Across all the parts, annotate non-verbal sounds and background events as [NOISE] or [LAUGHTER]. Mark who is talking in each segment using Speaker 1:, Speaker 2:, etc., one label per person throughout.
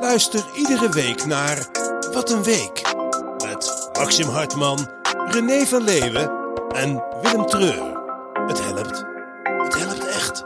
Speaker 1: Luister iedere week naar Wat een Week. Met Maxim Hartman, René van Leeuwen en Willem Treur. Het helpt. Het helpt echt.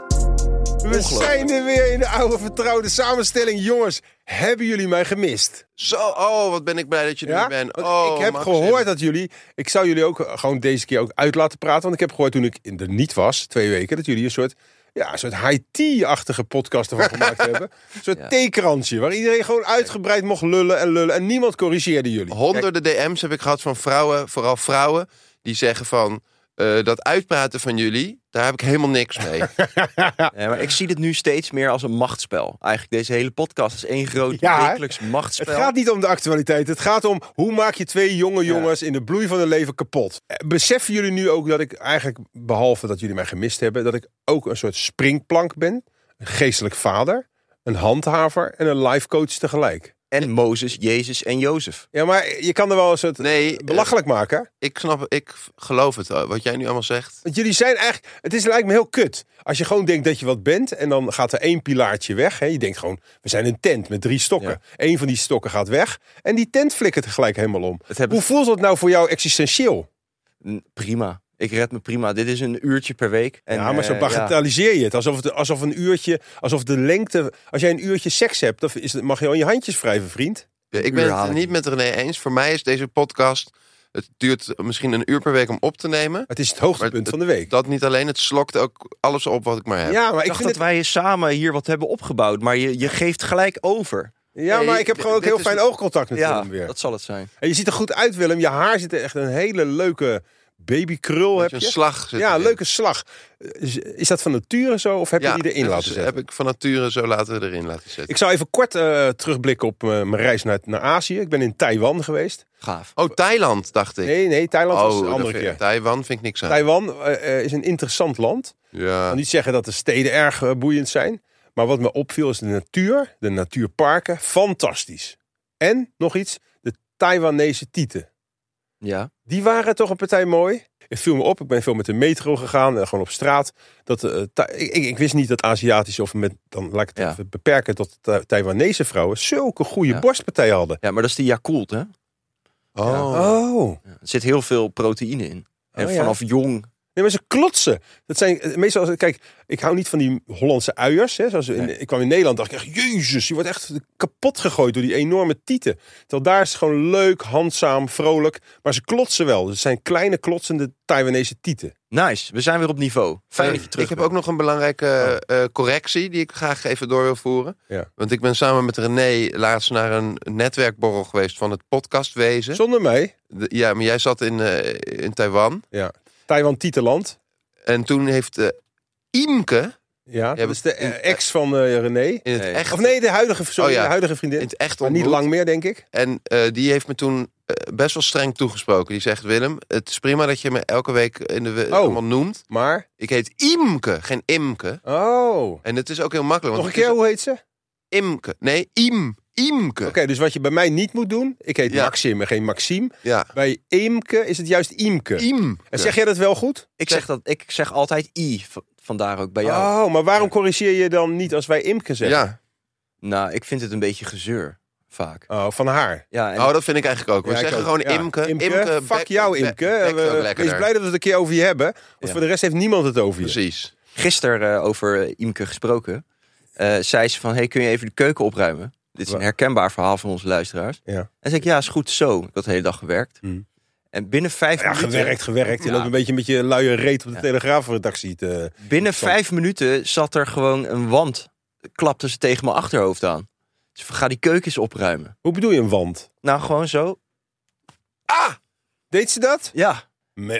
Speaker 2: We zijn er weer in de oude vertrouwde samenstelling. Jongens, hebben jullie mij gemist?
Speaker 3: Zo, oh, wat ben ik blij dat je er
Speaker 2: Ja?
Speaker 3: nu bent.
Speaker 2: Want
Speaker 3: Oh,
Speaker 2: ik heb
Speaker 3: Maxim.
Speaker 2: gehoord dat jullie... Ik zou jullie ook eh, gewoon deze keer ook uit laten praten. Want ik heb gehoord toen ik in- er niet was, twee weken... dat jullie een soort, ja, een soort high-tea-achtige podcast ervan gemaakt hebben. Een soort theekransje, waar iedereen gewoon uitgebreid mocht lullen en lullen. En niemand corrigeerde jullie.
Speaker 4: Oh,
Speaker 3: Honderden DM's heb ik gehad van vrouwen, vooral vrouwen, die zeggen van eh, dat uitpraten van jullie, daar heb ik helemaal niks
Speaker 2: [LAUGHS]
Speaker 3: mee.
Speaker 4: Nee, maar ik zie dit nu steeds meer als een machtsspel. Eigenlijk deze hele podcast is één groot
Speaker 2: Ja, hè?
Speaker 4: wekelijks machtsspel.
Speaker 2: Het gaat niet om de actualiteit. Het gaat om hoe maak je twee jonge jongens in de bloei van hun leven kapot. Eh, Beseffen jullie nu ook dat ik eigenlijk, behalve dat jullie mij gemist hebben, dat ik ook een soort springplank ben? Een geestelijk vader, een handhaver en een lifecoach tegelijk.
Speaker 4: En Mozes, Jezus en Jozef.
Speaker 2: Ja, maar je kan er wel een soort
Speaker 3: Nee,
Speaker 2: belachelijk maken.
Speaker 3: Ik snap, ik geloof het, eh, wat jij nu allemaal zegt.
Speaker 2: Want jullie zijn eigenlijk, het is, lijkt me heel kut. Als je gewoon denkt dat je wat bent en dan gaat er één pilaartje weg. Hè? Je denkt gewoon, we zijn een tent met drie stokken. Eén van die stokken gaat weg en die tent flikkert gelijk helemaal om.
Speaker 4: Het hebben-
Speaker 2: Hoe voelt dat nou voor jou existentieel?
Speaker 4: N- Prima. Ik red me prima. Dit is een uurtje per week. En,
Speaker 2: ja, maar zo
Speaker 4: eh, ja.
Speaker 2: bagatelliseer je het. Alsof, het. alsof een uurtje, alsof de lengte. Als jij een uurtje seks hebt, dan is, het- mag je al je handjes wrijven, vriend.
Speaker 3: ik ben het
Speaker 4: haal ik
Speaker 3: niet met René eens. Voor mij is deze podcast, het duurt misschien een uur per week om op te nemen.
Speaker 2: Het is het
Speaker 3: Maar
Speaker 2: hoogtepunt
Speaker 3: het-
Speaker 2: van de week.
Speaker 3: Dat niet alleen, het slokt ook alles op wat ik maar heb.
Speaker 2: Ja, maar
Speaker 4: Ik
Speaker 2: ik
Speaker 4: dacht
Speaker 2: vind
Speaker 4: dat
Speaker 2: het,
Speaker 4: wij samen hier wat hebben opgebouwd, maar je, je geeft gelijk over.
Speaker 2: Ja, maar
Speaker 3: Nee,
Speaker 2: ik heb
Speaker 3: dit-
Speaker 2: gewoon ook
Speaker 3: dit
Speaker 2: heel
Speaker 3: is-
Speaker 2: fijn oogcontact met
Speaker 4: Ja,
Speaker 2: Willem weer.
Speaker 4: dat zal het zijn.
Speaker 2: En je ziet er goed uit, Willem. Je haar zit er echt een hele leuke babykrul. Heb
Speaker 3: Een
Speaker 2: je.
Speaker 3: slag zit
Speaker 2: ja,
Speaker 3: erin.
Speaker 2: leuke slag. Is, is dat van nature zo of heb
Speaker 3: Ja,
Speaker 2: je die erin
Speaker 3: dat
Speaker 2: laten
Speaker 3: is-
Speaker 2: zetten?
Speaker 3: Heb ik van nature zo laten erin laten zetten.
Speaker 2: Ik zou even kort eh, terugblikken op eh, mijn reis naar, naar Azië. Ik ben in Taiwan geweest.
Speaker 4: Gaaf.
Speaker 3: Oh, Thailand, dacht ik.
Speaker 2: Nee, nee, Thailand was
Speaker 3: oh,
Speaker 2: een
Speaker 3: dat
Speaker 2: andere
Speaker 3: vind-
Speaker 2: keer.
Speaker 3: Taiwan vind ik niks aan.
Speaker 2: Taiwan eh, eh, is een interessant land.
Speaker 3: Ja.
Speaker 2: Ik kan niet zeggen dat de steden erg eh, boeiend zijn. Maar wat me opviel is de natuur, de natuurparken, fantastisch. En nog iets, de Taiwanese tieten.
Speaker 4: Ja.
Speaker 2: Die waren toch een partij mooi. Het viel me op, ik ben veel met de metro gegaan, en gewoon op straat. Dat, eh, Tha- ik, ik, ik wist niet dat Aziatische, of met, dan laat ik het
Speaker 4: Ja.
Speaker 2: even beperken tot Tha- Taiwanese vrouwen, zulke goede
Speaker 4: Ja.
Speaker 2: borstpartijen hadden.
Speaker 4: ja, maar dat is die Yakult, hè?
Speaker 2: Oh.
Speaker 4: Ja, Er zit heel veel proteïne in. En
Speaker 2: Oh, ja.
Speaker 4: vanaf jong...
Speaker 2: Nee, maar ze klotsen. Dat zijn eh, meestal, als- kijk, ik hou niet van die Hollandse uiers. Hè, zoals in,
Speaker 4: Nee.
Speaker 2: Ik kwam in Nederland, dacht ik echt, jezus, je wordt echt kapot gegooid door die enorme tieten. Terwijl daar is het gewoon leuk, handzaam, vrolijk. Maar ze klotsen wel. Het zijn kleine klotsende Taiwanese tieten.
Speaker 4: Nice, we zijn weer op niveau. Fijn dat je terug
Speaker 3: Ik heb
Speaker 4: bent.
Speaker 3: ook nog een belangrijke eh, correctie die ik graag even door wil voeren.
Speaker 2: Oh. Ja.
Speaker 3: Want ik ben samen met René laatst naar een netwerkborrel geweest van het podcastwezen.
Speaker 2: Zonder mij,
Speaker 3: De- ja, maar jij zat in, eh, in Taiwan.
Speaker 2: Taiwan Tietenland.
Speaker 3: En toen heeft eh Imke
Speaker 2: Ja, dat
Speaker 3: hebt
Speaker 2: is de
Speaker 3: in-
Speaker 2: eh, ex van eh, René.
Speaker 3: in het
Speaker 4: Nee.
Speaker 3: echt,
Speaker 2: Of nee, de huidige, sorry,
Speaker 3: Oh ja.
Speaker 2: de huidige vriendin.
Speaker 3: in het echt
Speaker 2: maar niet
Speaker 3: ontmoet.
Speaker 2: lang meer, denk ik.
Speaker 3: En eh, die heeft me toen eh, best wel streng toegesproken. Die zegt, Willem, het is prima dat je me elke week in de we-
Speaker 2: Oh.
Speaker 3: allemaal noemt.
Speaker 2: Maar,
Speaker 3: Ik heet Imke, geen Imke.
Speaker 2: oh.
Speaker 3: En het is ook heel makkelijk.
Speaker 2: Nog
Speaker 3: Want
Speaker 2: een
Speaker 3: het
Speaker 2: keer,
Speaker 3: is
Speaker 2: hoe heet ze? Oké,
Speaker 3: Imke. Nee, Im. Imke.
Speaker 2: dus wat je bij mij niet moet doen. Ik heet
Speaker 3: Ja.
Speaker 2: Maxim en geen Maxime.
Speaker 3: Ja.
Speaker 2: Bij Imke is het juist Imke.
Speaker 3: Im.
Speaker 2: En zeg jij dat wel goed?
Speaker 4: Ik zeg, dat, ik zeg altijd I, v- vandaar ook bij jou.
Speaker 2: Oh, maar waarom corrigeer je dan niet als wij Imke zeggen?
Speaker 3: Ja.
Speaker 4: Nou, ik vind het een beetje gezeur, vaak.
Speaker 2: Oh, van haar.
Speaker 4: Ja, en
Speaker 3: Oh, dat vind ik eigenlijk ook. We
Speaker 2: Ja, ik
Speaker 3: zeggen
Speaker 2: ook.
Speaker 3: gewoon
Speaker 2: Ja.
Speaker 3: Imke.
Speaker 2: Imke. Fuck jou, Imke. We-
Speaker 3: Ik
Speaker 2: Wees blij dat we het een keer over je hebben. Want
Speaker 4: Ja.
Speaker 2: voor de rest heeft niemand het
Speaker 3: Dus
Speaker 2: over je.
Speaker 3: Precies.
Speaker 4: gisteren eh, over eh, Imke gesproken. Eh zei ze van, hey, kun je even de keuken opruimen? Dit is een
Speaker 2: Wa-
Speaker 4: herkenbaar verhaal van onze luisteraars.
Speaker 2: Ja.
Speaker 4: En zei ik, ja, Mm. is goed zo. Ik had de hele dag gewerkt.
Speaker 2: Hmm.
Speaker 4: En binnen vijf
Speaker 2: Ja,
Speaker 4: minuten...
Speaker 2: gewerkt, gewerkt. Je
Speaker 4: eh, Ja.
Speaker 2: loopt een beetje met je luie reet op de
Speaker 4: Ja.
Speaker 2: Telegraafredactie te...
Speaker 4: Binnen vijf minuten zat er gewoon een wand. Klapte ze tegen mijn achterhoofd aan. Dus ga die keuken eens opruimen.
Speaker 2: Hoe bedoel je een wand?
Speaker 4: Nou, gewoon zo.
Speaker 2: Deed ze dat?
Speaker 4: Ja.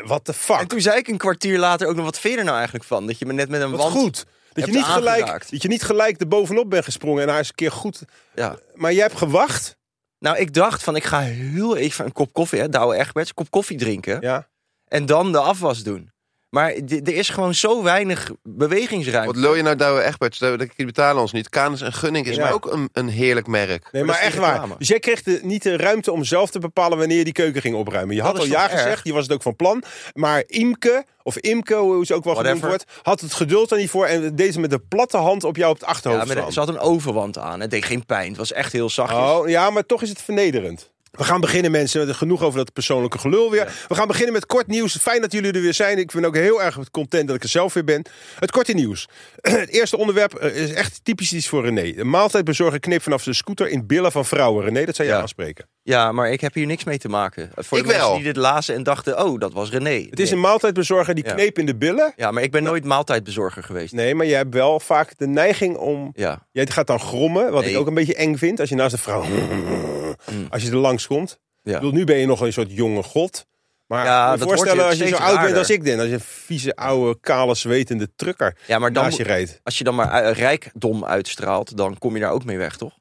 Speaker 2: Wat de fuck?
Speaker 4: En toen zei ik een kwartier later ook nog, wat vind je er nou eigenlijk van? Dat je me net met een
Speaker 2: Wat
Speaker 4: wand...
Speaker 2: goed. Dat je,
Speaker 4: hebt
Speaker 2: niet gelijk,
Speaker 4: aangeraakt.
Speaker 2: dat je niet gelijk er bovenop bent gesprongen en haar eens een keer goed...
Speaker 4: Ja.
Speaker 2: Maar jij hebt gewacht
Speaker 4: Nou, ik dacht van, ik ga heel even een kop koffie, hè, Douwe Egberts, een kop koffie drinken.
Speaker 2: Ja.
Speaker 4: En dan de afwas doen. Maar d- er is gewoon zo weinig
Speaker 3: Wat
Speaker 4: bewegingsruimte.
Speaker 3: lul je nou, Douwe Egberts? Die betalen ons niet. Canis en Gunning is
Speaker 2: Ja.
Speaker 3: maar ook een, een heerlijk merk.
Speaker 2: Nee,
Speaker 4: Maar
Speaker 2: maar
Speaker 4: dat is
Speaker 2: echt
Speaker 4: geen
Speaker 2: waar.
Speaker 4: reclame.
Speaker 2: Dus jij kreeg de, niet de ruimte om zelf te bepalen wanneer je die keuken ging opruimen. Je had
Speaker 4: is
Speaker 2: al
Speaker 4: toch
Speaker 2: ja
Speaker 4: erg?
Speaker 2: gezegd, je was het ook van plan. Maar Imke, of Imke, hoe ze ook wel genoemd
Speaker 4: Whatever.
Speaker 2: wordt, had het geduld er niet voor en deed ze met de platte hand op jou op het
Speaker 4: Ja,
Speaker 2: achterhoofd
Speaker 4: maar
Speaker 2: slaan.
Speaker 4: ze had een overwand aan. Het deed geen pijn. Het was echt heel zachtjes.
Speaker 2: Oh, ja, maar toch is het vernederend. We gaan beginnen, mensen. Genoeg over dat persoonlijke gelul weer. We gaan beginnen met kort nieuws. Fijn dat jullie er weer zijn. Ik ben ook heel erg content dat ik er zelf weer ben. Het korte nieuws. [CLEARS THROAT] Het eerste onderwerp eh, is echt typisch iets voor René. Een maaltijdbezorger knip vanaf zijn scooter in billen van vrouwen. René, dat zou jij
Speaker 4: Ja.
Speaker 2: aanspreken.
Speaker 4: Ja, maar ik heb hier niks mee te maken. Voor
Speaker 3: Ik
Speaker 4: de mensen
Speaker 3: wel.
Speaker 4: die dit lazen en dachten, oh, dat was René.
Speaker 2: Het is een maaltijdbezorger die
Speaker 4: Ja.
Speaker 2: kneep in de billen.
Speaker 4: Ja, maar ik ben nooit maaltijdbezorger geweest.
Speaker 2: Nee, maar jij hebt wel vaak de neiging om...
Speaker 4: Ja,
Speaker 2: Jij gaat dan grommen, wat ik
Speaker 4: Nee. Mm.
Speaker 2: ook een beetje eng vind. Als je naast een vrouw... Als je er langs komt.
Speaker 4: ja.
Speaker 2: Ik bedoel, nu ben je nog een soort jonge god. Maar
Speaker 4: Ja,
Speaker 2: moet je
Speaker 4: dat
Speaker 2: voorstellen
Speaker 4: wordt
Speaker 2: als je zo
Speaker 4: steeds
Speaker 2: oud bent
Speaker 4: raarder.
Speaker 2: als ik ben. Als je een vieze, oude, kale, zwetende trucker
Speaker 4: ja maar dan,
Speaker 2: naast je
Speaker 4: moet-
Speaker 2: rijdt.
Speaker 4: als je dan maar eh, rijkdom uitstraalt, dan kom je daar ook mee weg, toch?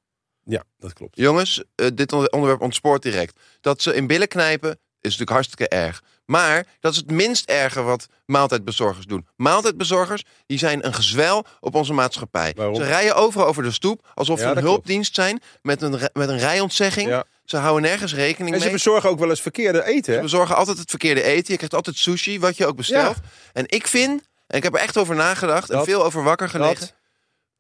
Speaker 2: Ja, dat klopt.
Speaker 3: Jongens, eh, dit onder- onderwerp ontspoort direct. Dat ze in billen knijpen is natuurlijk hartstikke erg. Maar dat is het minst erge wat maaltijdbezorgers doen. Maaltijdbezorgers die zijn een gezwel op onze maatschappij.
Speaker 2: Waarom?
Speaker 3: Ze rijden overal over de stoep alsof
Speaker 2: Ja,
Speaker 3: ze een
Speaker 2: dat klopt.
Speaker 3: hulpdienst zijn met een, re- met een rijontzegging.
Speaker 2: Ja.
Speaker 3: Ze houden nergens rekening
Speaker 2: En ze
Speaker 3: mee.
Speaker 2: bezorgen ook wel eens verkeerde eten.
Speaker 3: Ze
Speaker 2: hè?
Speaker 3: bezorgen altijd het verkeerde eten. Je krijgt altijd sushi, wat je ook bestelt. En ik vind, en ik heb er echt over nagedacht en
Speaker 2: Dat-
Speaker 3: veel over wakker gelegen.
Speaker 2: dat-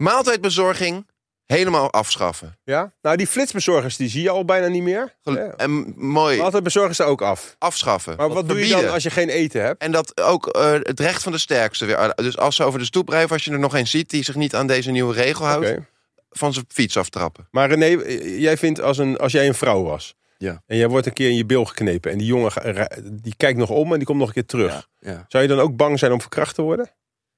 Speaker 3: Maaltijdbezorging helemaal afschaffen.
Speaker 2: Ja? Nou, die flitsbezorgers die zie je al bijna niet meer.
Speaker 3: Gel-
Speaker 2: Ja.
Speaker 3: En m- mooi,
Speaker 2: Altijd bezorgen ze ook af.
Speaker 3: afschaffen.
Speaker 2: Maar wat, doe je
Speaker 3: verbieden.
Speaker 2: dan als je geen eten hebt?
Speaker 3: En dat ook eh, het recht van de sterkste weer. Dus als ze over de stoep rijden, of als je er nog een ziet die zich niet aan deze nieuwe regel houdt,
Speaker 2: Oké.
Speaker 3: van zijn fiets aftrappen.
Speaker 2: Maar René, eh, jij vindt als, een, als jij een vrouw was.
Speaker 4: Ja.
Speaker 2: En jij wordt een keer in je bil geknepen. En die jongen ga- ra- die kijkt nog om en die komt nog een keer terug.
Speaker 4: Ja.
Speaker 2: Zou je dan ook bang zijn om verkracht te worden?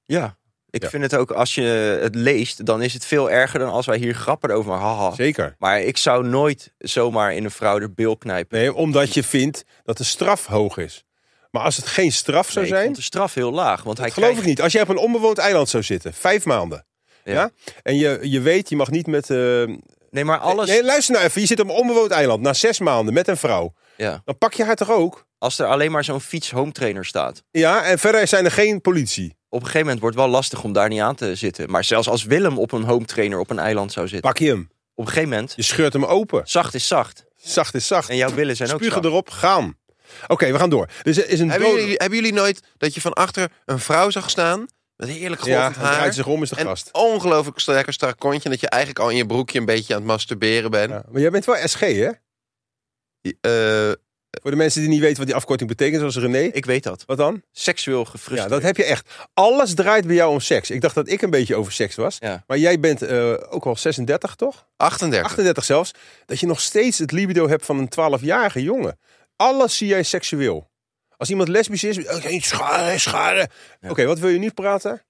Speaker 4: ja. Ik
Speaker 2: Ja.
Speaker 4: vind het ook, als je het leest, dan is het veel erger dan als wij hier grappen over maken. Haha.
Speaker 2: Zeker.
Speaker 4: Maar ik zou nooit zomaar in een vrouw de bil knijpen.
Speaker 2: Nee, omdat je vindt dat de straf hoog is. Maar als het geen straf zou
Speaker 4: Nee, ik
Speaker 2: zijn,
Speaker 4: vond de straf heel laag. Want hij
Speaker 2: dat geloof
Speaker 4: krijgt-
Speaker 2: ik niet. Als jij op een onbewoond eiland zou zitten, vijf maanden. Ja.
Speaker 4: Ja.
Speaker 2: En je, je weet, je mag niet met... eh,
Speaker 4: Nee, maar alles...
Speaker 2: Nee, luister nou even. Je zit op een onbewoond eiland na zes maanden met een vrouw.
Speaker 4: Ja.
Speaker 2: Dan pak je haar toch ook?
Speaker 4: Als er alleen maar zo'n fiets home trainer staat.
Speaker 2: Ja, en verder zijn er geen politie.
Speaker 4: Op een gegeven moment wordt het wel lastig om daar niet aan te zitten. Maar zelfs als Willem op een home trainer op een eiland zou zitten.
Speaker 2: Pak je hem.
Speaker 4: Op een gegeven moment,
Speaker 2: Je scheurt hem open.
Speaker 4: zacht is zacht.
Speaker 2: Zacht is zacht.
Speaker 4: En jouw billen zijn ook
Speaker 2: Spugen
Speaker 4: zacht.
Speaker 2: erop, gaan. Oké, we gaan door. Dus er is een
Speaker 3: Hebben
Speaker 2: dode-
Speaker 3: jullie, hebben jullie nooit dat je van achter een vrouw zag staan met heerlijk
Speaker 2: Ja,
Speaker 3: golvend
Speaker 2: hij
Speaker 3: haar
Speaker 2: draait zich om, is de
Speaker 3: en
Speaker 2: gast.
Speaker 3: ongelooflijk sterk strak kontje en dat je eigenlijk al in je broekje een beetje aan het masturberen bent?
Speaker 2: Ja, maar jij bent wel SG, hè?
Speaker 3: Eh,
Speaker 2: Voor de mensen die niet weten wat die afkorting betekent, zoals René.
Speaker 4: Ik weet dat.
Speaker 2: Wat dan?
Speaker 4: Seksueel
Speaker 2: Ja,
Speaker 4: gefrustreerd.
Speaker 2: dat heb je echt. Alles draait bij jou om seks. Ik dacht dat ik een beetje over seks was.
Speaker 4: Ja.
Speaker 2: Maar jij bent eh, ook al 36, toch?
Speaker 3: 38.
Speaker 2: 38 zelfs. Dat je nog steeds het libido hebt van een 12-jarige jongen. Alles zie jij seksueel. Als iemand lesbisch is, eh, geen schade, schade. Oké, wat wil je nu [LAUGHS] praten?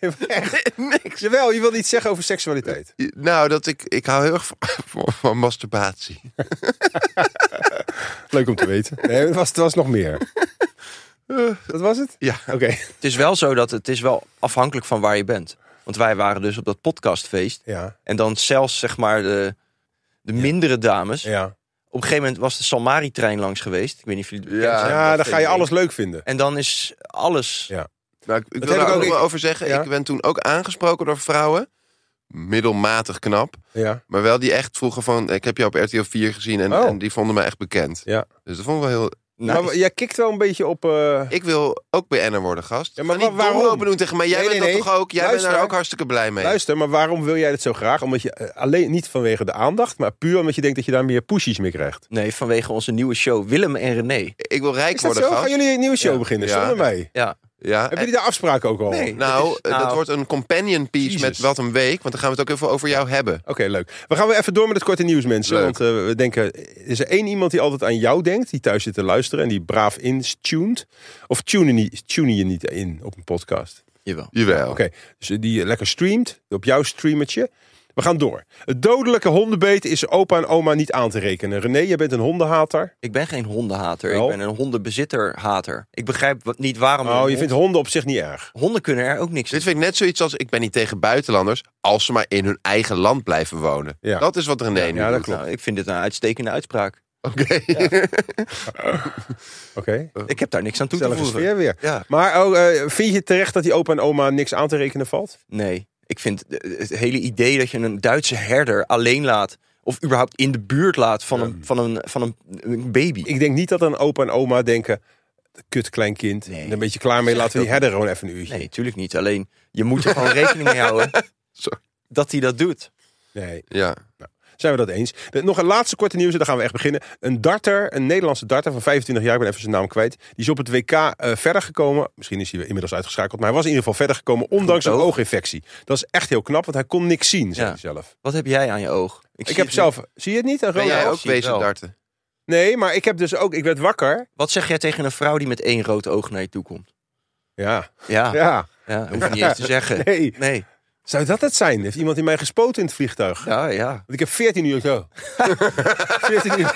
Speaker 2: Nee, maar echt.
Speaker 3: Niks.
Speaker 2: Jawel, je wilt iets zeggen over seksualiteit.
Speaker 3: Nou, dat ik, ik hou heel erg van, [LAUGHS] van, van masturbatie.
Speaker 2: Leuk om te weten. Nee, het was, het was nog meer. Eh, dat was het?
Speaker 3: Ja.
Speaker 2: Oké.
Speaker 4: Het is wel zo dat het is wel afhankelijk van waar je bent. Want wij waren dus op dat podcastfeest.
Speaker 2: Ja.
Speaker 4: En dan zelfs zeg maar de, de mindere dames.
Speaker 2: Ja.
Speaker 4: Op een gegeven moment was de Salmari-trein langs geweest. Ik weet niet of jullie het
Speaker 3: Ja.
Speaker 4: bekend zijn.
Speaker 2: ja,
Speaker 4: Dat
Speaker 2: dan ga je
Speaker 4: fenomeen.
Speaker 2: alles leuk vinden.
Speaker 4: En dan is alles...
Speaker 2: Ja.
Speaker 3: Nou, ik, ik
Speaker 2: Dat
Speaker 3: wil
Speaker 2: heb ik
Speaker 3: daar ook
Speaker 2: ook.
Speaker 3: nog
Speaker 2: Ik-
Speaker 3: over zeggen.
Speaker 2: ja.
Speaker 3: Ik ben toen ook aangesproken door vrouwen. Middelmatig knap.
Speaker 2: Ja.
Speaker 3: Maar wel die echt vroegen van... Ik heb jou op RTL 4 gezien en,
Speaker 2: Oh.
Speaker 3: en die vonden mij echt bekend.
Speaker 2: Ja.
Speaker 3: Dus dat vond ik wel heel...
Speaker 4: Nice.
Speaker 2: Nou, Maar jij kikt wel een beetje op. eh,
Speaker 3: Ik wil ook BN'er worden, gast.
Speaker 2: Ja,
Speaker 3: Ja,
Speaker 2: maar
Speaker 3: maar
Speaker 2: wa-
Speaker 3: niet
Speaker 2: waarom?
Speaker 3: waarom? lopen doen tegen mij. Jij
Speaker 2: Nee,
Speaker 3: bent
Speaker 2: nee,
Speaker 3: dat
Speaker 2: nee.
Speaker 3: toch ook? Jij bent
Speaker 2: Luister.
Speaker 3: daar ook hartstikke blij mee.
Speaker 2: Luister, maar waarom wil jij dat zo graag? Omdat je eh, alleen niet vanwege de aandacht, maar puur omdat je denkt dat je daar meer pushies mee krijgt.
Speaker 4: Nee, vanwege onze nieuwe show Willem en René.
Speaker 3: Ik wil rijk
Speaker 2: Is dat
Speaker 3: worden,
Speaker 2: zo? Gaan
Speaker 3: gast.
Speaker 2: jullie een nieuwe show
Speaker 3: Ja.
Speaker 2: beginnen
Speaker 3: Ja.
Speaker 2: zonder mij?
Speaker 4: Ja,
Speaker 3: Ja.
Speaker 2: Hebben jullie daar afspraken ook al?
Speaker 4: Nee.
Speaker 2: Oké,
Speaker 3: Nou,
Speaker 4: Dat is-
Speaker 3: dat
Speaker 4: nou.
Speaker 3: wordt een companion piece
Speaker 2: Jezus.
Speaker 3: met Wat een Week. Want dan gaan we het ook even over jou hebben.
Speaker 2: leuk. We gaan weer even door met het korte nieuws, mensen.
Speaker 3: Leuk.
Speaker 2: Want eh, we denken, is er één iemand die altijd aan jou denkt, die thuis zit te luisteren en die braaf instuned? Of tune je, niet, tune je niet in op een podcast?
Speaker 4: jawel.
Speaker 3: Jawel.
Speaker 2: eh, Oké, dus die lekker streamt, op jouw streamertje. We We gaan door. Het dodelijke hondenbeet is opa en oma niet aan te rekenen. René, jij bent een hondenhater.
Speaker 4: Ik ben geen hondenhater.
Speaker 2: Wel?
Speaker 4: Ik ben een hondenbezitterhater. Ik begrijp wat- niet waarom...
Speaker 2: Oh,
Speaker 4: een
Speaker 2: je
Speaker 4: hond-
Speaker 2: vindt honden op zich niet erg.
Speaker 4: Honden kunnen er ook niks
Speaker 3: Dit vind ik net zoiets als, ik ben niet tegen buitenlanders... als ze maar in hun eigen land blijven wonen.
Speaker 2: Ja.
Speaker 3: Dat is wat René nu
Speaker 2: ja, dat
Speaker 3: doet.
Speaker 2: klopt.
Speaker 4: Nou, ik vind dit een uitstekende uitspraak.
Speaker 3: Oké. [LAUGHS]
Speaker 2: Oké.
Speaker 4: Ik heb daar niks aan toe te
Speaker 2: Zelfde
Speaker 4: voegen.
Speaker 2: Oh. sfeer weer.
Speaker 4: Ja,
Speaker 2: Maar oh, eh, vind je terecht dat die opa en oma niks aan te rekenen valt?
Speaker 4: nee. Ik vind eh, het hele idee dat je een Duitse herder alleen laat... of überhaupt in de buurt laat van een, van een, van een, een baby.
Speaker 2: Ik denk niet dat een opa en oma denken... Kut klein kind,
Speaker 4: Nee.
Speaker 2: een beetje klaar mee, laten we die
Speaker 4: ook
Speaker 2: herder gewoon even een uurtje.
Speaker 4: Nee, natuurlijk niet. Alleen, je moet er gewoon rekening mee houden
Speaker 2: [LAUGHS]
Speaker 3: Sorry.
Speaker 4: dat hij dat doet.
Speaker 2: nee.
Speaker 3: Ja.
Speaker 2: Zijn we dat eens? De- nog een laatste korte nieuws, en dan gaan we echt beginnen. Een darter, een Nederlandse darter van 25 jaar, ik ben even zijn naam kwijt. Die is op het WK eh, verder gekomen. Misschien is hij inmiddels uitgeschakeld, maar hij was in ieder geval verder gekomen ondanks
Speaker 4: Goed
Speaker 2: een
Speaker 4: oog.
Speaker 2: ooginfectie. Dat is echt heel knap, want hij kon niks zien, zei
Speaker 4: Ja.
Speaker 2: hij zelf.
Speaker 4: Wat heb jij aan je oog? zie
Speaker 2: Ik heb
Speaker 4: het
Speaker 2: zelf, zie je het niet? Een
Speaker 3: Ben
Speaker 2: rode
Speaker 3: jij
Speaker 2: oog?
Speaker 3: ook
Speaker 4: zie ik
Speaker 3: wezen
Speaker 4: wel.
Speaker 3: darten?
Speaker 2: Nee, maar ik heb dus ook, ik werd wakker.
Speaker 4: niet. Wat zeg jij tegen een vrouw die met één rood oog naar je toe komt?
Speaker 2: Ja,
Speaker 4: Ja, ja.
Speaker 2: [LAUGHS] ja.
Speaker 4: hoef je niet
Speaker 2: [LAUGHS]
Speaker 4: eens te zeggen.
Speaker 2: Nee.
Speaker 4: Nee.
Speaker 2: Zou dat het zijn? Heeft iemand in mij gespoten in het vliegtuig?
Speaker 4: Ja, ja.
Speaker 2: Want ik heb 14 uur [LAUGHS] zo. 14 uur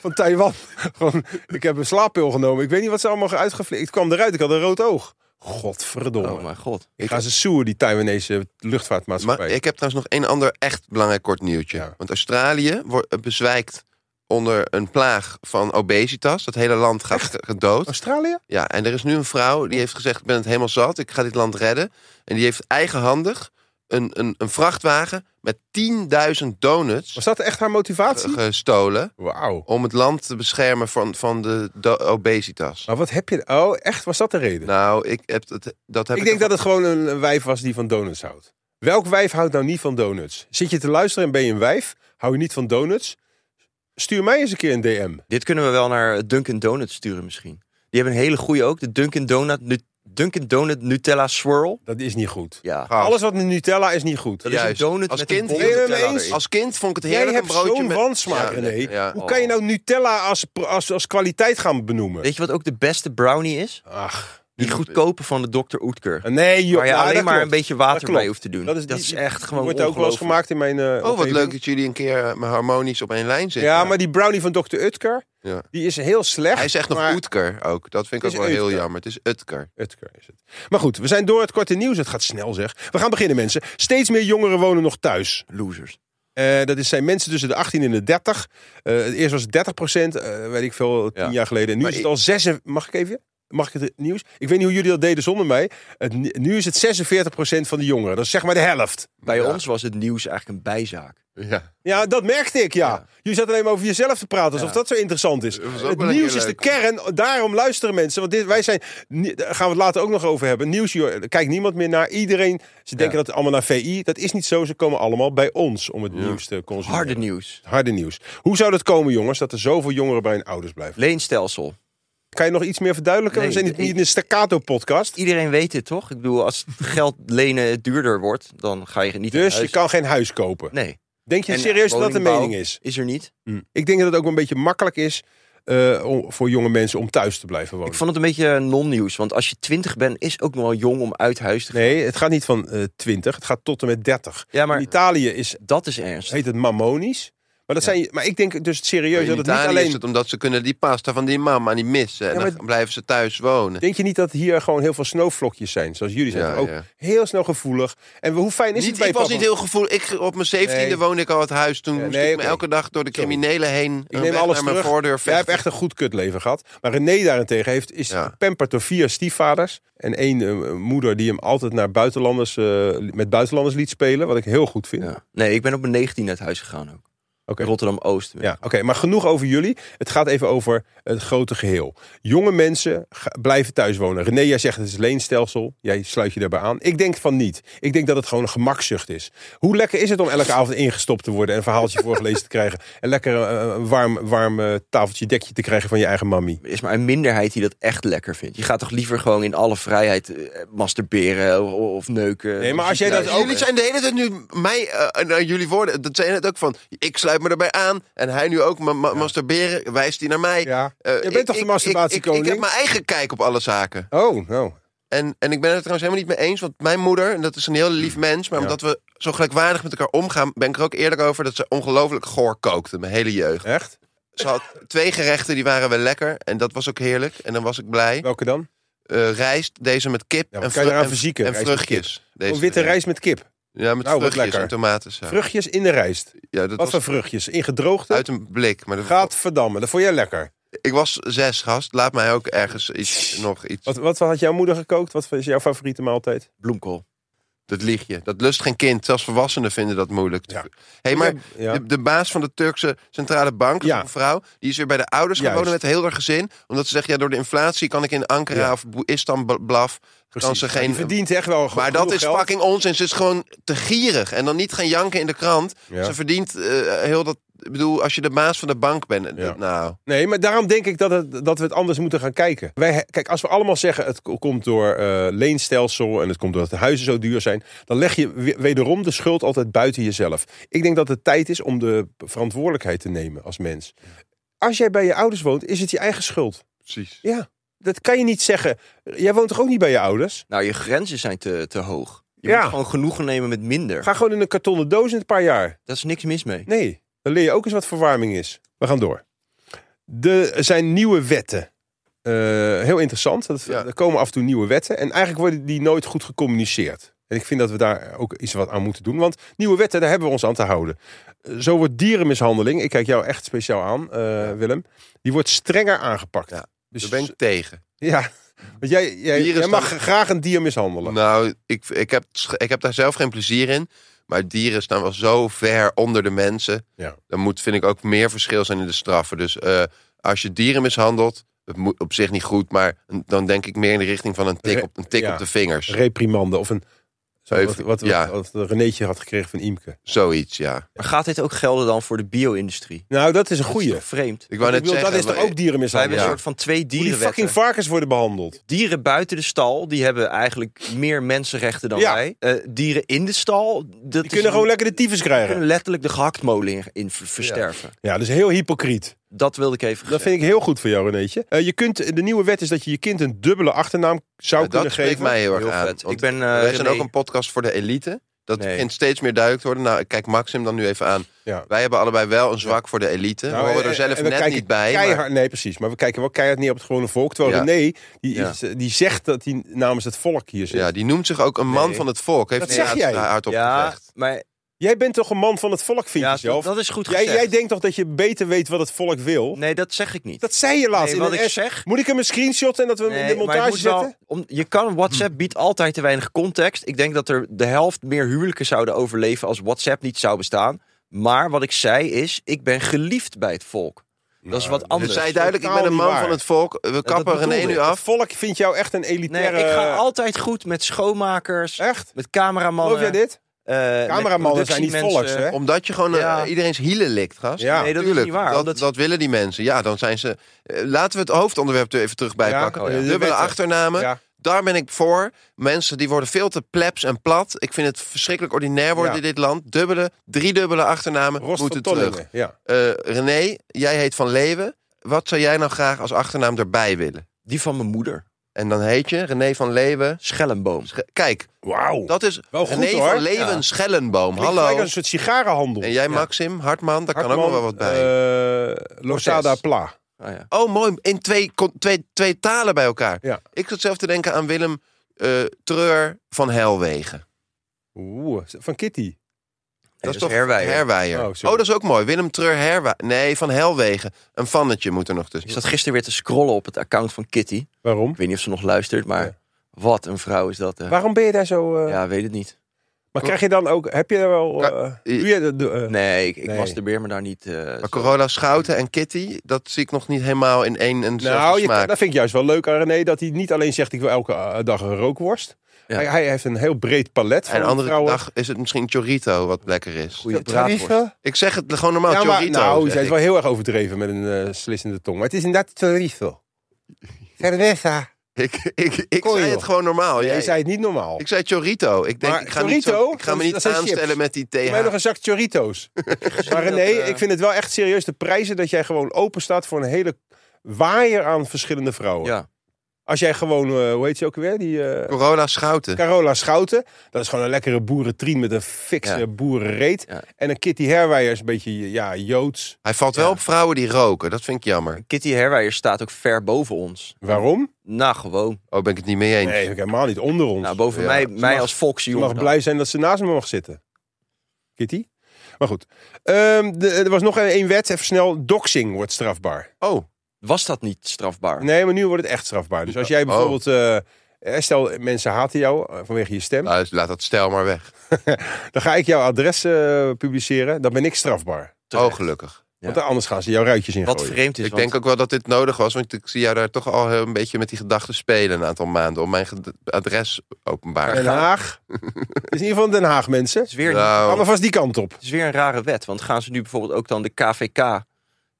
Speaker 2: van Taiwan. Van, ik heb een slaappil genomen. Ik weet niet wat ze allemaal uitgeflikt. Ik kwam eruit, ik had een rood oog. Godverdomme.
Speaker 4: Oh mijn god.
Speaker 2: ik ga ze soer, die Taiwanese luchtvaartmaatschappij.
Speaker 3: Maar ik heb trouwens nog één ander echt belangrijk kort nieuwtje.
Speaker 2: Ja.
Speaker 3: Want Australië wordt eh, bezwijkt onder een plaag van obesitas. Dat hele land gaat ge- gedood.
Speaker 2: Australië?
Speaker 3: Ja, en er is nu een vrouw die heeft gezegd: Ik ben het helemaal zat, ik ga dit land redden. En die heeft eigenhandig een, een, een vrachtwagen met 10.000 donuts
Speaker 2: Was dat echt haar motivatie?
Speaker 3: ge- gestolen.
Speaker 2: Wauw.
Speaker 3: om het land te beschermen van, van de, do- obesitas.
Speaker 2: Maar wat heb je... Oh, echt? Was dat de reden?
Speaker 3: Nou, ik heb dat, dat heb
Speaker 2: ik denk dat
Speaker 3: ervan-
Speaker 2: het gewoon een, een wijf was die van donuts houdt. Welk wijf houdt nou niet van donuts? Zit je te luisteren en ben je een wijf? Hou je niet van donuts? Stuur mij eens een keer een DM.
Speaker 4: Dit kunnen we wel naar Dunkin' Donuts sturen misschien. Die hebben een hele goede ook. De Dunkin' Donut, nu- Dunkin Donut Nutella Swirl.
Speaker 2: Dat is niet goed.
Speaker 4: Ja.
Speaker 3: Gauw.
Speaker 2: Alles wat met Nutella is niet goed.
Speaker 4: Dat is
Speaker 3: Juist.
Speaker 4: een donut
Speaker 3: Als
Speaker 4: met
Speaker 3: kind
Speaker 4: een bol
Speaker 2: ben je het
Speaker 4: Nutella
Speaker 2: mee eens?
Speaker 4: erin.
Speaker 3: Als kind vond ik het
Speaker 2: Jij
Speaker 3: heerlijk
Speaker 2: hebt
Speaker 3: een broodje
Speaker 2: zo'n
Speaker 3: met...
Speaker 2: wansmaak,
Speaker 3: Ja,
Speaker 2: René.
Speaker 3: ja. Oh,
Speaker 2: Hoe
Speaker 4: Oh.
Speaker 2: kan je nou Nutella als, als, als kwaliteit gaan benoemen?
Speaker 4: Weet je wat ook de beste brownie is?
Speaker 2: Ach,
Speaker 4: Die goedkope van de Dr. Oetker.
Speaker 2: nee joh.
Speaker 4: Waar je
Speaker 2: ja, dat
Speaker 4: alleen maar
Speaker 2: klopt.
Speaker 4: een beetje
Speaker 2: Dat
Speaker 4: water
Speaker 2: klopt.
Speaker 4: bij hoeft te doen. Dat is,
Speaker 2: die-
Speaker 4: echt
Speaker 2: die
Speaker 4: gewoon
Speaker 2: wordt ook wel eens
Speaker 4: ongelooflijk.
Speaker 2: gemaakt in mijn... eh,
Speaker 3: Oh, wat
Speaker 2: omgeving.
Speaker 3: leuk dat jullie een keer eh, harmonisch op één lijn zitten.
Speaker 2: Ja, maar die brownie van Dr. Utker,
Speaker 3: Ja.
Speaker 2: die is heel slecht.
Speaker 3: Hij zegt nog
Speaker 2: maar-
Speaker 3: Utker ook. Dat vind ik
Speaker 2: Het
Speaker 3: ook
Speaker 2: is
Speaker 3: wel heel
Speaker 2: Utker.
Speaker 3: jammer. Het is Utker.
Speaker 2: Utker is het. Maar goed, we zijn door het korte nieuws. Het gaat snel zeg. We gaan beginnen mensen. Steeds meer jongeren wonen nog thuis.
Speaker 4: Losers.
Speaker 2: Eh, dat is, zijn mensen tussen de 18 en de 30. Eh, het eerst was het 30 procent, eh, weet ik veel, tien
Speaker 4: Ja.
Speaker 2: jaar geleden. En nu
Speaker 3: Maar
Speaker 2: is het
Speaker 3: ik-
Speaker 2: al 6... Mag ik even? Mag ik het nieuws? Ik weet niet hoe jullie dat deden zonder mij. Het, nu is het 46 procent van de jongeren. Dat is zeg maar de helft.
Speaker 4: Bij
Speaker 3: Ja.
Speaker 4: ons was het nieuws eigenlijk een bijzaak.
Speaker 3: Ja.
Speaker 2: Ja, dat merkte ik, ja.
Speaker 4: Ja.
Speaker 2: Jullie zaten alleen maar over jezelf te praten, alsof
Speaker 4: Ja.
Speaker 2: dat zo interessant is.
Speaker 3: was ook
Speaker 2: Het
Speaker 3: wel een
Speaker 2: nieuws
Speaker 3: keer
Speaker 2: is de
Speaker 3: leuk.
Speaker 2: kern, daarom luisteren mensen. Want dit, wij zijn, nie- daar gaan we het later ook nog over hebben. Nieuws, joh, daar kijkt niemand meer naar. Iedereen, ze denken dat het allemaal naar VI. Dat is niet zo, ze komen allemaal bij ons om het nieuws te consumeren.
Speaker 4: Harde nieuws.
Speaker 2: Harde nieuws. Hoe zou dat komen, jongens, dat er zoveel jongeren bij hun ouders blijven?
Speaker 4: Leenstelsel.
Speaker 2: Kan je nog iets meer verduidelijken?
Speaker 4: Nee,
Speaker 2: we zijn niet,
Speaker 4: ik-
Speaker 2: niet in een staccato-podcast.
Speaker 4: Iedereen weet dit toch? Ik bedoel, als geld lenen duurder wordt, dan ga je niet in
Speaker 2: Dus je
Speaker 4: huis.
Speaker 2: kan geen huis kopen.
Speaker 4: Nee.
Speaker 2: Denk je
Speaker 4: En
Speaker 2: serieus dat dat de
Speaker 4: woningbouw
Speaker 2: mening is?
Speaker 4: Is er niet.
Speaker 2: Ik denk dat het ook een beetje makkelijk is eh, om, voor jonge mensen om thuis te blijven wonen.
Speaker 4: Ik vond het een beetje non-nieuws. Want als je twintig bent, is ook nog wel jong om uit huis te gaan.
Speaker 2: Nee, het gaat niet van eh 20, het gaat tot en met 30.
Speaker 4: Ja, maar
Speaker 2: In Italië is,
Speaker 4: dat is ernst.
Speaker 2: heet het mammonisch. Maar, dat
Speaker 4: Ja.
Speaker 2: zijn, maar ik denk dus serieus
Speaker 3: In
Speaker 2: dat het niet
Speaker 3: Italië alleen... is
Speaker 2: alleen...
Speaker 3: het omdat ze kunnen die pasta van die mama niet missen. En
Speaker 2: Ja, maar-
Speaker 3: dan blijven ze thuis wonen.
Speaker 2: Denk je niet dat hier gewoon heel veel sneeuwvlokjes zijn? Zoals jullie zijn
Speaker 3: Ja,
Speaker 2: ook
Speaker 3: ja.
Speaker 2: heel snel gevoelig. En we- hoe fijn is het
Speaker 3: Niet,
Speaker 2: bij
Speaker 3: ik was
Speaker 2: papa?
Speaker 3: niet heel gevoelig. Ik, op mijn zeventiende
Speaker 2: Nee.
Speaker 3: woonde ik al het huis. Toen
Speaker 2: Ja,
Speaker 3: moest
Speaker 2: nee,
Speaker 3: ik me
Speaker 2: oké.
Speaker 3: elke dag door de
Speaker 2: Sorry.
Speaker 3: criminelen heen.
Speaker 2: Ik neem alles
Speaker 3: naar mijn
Speaker 2: terug.
Speaker 3: voordeur
Speaker 2: Jij hebt
Speaker 3: vechten.
Speaker 2: echt een goed kutleven gehad. Maar René daarentegen heeft, is
Speaker 3: Ja.
Speaker 2: gepamperd door vier stiefvaders. En één eh, moeder die hem altijd naar buitenlanders, eh, met buitenlanders liet spelen. Wat ik heel goed vind.
Speaker 4: Ja. Nee, ik ben op mijn 19 uit huis gegaan ook.
Speaker 2: Oké.
Speaker 4: Rotterdam-Oost.
Speaker 2: Ja, oké, maar genoeg over jullie. Het gaat even over het grote geheel. Jonge mensen ga- blijven thuis wonen. René, jij zegt het is leenstelsel. Jij sluit je daarbij aan. Ik denk van niet. Ik denk dat het gewoon een gemakzucht is. Hoe lekker is het om elke avond ingestopt te worden en een verhaaltje [LAUGHS] voorgelezen te krijgen? En lekker eh, een warm, warm eh, tafeltje, dekje te krijgen van je eigen mammy?
Speaker 4: Er is maar een minderheid die dat echt lekker vindt. Je gaat toch liever gewoon in alle vrijheid eh, masturberen of, of neuken.
Speaker 2: Nee, maar als jij
Speaker 4: jij
Speaker 2: dat
Speaker 3: Ja,
Speaker 2: ook-
Speaker 3: jullie zijn de hele tijd nu mij eh, en aan jullie woorden. Dat zijn het ook van. Ik sluit me erbij aan. En hij nu ook ma- ma- masturberen. Wijst hij naar mij.
Speaker 2: Ja.
Speaker 3: Eh,
Speaker 2: Je bent
Speaker 3: ik-
Speaker 2: toch de
Speaker 3: ik-
Speaker 2: masturbatiekoning?
Speaker 3: Ik, ik, ik heb mijn eigen kijk op alle zaken.
Speaker 2: Oh, nou.
Speaker 3: En, en ik ben het er trouwens helemaal niet mee eens. Want mijn moeder, en dat is een heel lief mens. Maar
Speaker 2: Hmm. Ja.
Speaker 3: omdat we zo gelijkwaardig met elkaar omgaan, ben ik er ook eerlijk over dat ze ongelooflijk goor kookte mijn hele jeugd.
Speaker 2: Echt?
Speaker 3: Ze had twee gerechten, die waren wel lekker en dat was ook heerlijk en dan was ik blij.
Speaker 2: Welke dan?
Speaker 3: Eh rijst, deze met kip
Speaker 2: Ja, wat
Speaker 3: en,
Speaker 2: kan je eraan
Speaker 3: en-
Speaker 2: verzieken?
Speaker 3: en
Speaker 2: Rijst met
Speaker 3: vruchtjes. Deze
Speaker 2: Oh, witte
Speaker 3: gerecht.
Speaker 2: rijst met kip.
Speaker 3: Ja, met
Speaker 2: Nou, wat
Speaker 3: vruchtjes
Speaker 2: lekker.
Speaker 3: en tomatensaus.
Speaker 2: Vruchtjes in de rijst.
Speaker 3: Ja, dat
Speaker 2: Wat voor
Speaker 3: was
Speaker 2: vruchtjes? Ingedroogde?
Speaker 3: uit een blik. Maar dat-
Speaker 2: Gaat verdammen. Dat vond jij lekker.
Speaker 3: Ik was zes, gast. Laat mij ook ergens iets, nog iets.
Speaker 2: Wat, wat had jouw moeder gekookt? Wat is jouw favoriete maaltijd?
Speaker 4: Bloemkool.
Speaker 3: Dat lieg je. Dat lust geen kind. Zelfs volwassenen vinden dat moeilijk.
Speaker 2: Ja.
Speaker 3: hey, maar
Speaker 2: Ja.
Speaker 3: de, de baas van de Turkse centrale bank,
Speaker 2: Ja.
Speaker 3: een vrouw, die is weer bij de ouders gaan
Speaker 2: Juist.
Speaker 3: wonen met heel haar gezin. Omdat ze zegt, ja, door de inflatie kan ik in Ankara
Speaker 2: Ja.
Speaker 3: of Bo- Istanbul blaf. Kan
Speaker 2: Precies.
Speaker 3: ze
Speaker 2: Nou, Die
Speaker 3: geen...
Speaker 2: verdient echt wel
Speaker 3: maar dat
Speaker 2: genoeg
Speaker 3: is
Speaker 2: geld.
Speaker 3: fucking onzin. Ze is gewoon te gierig. En dan niet gaan janken in de krant.
Speaker 2: Ja.
Speaker 3: Ze verdient eh, heel dat... Ik bedoel, als je de baas van de bank bent... eh,
Speaker 2: Ja.
Speaker 3: Nou,
Speaker 2: Nee, maar daarom denk ik dat, het, dat we het anders moeten gaan kijken. Wij, he- kijk, als we allemaal zeggen het ko- komt door eh, leenstelsel en het komt doordat de huizen zo duur zijn, dan leg je we- wederom de schuld altijd buiten jezelf. Ik denk dat het tijd is om de verantwoordelijkheid te nemen als mens. Als jij bij je ouders woont, is het je eigen schuld.
Speaker 3: precies.
Speaker 2: Ja, dat kan je niet zeggen. Jij woont toch ook niet bij je ouders?
Speaker 4: Nou, je grenzen zijn te, te hoog. Je
Speaker 2: Ja.
Speaker 4: moet gewoon genoegen nemen met minder.
Speaker 2: Ga gewoon in een kartonnen doos in een paar jaar.
Speaker 4: Daar is niks mis mee.
Speaker 2: Nee, dan leer je ook eens wat verwarming is. We gaan door. De, er zijn nieuwe wetten. Eh, heel interessant. Dat,
Speaker 3: Ja.
Speaker 2: Er komen af en toe nieuwe wetten. En eigenlijk worden die nooit goed gecommuniceerd. En ik vind dat we daar ook iets wat aan moeten doen. Want nieuwe wetten, daar hebben we ons aan te houden. Eh, Zo wordt dierenmishandeling, ik kijk jou echt speciaal aan, eh, Willem. Die wordt strenger aangepakt.
Speaker 3: Ja,
Speaker 2: dus,
Speaker 3: Daar ben ik tegen.
Speaker 2: ja. Want jij, jij,
Speaker 3: Dieren
Speaker 2: jij mag
Speaker 3: staan-
Speaker 2: graag een dier mishandelen.
Speaker 3: Nou, ik, ik, heb, sch- ik heb daar zelf geen plezier in. Maar dieren staan wel zo ver onder de mensen.
Speaker 2: Ja.
Speaker 3: Dan moet, vind ik, ook meer verschil zijn in de straffen. Dus eh, als je dieren mishandelt, het moet op zich niet goed. Maar een- dan denk ik meer in de richting van een tik
Speaker 2: Re-
Speaker 3: op, een tik
Speaker 2: ja.
Speaker 3: op de vingers.
Speaker 2: Reprimande of een. Zo,
Speaker 3: Even-
Speaker 2: wat, wat,
Speaker 3: ja.
Speaker 2: wat, wat Renéetje had gekregen van Imke.
Speaker 3: Zoiets, ja.
Speaker 4: Maar gaat dit ook gelden dan voor de bio-industrie?
Speaker 2: Nou, dat is een goeie.
Speaker 4: Dat is toch vreemd.
Speaker 3: Ik wou
Speaker 2: Ik
Speaker 3: net
Speaker 2: bedoel,
Speaker 3: zeggen...
Speaker 2: dat is toch
Speaker 3: maar-
Speaker 2: ook
Speaker 4: Wij
Speaker 2: dierenmishandeling?
Speaker 4: hebben een
Speaker 3: Ja.
Speaker 4: soort van twee
Speaker 2: Hoe die
Speaker 4: dierenwetten.
Speaker 2: fucking varkens worden behandeld.
Speaker 4: Dieren buiten de stal, die hebben eigenlijk meer mensenrechten dan
Speaker 2: Ja.
Speaker 4: wij. Eh, dieren in de stal, dat
Speaker 2: Die kunnen gewoon lekker de tyfus krijgen.
Speaker 4: kunnen letterlijk de gehaktmolen in, in ver- versterven.
Speaker 2: Ja, dus heel hypocriet.
Speaker 4: Dat wilde ik even
Speaker 2: Dat
Speaker 4: zeggen.
Speaker 2: vind ik heel goed voor jou, Renéetje. Eh, je kunt, de nieuwe wet is dat je je kind een dubbele achternaam zou
Speaker 3: Ja,
Speaker 2: kunnen
Speaker 3: dat spreekt
Speaker 2: geven.
Speaker 3: mij heel erg
Speaker 4: Heel
Speaker 3: aan.
Speaker 4: vet.
Speaker 3: want
Speaker 4: Ik ben, eh,
Speaker 3: wij zijn
Speaker 4: René-
Speaker 3: ook een podcast voor de elite. Dat
Speaker 4: Nee.
Speaker 3: begint steeds meer duidelijk te worden. Nou, ik kijk Maxim dan nu even aan.
Speaker 2: Ja.
Speaker 3: Wij hebben allebei wel een zwak voor de elite.
Speaker 2: Nou,
Speaker 3: we horen
Speaker 2: eh,
Speaker 3: er zelf
Speaker 2: en we
Speaker 3: net
Speaker 2: kijken
Speaker 3: niet bij. maar-
Speaker 2: Keihard, Nee, precies. Maar we kijken wel keihard neer op het gewone volk. Terwijl
Speaker 3: Ja.
Speaker 2: René, die, eh,
Speaker 4: Ja.
Speaker 2: die zegt dat hij namens het volk hier zit.
Speaker 3: Ja, die noemt zich ook een man
Speaker 4: Nee.
Speaker 3: van het volk. Heeft
Speaker 2: Dat
Speaker 3: hij
Speaker 2: zeg
Speaker 3: laatst
Speaker 2: jij.
Speaker 3: hardop
Speaker 4: ja,
Speaker 3: gezegd.
Speaker 4: maar
Speaker 2: Jij bent toch een man van het volk, vind
Speaker 4: ja,
Speaker 2: je zelf?
Speaker 4: dat is goed
Speaker 2: jij,
Speaker 4: gezegd.
Speaker 2: jij denkt toch dat je beter weet wat het volk wil?
Speaker 4: Nee, dat zeg ik niet.
Speaker 2: Dat zei je laatst
Speaker 4: Nee,
Speaker 2: in
Speaker 4: wat
Speaker 2: een
Speaker 4: ik
Speaker 2: app.
Speaker 4: zeg-
Speaker 2: Moet ik hem een screenshot en dat we hem in de
Speaker 4: Nee, maar je
Speaker 2: montage
Speaker 4: moet
Speaker 2: zetten?
Speaker 4: wel- om, je kan,
Speaker 3: Hm.
Speaker 4: WhatsApp biedt altijd te weinig context. Ik denk dat er de helft meer huwelijken zouden overleven als WhatsApp niet zou bestaan. Maar wat ik zei is, ik ben geliefd bij het volk. Dat is wat
Speaker 3: Dus
Speaker 4: anders.
Speaker 3: zei duidelijk, ik ben
Speaker 2: Totaal
Speaker 3: een
Speaker 2: niet
Speaker 3: man
Speaker 2: waar.
Speaker 3: van het volk. We kappen
Speaker 4: bedoelde
Speaker 3: René nu
Speaker 2: Het
Speaker 4: ik.
Speaker 3: af.
Speaker 2: volk vindt jou echt een
Speaker 4: Nee,
Speaker 2: elitaire...
Speaker 4: ik
Speaker 3: eh,
Speaker 4: ga altijd goed met schoonmakers,
Speaker 2: Echt?
Speaker 4: met
Speaker 2: Geloof
Speaker 4: cameramannen.
Speaker 2: jij dit?
Speaker 4: eh,
Speaker 2: Cameramannen
Speaker 4: met
Speaker 2: zijn niet volks,
Speaker 4: productiemensen.
Speaker 2: hè?
Speaker 3: Omdat je gewoon eh,
Speaker 4: Ja.
Speaker 3: iedereen's hielen likt, gast.
Speaker 2: Ja.
Speaker 4: Nee, dat is
Speaker 3: Tuurlijk,
Speaker 4: niet waar,
Speaker 3: Dat,
Speaker 4: omdat-
Speaker 3: dat willen die mensen. Ja, dan zijn ze... eh, Laten we het hoofdonderwerp er even terug bij
Speaker 2: Ja,
Speaker 3: pakken.
Speaker 2: oh ja. De
Speaker 3: Dubbele
Speaker 2: wetten.
Speaker 3: achternamen.
Speaker 2: Ja.
Speaker 3: Daar ben ik voor. Mensen die worden veel te plebs en plat. Ik vind het verschrikkelijk ordinair worden
Speaker 2: Ja.
Speaker 3: in dit land. Dubbele, driedubbele achternamen
Speaker 2: Rost van
Speaker 3: moeten terug.
Speaker 2: Tonningen. Ja.
Speaker 3: Eh, René, jij heet Van Leeuwen. Wat zou jij nou graag als achternaam erbij willen?
Speaker 4: Die van mijn moeder,
Speaker 3: En dan heet je René van Leeuwen.
Speaker 4: Schellenboom.
Speaker 3: Sche- Kijk,
Speaker 2: Wauw.
Speaker 3: dat is
Speaker 2: Wel goed,
Speaker 3: René
Speaker 2: hoor.
Speaker 3: van Leeuwen
Speaker 4: Ja.
Speaker 3: Schellenboom.
Speaker 2: Klinkt gelijk
Speaker 3: Hallo.
Speaker 2: als een soort sigarenhandel.
Speaker 3: En jij, Maxim, Hartman, daar kan ook nog wel wat bij.
Speaker 2: eh, bij. Losada
Speaker 4: Cortez.
Speaker 2: Pla.
Speaker 4: Ah, ja.
Speaker 3: oh, mooi. In twee, kon- twee, twee talen bij elkaar.
Speaker 2: Ja.
Speaker 3: Ik zat zelf te denken aan Willem eh, Treur van Helwegen.
Speaker 2: Oeh, van Kitty.
Speaker 4: dat is
Speaker 3: toch
Speaker 4: Herweijer.
Speaker 2: Oh,
Speaker 3: Oh,
Speaker 2: sorry.
Speaker 3: dat is ook mooi. Willem Treur Herweijer. Nee, van Helwegen. Een vannetje moet er nog tussen.
Speaker 4: Ik zat gisteren weer te scrollen op het account van Kitty. Ik
Speaker 2: Waarom?
Speaker 4: weet niet of ze nog luistert, maar
Speaker 2: Ja.
Speaker 4: wat een vrouw is dat. hè.
Speaker 2: Waarom ben je daar zo... eh,
Speaker 4: Ja, weet het niet.
Speaker 2: Maar krijg je dan ook... Heb je daar wel... eh,
Speaker 3: Ja.
Speaker 2: doe je dat- doe, eh,
Speaker 4: Nee, ik, ik
Speaker 2: Nee.
Speaker 4: masturbeer me daar niet. eh,
Speaker 3: Maar
Speaker 4: zo.
Speaker 3: Corolla Schouten en Kitty, dat zie ik nog niet helemaal in één en
Speaker 2: Nou,
Speaker 3: dezelfde
Speaker 2: je,
Speaker 3: smaak.
Speaker 2: dat vind ik juist wel leuk aan René. Dat hij niet alleen zegt, ik wil elke eh, dag een rookworst.
Speaker 4: Ja.
Speaker 2: Hij, hij heeft een heel breed palet van
Speaker 3: En andere
Speaker 2: vrouwen.
Speaker 3: dag is het misschien Chorito wat lekker is.
Speaker 4: Goeie
Speaker 2: Tarieven.
Speaker 4: braadworst.
Speaker 3: Ik zeg het gewoon normaal,
Speaker 2: ja, maar,
Speaker 3: Chorito.
Speaker 2: nou,
Speaker 3: zeg
Speaker 2: zij is
Speaker 3: ik.
Speaker 2: wel heel erg overdreven met een eh slissende tong. Maar het is inderdaad Tarifa. Cerveza.
Speaker 3: Ik, ik, ik
Speaker 2: Kon je
Speaker 3: zei
Speaker 2: nog.
Speaker 3: het gewoon normaal.
Speaker 2: Jij
Speaker 3: Jij.
Speaker 2: zei het niet normaal.
Speaker 3: Ik zei Chorito. Ik denk,
Speaker 2: Maar
Speaker 3: ik ga, niet
Speaker 2: chorito,
Speaker 3: zo- ik ga me
Speaker 2: dat- dat
Speaker 3: niet
Speaker 2: zijn
Speaker 3: aanstellen
Speaker 2: chips.
Speaker 3: met die
Speaker 2: Voor mij nog
Speaker 3: TH.
Speaker 2: een zak choritos. maar René,
Speaker 4: dat, eh,
Speaker 2: ik vind het wel echt serieus de prijzen dat jij gewoon open staat voor een hele waaier aan verschillende vrouwen.
Speaker 4: Ja.
Speaker 2: Als jij gewoon, eh, hoe heet ze ook weer? Die eh,
Speaker 3: Corolla Schouten.
Speaker 2: Carola Schouten. Dat is gewoon een lekkere boerentrien met een fikse
Speaker 4: Ja.
Speaker 2: boerenreet.
Speaker 4: Ja.
Speaker 2: En een Kitty Herweijer is een beetje, ja, Joods.
Speaker 3: Hij valt wel
Speaker 4: Ja.
Speaker 3: op vrouwen die roken. Dat vind ik jammer.
Speaker 4: Kitty Herweijer staat ook ver boven ons.
Speaker 2: Waarom?
Speaker 4: Nou, gewoon.
Speaker 3: Oh, ben ik het niet mee eens.
Speaker 2: Nee, helemaal niet. Onder ons.
Speaker 4: Nou, boven
Speaker 3: Ja.
Speaker 4: mij,
Speaker 3: Ze
Speaker 4: mij
Speaker 2: mag-
Speaker 4: als Foxy
Speaker 2: Je mag
Speaker 4: jongen.
Speaker 2: blij zijn dat ze naast me mag zitten. Kitty? Maar goed. Ehm, de- er was nog een, een wet, even snel. Doxing wordt strafbaar.
Speaker 3: Oh,
Speaker 4: Was dat niet strafbaar?
Speaker 2: Nee, maar nu wordt het echt strafbaar. Dus als jij bijvoorbeeld... eh, eh, stel, mensen haten jou eh, vanwege je stem.
Speaker 3: nou, dus laat dat stel maar weg.
Speaker 2: Dan ga ik jouw adres eh, publiceren. Dan ben ik strafbaar.
Speaker 4: Terecht.
Speaker 3: Oh, gelukkig.
Speaker 2: Want anders gaan ze jouw ruitjes in
Speaker 4: Wat vreemd is,
Speaker 3: ik
Speaker 4: want
Speaker 3: denk ook wel dat dit nodig was, want ik zie jou daar toch al een beetje met die gedachten spelen een aantal maanden om mijn ged- adres openbaar.
Speaker 2: Den Haag. Het is in ieder geval Den Haag, mensen.
Speaker 4: het, is weer,
Speaker 2: Gaan we
Speaker 3: Nou,
Speaker 2: vast die kant op.
Speaker 4: het is weer een rare wet. Want gaan ze nu bijvoorbeeld ook dan de KVK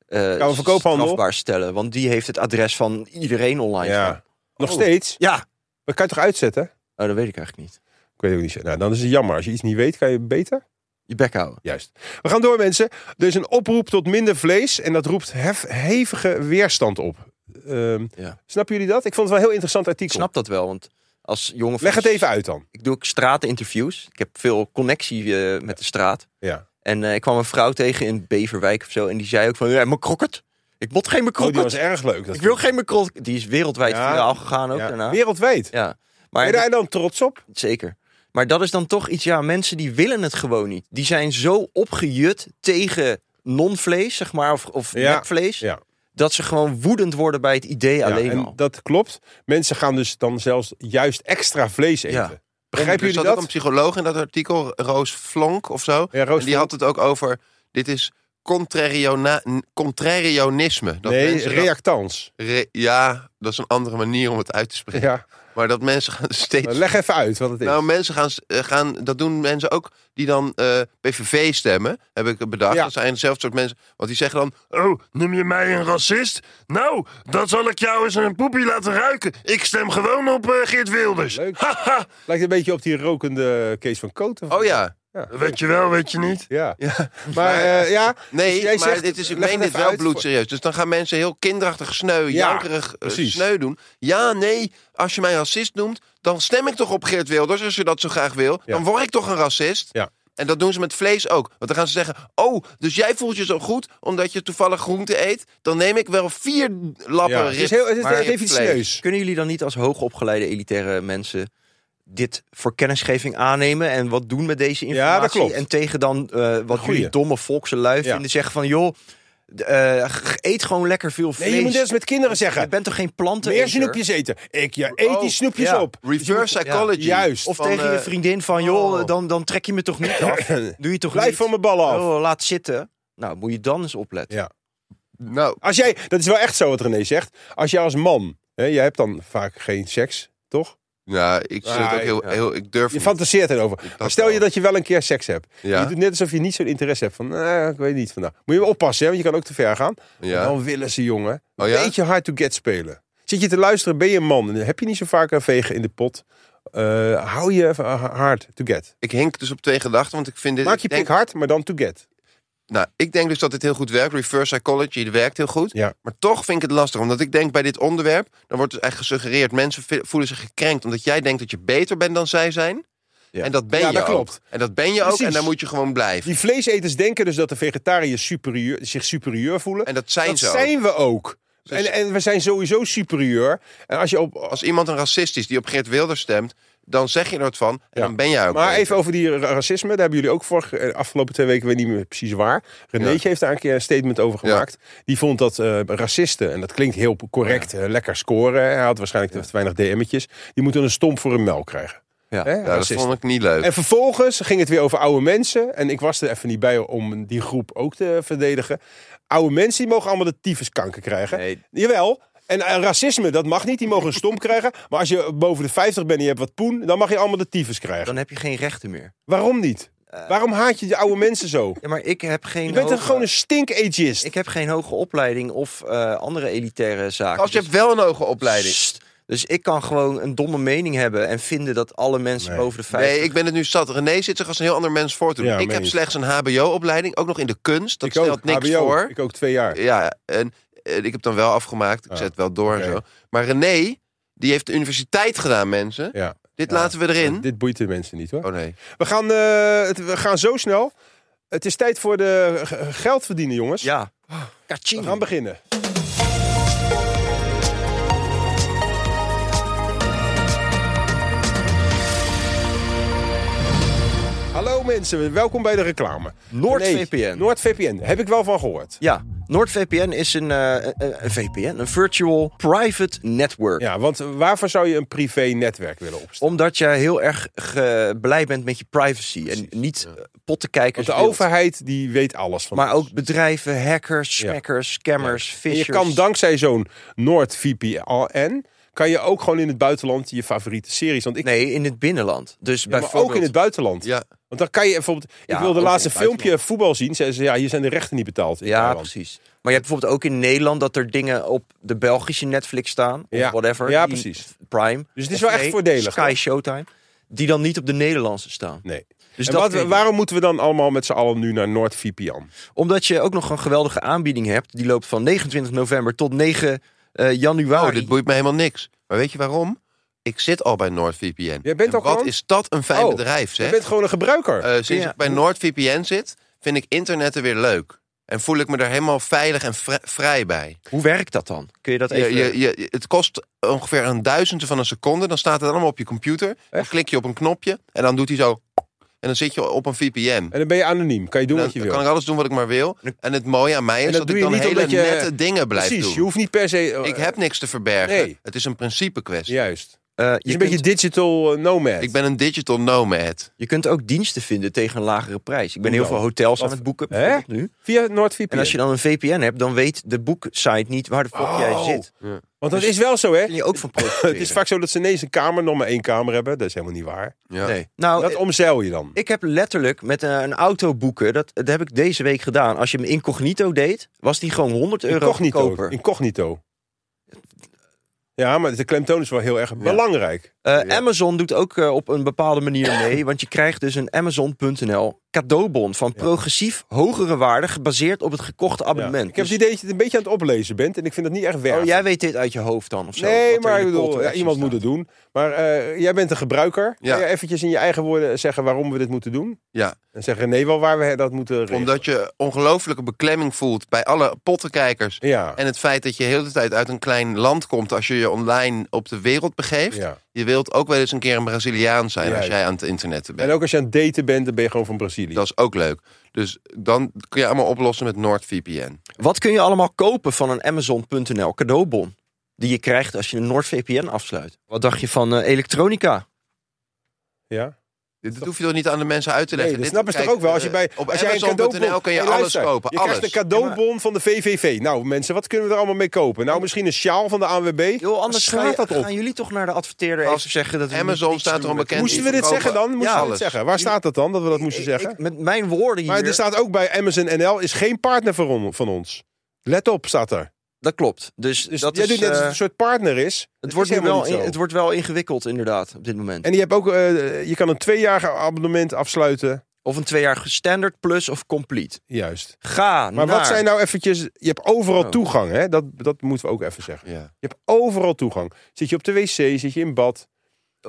Speaker 4: eh
Speaker 2: Koophandel?
Speaker 4: strafbaar stellen? Want die heeft het adres van iedereen online. staan.
Speaker 2: Ja. Nog steeds?
Speaker 4: ja.
Speaker 2: Dat kan je toch uitzetten?
Speaker 4: Oh, dat weet ik eigenlijk niet.
Speaker 2: Ik weet het ook niet. Nou, dan is het jammer. Als je iets niet weet, kan je beter.
Speaker 4: Je bek houden.
Speaker 2: Juist. We gaan door, mensen. Er is een oproep tot minder vlees en dat roept hef- hevige weerstand op. Ehm,
Speaker 4: Ja.
Speaker 2: Snappen jullie dat? Ik vond het wel een heel interessant
Speaker 4: Ik
Speaker 2: artikel.
Speaker 4: snap dat wel, want als jongen...
Speaker 2: Leg het even uit dan.
Speaker 4: Ik doe ook strateninterviews. Ik heb veel connectie eh, met de straat.
Speaker 2: Ja.
Speaker 4: En eh, ik kwam een vrouw tegen in Beverwijk of zo. En die zei ook van, ja, mijn krokket. Ik bot geen mijn
Speaker 2: Oh, die
Speaker 4: krokket.
Speaker 2: was erg leuk. Dat
Speaker 4: ik wil geen mijn krokket. Die is wereldwijd
Speaker 2: Ja.
Speaker 4: viraal gegaan ook
Speaker 2: Ja,
Speaker 4: daarna.
Speaker 2: Wereldwijd.
Speaker 4: Ja.
Speaker 2: Ben
Speaker 4: Maar
Speaker 2: je daar dan trots op?
Speaker 4: Zeker. Maar dat is dan toch iets, ja, mensen die willen het gewoon niet. Die zijn zo opgejut tegen non-vlees, zeg maar, of, of
Speaker 2: Ja,
Speaker 4: nepvlees,
Speaker 2: ja.
Speaker 4: dat ze gewoon woedend worden bij het idee
Speaker 2: Ja,
Speaker 4: alleen
Speaker 2: en
Speaker 4: al.
Speaker 2: dat klopt. Mensen gaan dus dan zelfs juist extra vlees eten.
Speaker 4: Ja.
Speaker 2: Begrijpen
Speaker 3: er
Speaker 2: jullie
Speaker 3: zat
Speaker 2: dat?
Speaker 3: ook een psycholoog in dat artikel, Roos Flonk of zo.
Speaker 2: Ja, Roos
Speaker 3: en die had het ook over, dit is contrariona- n- contrarionisme. Dat
Speaker 2: nee,
Speaker 3: mensen dat-
Speaker 2: reactans.
Speaker 3: re- ja, dat is een andere manier om het uit te spreken.
Speaker 4: [LAUGHS]
Speaker 2: Ja.
Speaker 3: Maar dat mensen gaan steeds
Speaker 2: Nou, Leg even uit wat het is.
Speaker 3: Nou, mensen gaan, eh, gaan, dat doen mensen ook die dan eh, PVV stemmen, heb ik bedacht.
Speaker 2: Ja.
Speaker 3: Dat zijn hetzelfde soort mensen, want die zeggen dan... Oh, noem je mij een racist? Nou, dan zal ik jou eens een poepie laten ruiken. Ik stem gewoon op eh, Geert Wilders.
Speaker 2: Leuk.
Speaker 3: Haha.
Speaker 2: Lijkt een beetje op die rokende Kees van Koten.
Speaker 3: oh ja,
Speaker 5: Weet je wel, weet je niet.
Speaker 2: Ja. [LAUGHS]
Speaker 3: Ja.
Speaker 2: Maar eh, ja,
Speaker 3: [LAUGHS] nee,
Speaker 2: Dus jij
Speaker 3: maar
Speaker 2: zegt,
Speaker 3: dit is, ik
Speaker 2: leg het
Speaker 3: meen dit
Speaker 2: even
Speaker 3: wel
Speaker 2: uit voor-
Speaker 3: bloedserieus. Dus dan gaan mensen heel kinderachtig sneu,
Speaker 2: Ja,
Speaker 3: jankerig eh,
Speaker 2: precies.
Speaker 3: sneu doen. Ja, nee, als je mij racist noemt, dan stem ik toch op Geert Wilders... als je dat zo graag wil.
Speaker 2: Ja.
Speaker 3: Dan word ik toch een racist.
Speaker 2: Ja.
Speaker 3: En dat doen ze met vlees ook. Want dan gaan ze zeggen: Oh, dus jij voelt je zo goed omdat je toevallig groente eet. Dan neem ik wel vier lappen
Speaker 2: ja.
Speaker 3: rib,
Speaker 2: Het is heel het is
Speaker 3: maar
Speaker 2: het is
Speaker 3: ribvlees."
Speaker 2: serieus.
Speaker 4: Kunnen jullie dan niet als hoogopgeleide elitaire mensen dit voor kennisgeving aannemen en wat doen met deze
Speaker 2: dat
Speaker 4: informatie?
Speaker 2: klopt.
Speaker 4: En tegen dan eh, wat
Speaker 2: Goeie.
Speaker 4: jullie domme volkse lui
Speaker 2: Ja.
Speaker 4: vinden, zeggen van joh, d- eh, g- eet gewoon lekker veel vlees.
Speaker 2: Nee, je moet net als met kinderen
Speaker 4: je
Speaker 2: zeggen.
Speaker 4: bent toch geen planten?
Speaker 2: Meer snoepjes eten. Ik ja, eet die
Speaker 3: Oh,
Speaker 2: snoepjes
Speaker 4: ja.
Speaker 2: op. [LAUGHS]
Speaker 3: Reverse psychology.
Speaker 2: Ja, juist.
Speaker 4: Of
Speaker 3: Van,
Speaker 4: tegen je
Speaker 3: eh,
Speaker 4: vriendin van joh,
Speaker 3: oh.
Speaker 4: dan, dan trek je me toch niet af. [LAUGHS] Doe je toch
Speaker 2: Blijf
Speaker 4: niet?
Speaker 2: van mijn ballen af.
Speaker 4: Oh, laat zitten. Nou, moet je dan eens opletten.
Speaker 2: Ja.
Speaker 3: Nou,
Speaker 2: Als jij, dat is wel echt zo wat René zegt. Als jij als man, hè, jij hebt dan vaak geen seks, toch?
Speaker 3: ja, ik, zit
Speaker 2: Ah,
Speaker 3: ook heel,
Speaker 4: ja.
Speaker 3: heel, ik durf
Speaker 2: Je
Speaker 3: niet.
Speaker 2: fantaseert erover.
Speaker 3: dacht
Speaker 2: Maar stel je
Speaker 3: wel.
Speaker 2: dat je wel een keer seks hebt.
Speaker 3: Ja.
Speaker 2: Je doet net alsof je niet zo'n interesse hebt. Van, nou, ik weet niet vandaag. Moet je wel oppassen, hè, want je kan ook te ver gaan.
Speaker 3: Ja.
Speaker 2: Dan willen ze, jongen.
Speaker 3: Oh ja?
Speaker 2: Beetje hard to get spelen. Zit je te luisteren, ben je een man. Heb je niet zo vaak een vegen in de pot. Eh, hou je van hard to get.
Speaker 3: Ik hink dus op twee gedachten, want ik vind dit...
Speaker 2: Maak je
Speaker 3: ik
Speaker 2: pik
Speaker 3: denk,
Speaker 2: hard, maar dan to get.
Speaker 3: nou, ik denk dus dat dit heel goed werkt. Reverse psychology, dat werkt heel goed.
Speaker 2: Ja.
Speaker 3: Maar toch vind ik het lastig, omdat ik denk bij dit onderwerp... dan wordt dus eigenlijk gesuggereerd, mensen vi- voelen zich gekrenkt... omdat jij denkt dat je beter bent dan zij zijn. En dat ben
Speaker 2: Ja,
Speaker 3: je
Speaker 2: dat
Speaker 3: ook.
Speaker 2: klopt.
Speaker 3: En dat ben je ook,
Speaker 2: Precies.
Speaker 3: en daar moet je gewoon blijven.
Speaker 2: Die vleeseters denken dus dat de vegetariërs superieur, zich superieur voelen.
Speaker 3: En dat zijn
Speaker 2: dat
Speaker 3: ze ook.
Speaker 2: zijn we ook.
Speaker 3: Dus-
Speaker 2: En, en we zijn sowieso superieur. En als je op,
Speaker 3: Als iemand een racist is die op Geert Wilders stemt, dan zeg je er wat van
Speaker 2: Ja.
Speaker 3: en dan ben jij ook.
Speaker 2: maar
Speaker 3: beter.
Speaker 2: even over die ra- racisme. Daar hebben jullie ook vorige, eh, afgelopen twee weken, ik weet niet meer precies waar. Renéetje heeft daar een keer een statement over
Speaker 3: Ja.
Speaker 2: gemaakt. Die vond dat eh, racisten, en dat klinkt heel correct, eh, lekker scoren. Hij had waarschijnlijk te weinig DM'tjes. Die moeten een stomp voor hun mel krijgen.
Speaker 4: Ja.
Speaker 2: Hè,
Speaker 3: Ja, dat
Speaker 2: racisten.
Speaker 3: vond ik niet leuk.
Speaker 2: En vervolgens ging het weer over oude mensen. En ik was er even niet bij om die groep ook te verdedigen. Oude mensen die mogen allemaal de tyfuskanker krijgen.
Speaker 4: Nee.
Speaker 2: Jawel. En eh, racisme, dat mag niet. Die mogen een stomp krijgen. Maar als je boven de 50 bent en je hebt wat poen, dan mag je allemaal de tyfus krijgen.
Speaker 4: Dan heb je geen rechten meer.
Speaker 2: Waarom niet?
Speaker 3: Eh,
Speaker 2: Waarom haat je de oude mensen zo?
Speaker 4: Ja, maar ik heb geen.
Speaker 2: Je
Speaker 3: Nou,
Speaker 2: bent
Speaker 4: hoge,
Speaker 2: toch gewoon een
Speaker 3: eh,
Speaker 2: stink-ageist?
Speaker 4: Ik heb geen hoge opleiding of eh, andere elitaire zaken. Dus
Speaker 3: Als je hebt wel een hoge opleiding.
Speaker 4: Sst. Dus ik kan gewoon een domme mening hebben en vinden dat alle mensen
Speaker 2: Nee.
Speaker 4: boven de 50.
Speaker 3: Nee, ik ben het nu zat. René zit zich als een heel ander mens voor te doen.
Speaker 2: Ja,
Speaker 3: ik
Speaker 2: meen
Speaker 3: heb
Speaker 2: ik.
Speaker 3: slechts een HBO-opleiding, ook nog in de kunst. Dat
Speaker 2: Ik ook,
Speaker 3: stelt niks
Speaker 2: HBO.
Speaker 3: voor.
Speaker 2: Ik ook twee jaar.
Speaker 3: Ja, en eh, ik heb dan wel afgemaakt. Ik
Speaker 2: Ah,
Speaker 3: zet wel door en
Speaker 2: oké.
Speaker 3: zo. Maar René, Die heeft de universiteit gedaan, mensen.
Speaker 2: Ja.
Speaker 3: Dit
Speaker 2: Ja.
Speaker 3: laten we erin.
Speaker 2: Dit boeit de mensen niet hoor.
Speaker 3: hm? Oh nee.
Speaker 2: We gaan, eh, het, we gaan zo snel. Het is tijd voor de g- geld verdienen, jongens.
Speaker 4: Ja.
Speaker 2: We gaan beginnen. Hallo mensen, welkom bij de reclame.
Speaker 4: NoordVPN.
Speaker 2: Nee, NoordVPN, heb ik wel van gehoord.
Speaker 4: Ja, NordVPN is een, eh, een- een VPN, een Virtual Private Network.
Speaker 2: Ja, want waarvoor zou je een privé-netwerk willen opstellen?
Speaker 4: Omdat je heel erg ge- blij bent met je privacy en niet eh, pottenkijkers
Speaker 2: Want de
Speaker 4: wilt.
Speaker 2: overheid die weet alles van
Speaker 4: Maar
Speaker 2: ons.
Speaker 4: ook bedrijven, hackers,
Speaker 2: Ja.
Speaker 4: smackers, scammers,
Speaker 2: En
Speaker 4: fishers.
Speaker 2: je kan dankzij zo'n NoordVPN... kan je ook gewoon in het buitenland je favoriete series... Want ik,
Speaker 4: Nee, in het binnenland. Dus
Speaker 2: Ja, maar
Speaker 4: bijvoorbeeld...
Speaker 2: ook in het buitenland.
Speaker 3: Ja.
Speaker 2: Want dan kan je bijvoorbeeld...
Speaker 4: Ja,
Speaker 2: ik wilde
Speaker 4: ook
Speaker 2: laatst
Speaker 4: in
Speaker 2: een
Speaker 4: het
Speaker 2: filmpje
Speaker 4: buitenland.
Speaker 2: voetbal zien. Zeiden ze, ja, hier zijn de rechten niet betaald. in
Speaker 4: Ja,
Speaker 2: Nederland.
Speaker 4: precies. Maar je hebt bijvoorbeeld ook in Nederland dat er dingen op de Belgische Netflix staan. Of
Speaker 2: Ja.
Speaker 4: whatever.
Speaker 2: Ja,
Speaker 4: die-
Speaker 2: precies.
Speaker 4: Prime.
Speaker 2: Dus het is
Speaker 4: Of
Speaker 2: wel echt voordelig,
Speaker 4: Sky
Speaker 2: toch?
Speaker 4: Showtime. Die dan niet op de Nederlandse staan.
Speaker 2: Nee.
Speaker 4: Dus
Speaker 2: en
Speaker 4: dat
Speaker 2: wat-
Speaker 4: vind ik-
Speaker 2: waarom moeten we dan allemaal met z'n allen nu naar NoordVPN?
Speaker 4: Omdat je ook nog een geweldige aanbieding hebt. Die loopt van 29 november tot 9 eh, januari.
Speaker 3: Oh, dit boeit me helemaal niks. Maar weet je waarom? Ik zit al bij NordVPN.
Speaker 2: Jij bent
Speaker 3: En
Speaker 2: al
Speaker 3: wat
Speaker 2: gewoon?
Speaker 3: is dat een fijn
Speaker 2: Oh,
Speaker 3: bedrijf,
Speaker 2: Je
Speaker 3: zeg.
Speaker 2: bent gewoon een gebruiker.
Speaker 3: Eh, sinds
Speaker 4: Ja.
Speaker 3: ik bij NordVPN zit, vind ik internetten weer leuk. En voel ik me er helemaal veilig en vri- vrij bij.
Speaker 4: Hoe werkt dat dan? Kun je dat
Speaker 3: Je,
Speaker 4: even... Eh,
Speaker 3: je, je- het kost ongeveer een duizendste van een seconde. Dan staat het allemaal op je computer. Dan klik je op een knopje en dan doet hij zo... En dan zit je op een VPN.
Speaker 2: en dan ben je anoniem. Kan je doen
Speaker 3: Dan
Speaker 2: wat je wil.
Speaker 3: kan ik alles doen wat ik maar wil. En het mooie aan mij is
Speaker 2: En
Speaker 3: dat,
Speaker 2: dat doe
Speaker 3: ik
Speaker 2: je
Speaker 3: dan
Speaker 2: niet
Speaker 3: hele
Speaker 2: omdat je-
Speaker 3: nette dingen blijf
Speaker 2: Precies, je
Speaker 3: doen.
Speaker 2: hoeft niet per se... eh,
Speaker 3: Ik heb niks te verbergen.
Speaker 2: Nee.
Speaker 3: Het is een principe kwestie.
Speaker 2: Juist. Het
Speaker 4: eh, je
Speaker 2: is een
Speaker 4: kunt-
Speaker 2: beetje digital eh, nomad.
Speaker 3: Ik ben een digital nomad.
Speaker 4: Je kunt ook diensten vinden tegen een lagere prijs. Ik ben
Speaker 2: Hoe
Speaker 4: heel veel
Speaker 2: dan?
Speaker 4: hotels
Speaker 2: Nou,
Speaker 4: aan
Speaker 2: Wat-
Speaker 4: het boeken
Speaker 2: Hè?
Speaker 4: bijvoorbeeld nu.
Speaker 2: Via NoordVPN.
Speaker 4: En als je dan een VPN hebt, dan weet de boeksite niet waar de fuck jij
Speaker 2: Oh.
Speaker 4: zit.
Speaker 2: Want dat is wel zo, hè?
Speaker 4: Kun je
Speaker 2: [LAUGHS]
Speaker 4: ook van profiteren.
Speaker 2: Het is vaak zo dat ze ineens een kamer, nog maar één kamer hebben. Dat is helemaal niet waar.
Speaker 3: Ja.
Speaker 4: Nee. Nou,
Speaker 2: Dat
Speaker 4: eh,
Speaker 2: omzeil je dan.
Speaker 4: ik heb letterlijk met eh, een auto boeken, dat, dat heb ik deze week gedaan. Als je hem incognito deed, was die gewoon 100 euro
Speaker 2: Incognito.
Speaker 4: goedkoper.
Speaker 2: Incognito. Ja, maar de klemtoon is wel heel erg belangrijk.
Speaker 4: Eh, Amazon doet ook eh, op een bepaalde manier
Speaker 2: [CLEARS THROAT]
Speaker 4: mee, want je krijgt dus een Amazon.nl cadeaubon van progressief hogere waarde gebaseerd op het gekochte
Speaker 2: Ja.
Speaker 4: abonnement.
Speaker 2: Ik heb
Speaker 4: Dus-
Speaker 2: het idee dat je het een beetje aan het oplezen bent en ik vind dat niet echt werk.
Speaker 4: oh, jij weet dit uit je hoofd dan of zo? wat
Speaker 2: nee,
Speaker 4: er
Speaker 2: maar
Speaker 4: in
Speaker 2: ik
Speaker 4: de call to
Speaker 2: bedoel, ja,
Speaker 4: action
Speaker 2: iemand
Speaker 4: staat.
Speaker 2: moet het doen. Maar eh, jij bent een gebruiker.
Speaker 3: Ja.
Speaker 2: Kun je eventjes in je eigen woorden zeggen waarom we dit moeten doen?
Speaker 3: Ja.
Speaker 2: En zeggen nee wel waar we dat moeten regelen.
Speaker 3: Omdat je ongelooflijke beklemming voelt bij alle pottenkijkers.
Speaker 2: Ja.
Speaker 3: En het feit dat je heel de hele tijd uit een klein land komt als je je online op de wereld begeeft.
Speaker 2: Ja.
Speaker 3: Je wilt ook wel eens een keer een Braziliaan zijn als
Speaker 2: Juist.
Speaker 3: jij aan het internetten
Speaker 2: En
Speaker 3: bent.
Speaker 2: ook als je aan het daten bent, dan ben je gewoon van Brazilië.
Speaker 3: Dat is ook leuk. Dus dan kun je allemaal oplossen met NordVPN.
Speaker 4: Wat kun je allemaal kopen van een Amazon.nl cadeaubon? Die je krijgt als je een NordVPN afsluit. Wat dacht je van eh, elektronica?
Speaker 2: Ja.
Speaker 3: Dit hoef je toch niet aan de mensen uit te
Speaker 2: Nee,
Speaker 3: leggen.
Speaker 2: dat
Speaker 3: Dit-
Speaker 2: snappen ze
Speaker 3: kijk,
Speaker 2: toch ook wel. Als je
Speaker 3: eh,
Speaker 2: bij
Speaker 3: op
Speaker 2: als jij een
Speaker 3: Amazon.nl
Speaker 2: cadeaubon-
Speaker 3: kun je
Speaker 2: Hey,
Speaker 3: alles
Speaker 2: luister,
Speaker 3: kopen.
Speaker 2: Je
Speaker 3: alles.
Speaker 2: krijgt een cadeaubon van de VVV. Nou mensen, wat kunnen we er allemaal mee kopen? Nou, misschien een sjaal van de ANWB.
Speaker 4: Joh, anders
Speaker 2: Waar
Speaker 4: ga je-
Speaker 2: slaat dat op?
Speaker 4: gaan jullie toch naar de adverteerder
Speaker 3: Als
Speaker 4: even zeggen dat we
Speaker 3: Amazon
Speaker 4: niets
Speaker 3: staat
Speaker 4: doen
Speaker 3: erom
Speaker 4: met-
Speaker 3: bekend.
Speaker 2: Moesten we
Speaker 3: die
Speaker 2: dit zeggen dan?
Speaker 3: verkopen
Speaker 2: Moesten we dit
Speaker 3: alles.
Speaker 2: zeggen? Waar staat dat dan dat we dat moesten
Speaker 4: Ik-
Speaker 2: zeggen?
Speaker 4: met mijn woorden hier.
Speaker 2: Maar er staat ook bij Amazon NL is geen partner voor on- van ons. Let op, staat er.
Speaker 4: Dat klopt. Dus,
Speaker 2: Dus
Speaker 4: dat
Speaker 2: jij
Speaker 4: is,
Speaker 2: doet net als
Speaker 4: eh,
Speaker 2: het een soort partner is.
Speaker 4: het,
Speaker 2: Dat
Speaker 4: wordt
Speaker 2: is
Speaker 4: nu
Speaker 2: helemaal
Speaker 4: wel
Speaker 2: niet
Speaker 4: in-
Speaker 2: zo.
Speaker 4: het wordt wel ingewikkeld inderdaad op dit moment.
Speaker 2: En je, hebt ook, eh, je kan een tweejarig abonnement afsluiten.
Speaker 4: Of een twee jaar standard plus of complete.
Speaker 2: Juist.
Speaker 4: Ga
Speaker 2: Maar
Speaker 4: naar...
Speaker 2: wat zijn nou eventjes... Je hebt overal
Speaker 4: Oh.
Speaker 2: toegang, hè? Dat, dat moeten we ook even zeggen.
Speaker 3: Ja.
Speaker 2: Je hebt overal toegang. Zit je op de wc, zit je in bad.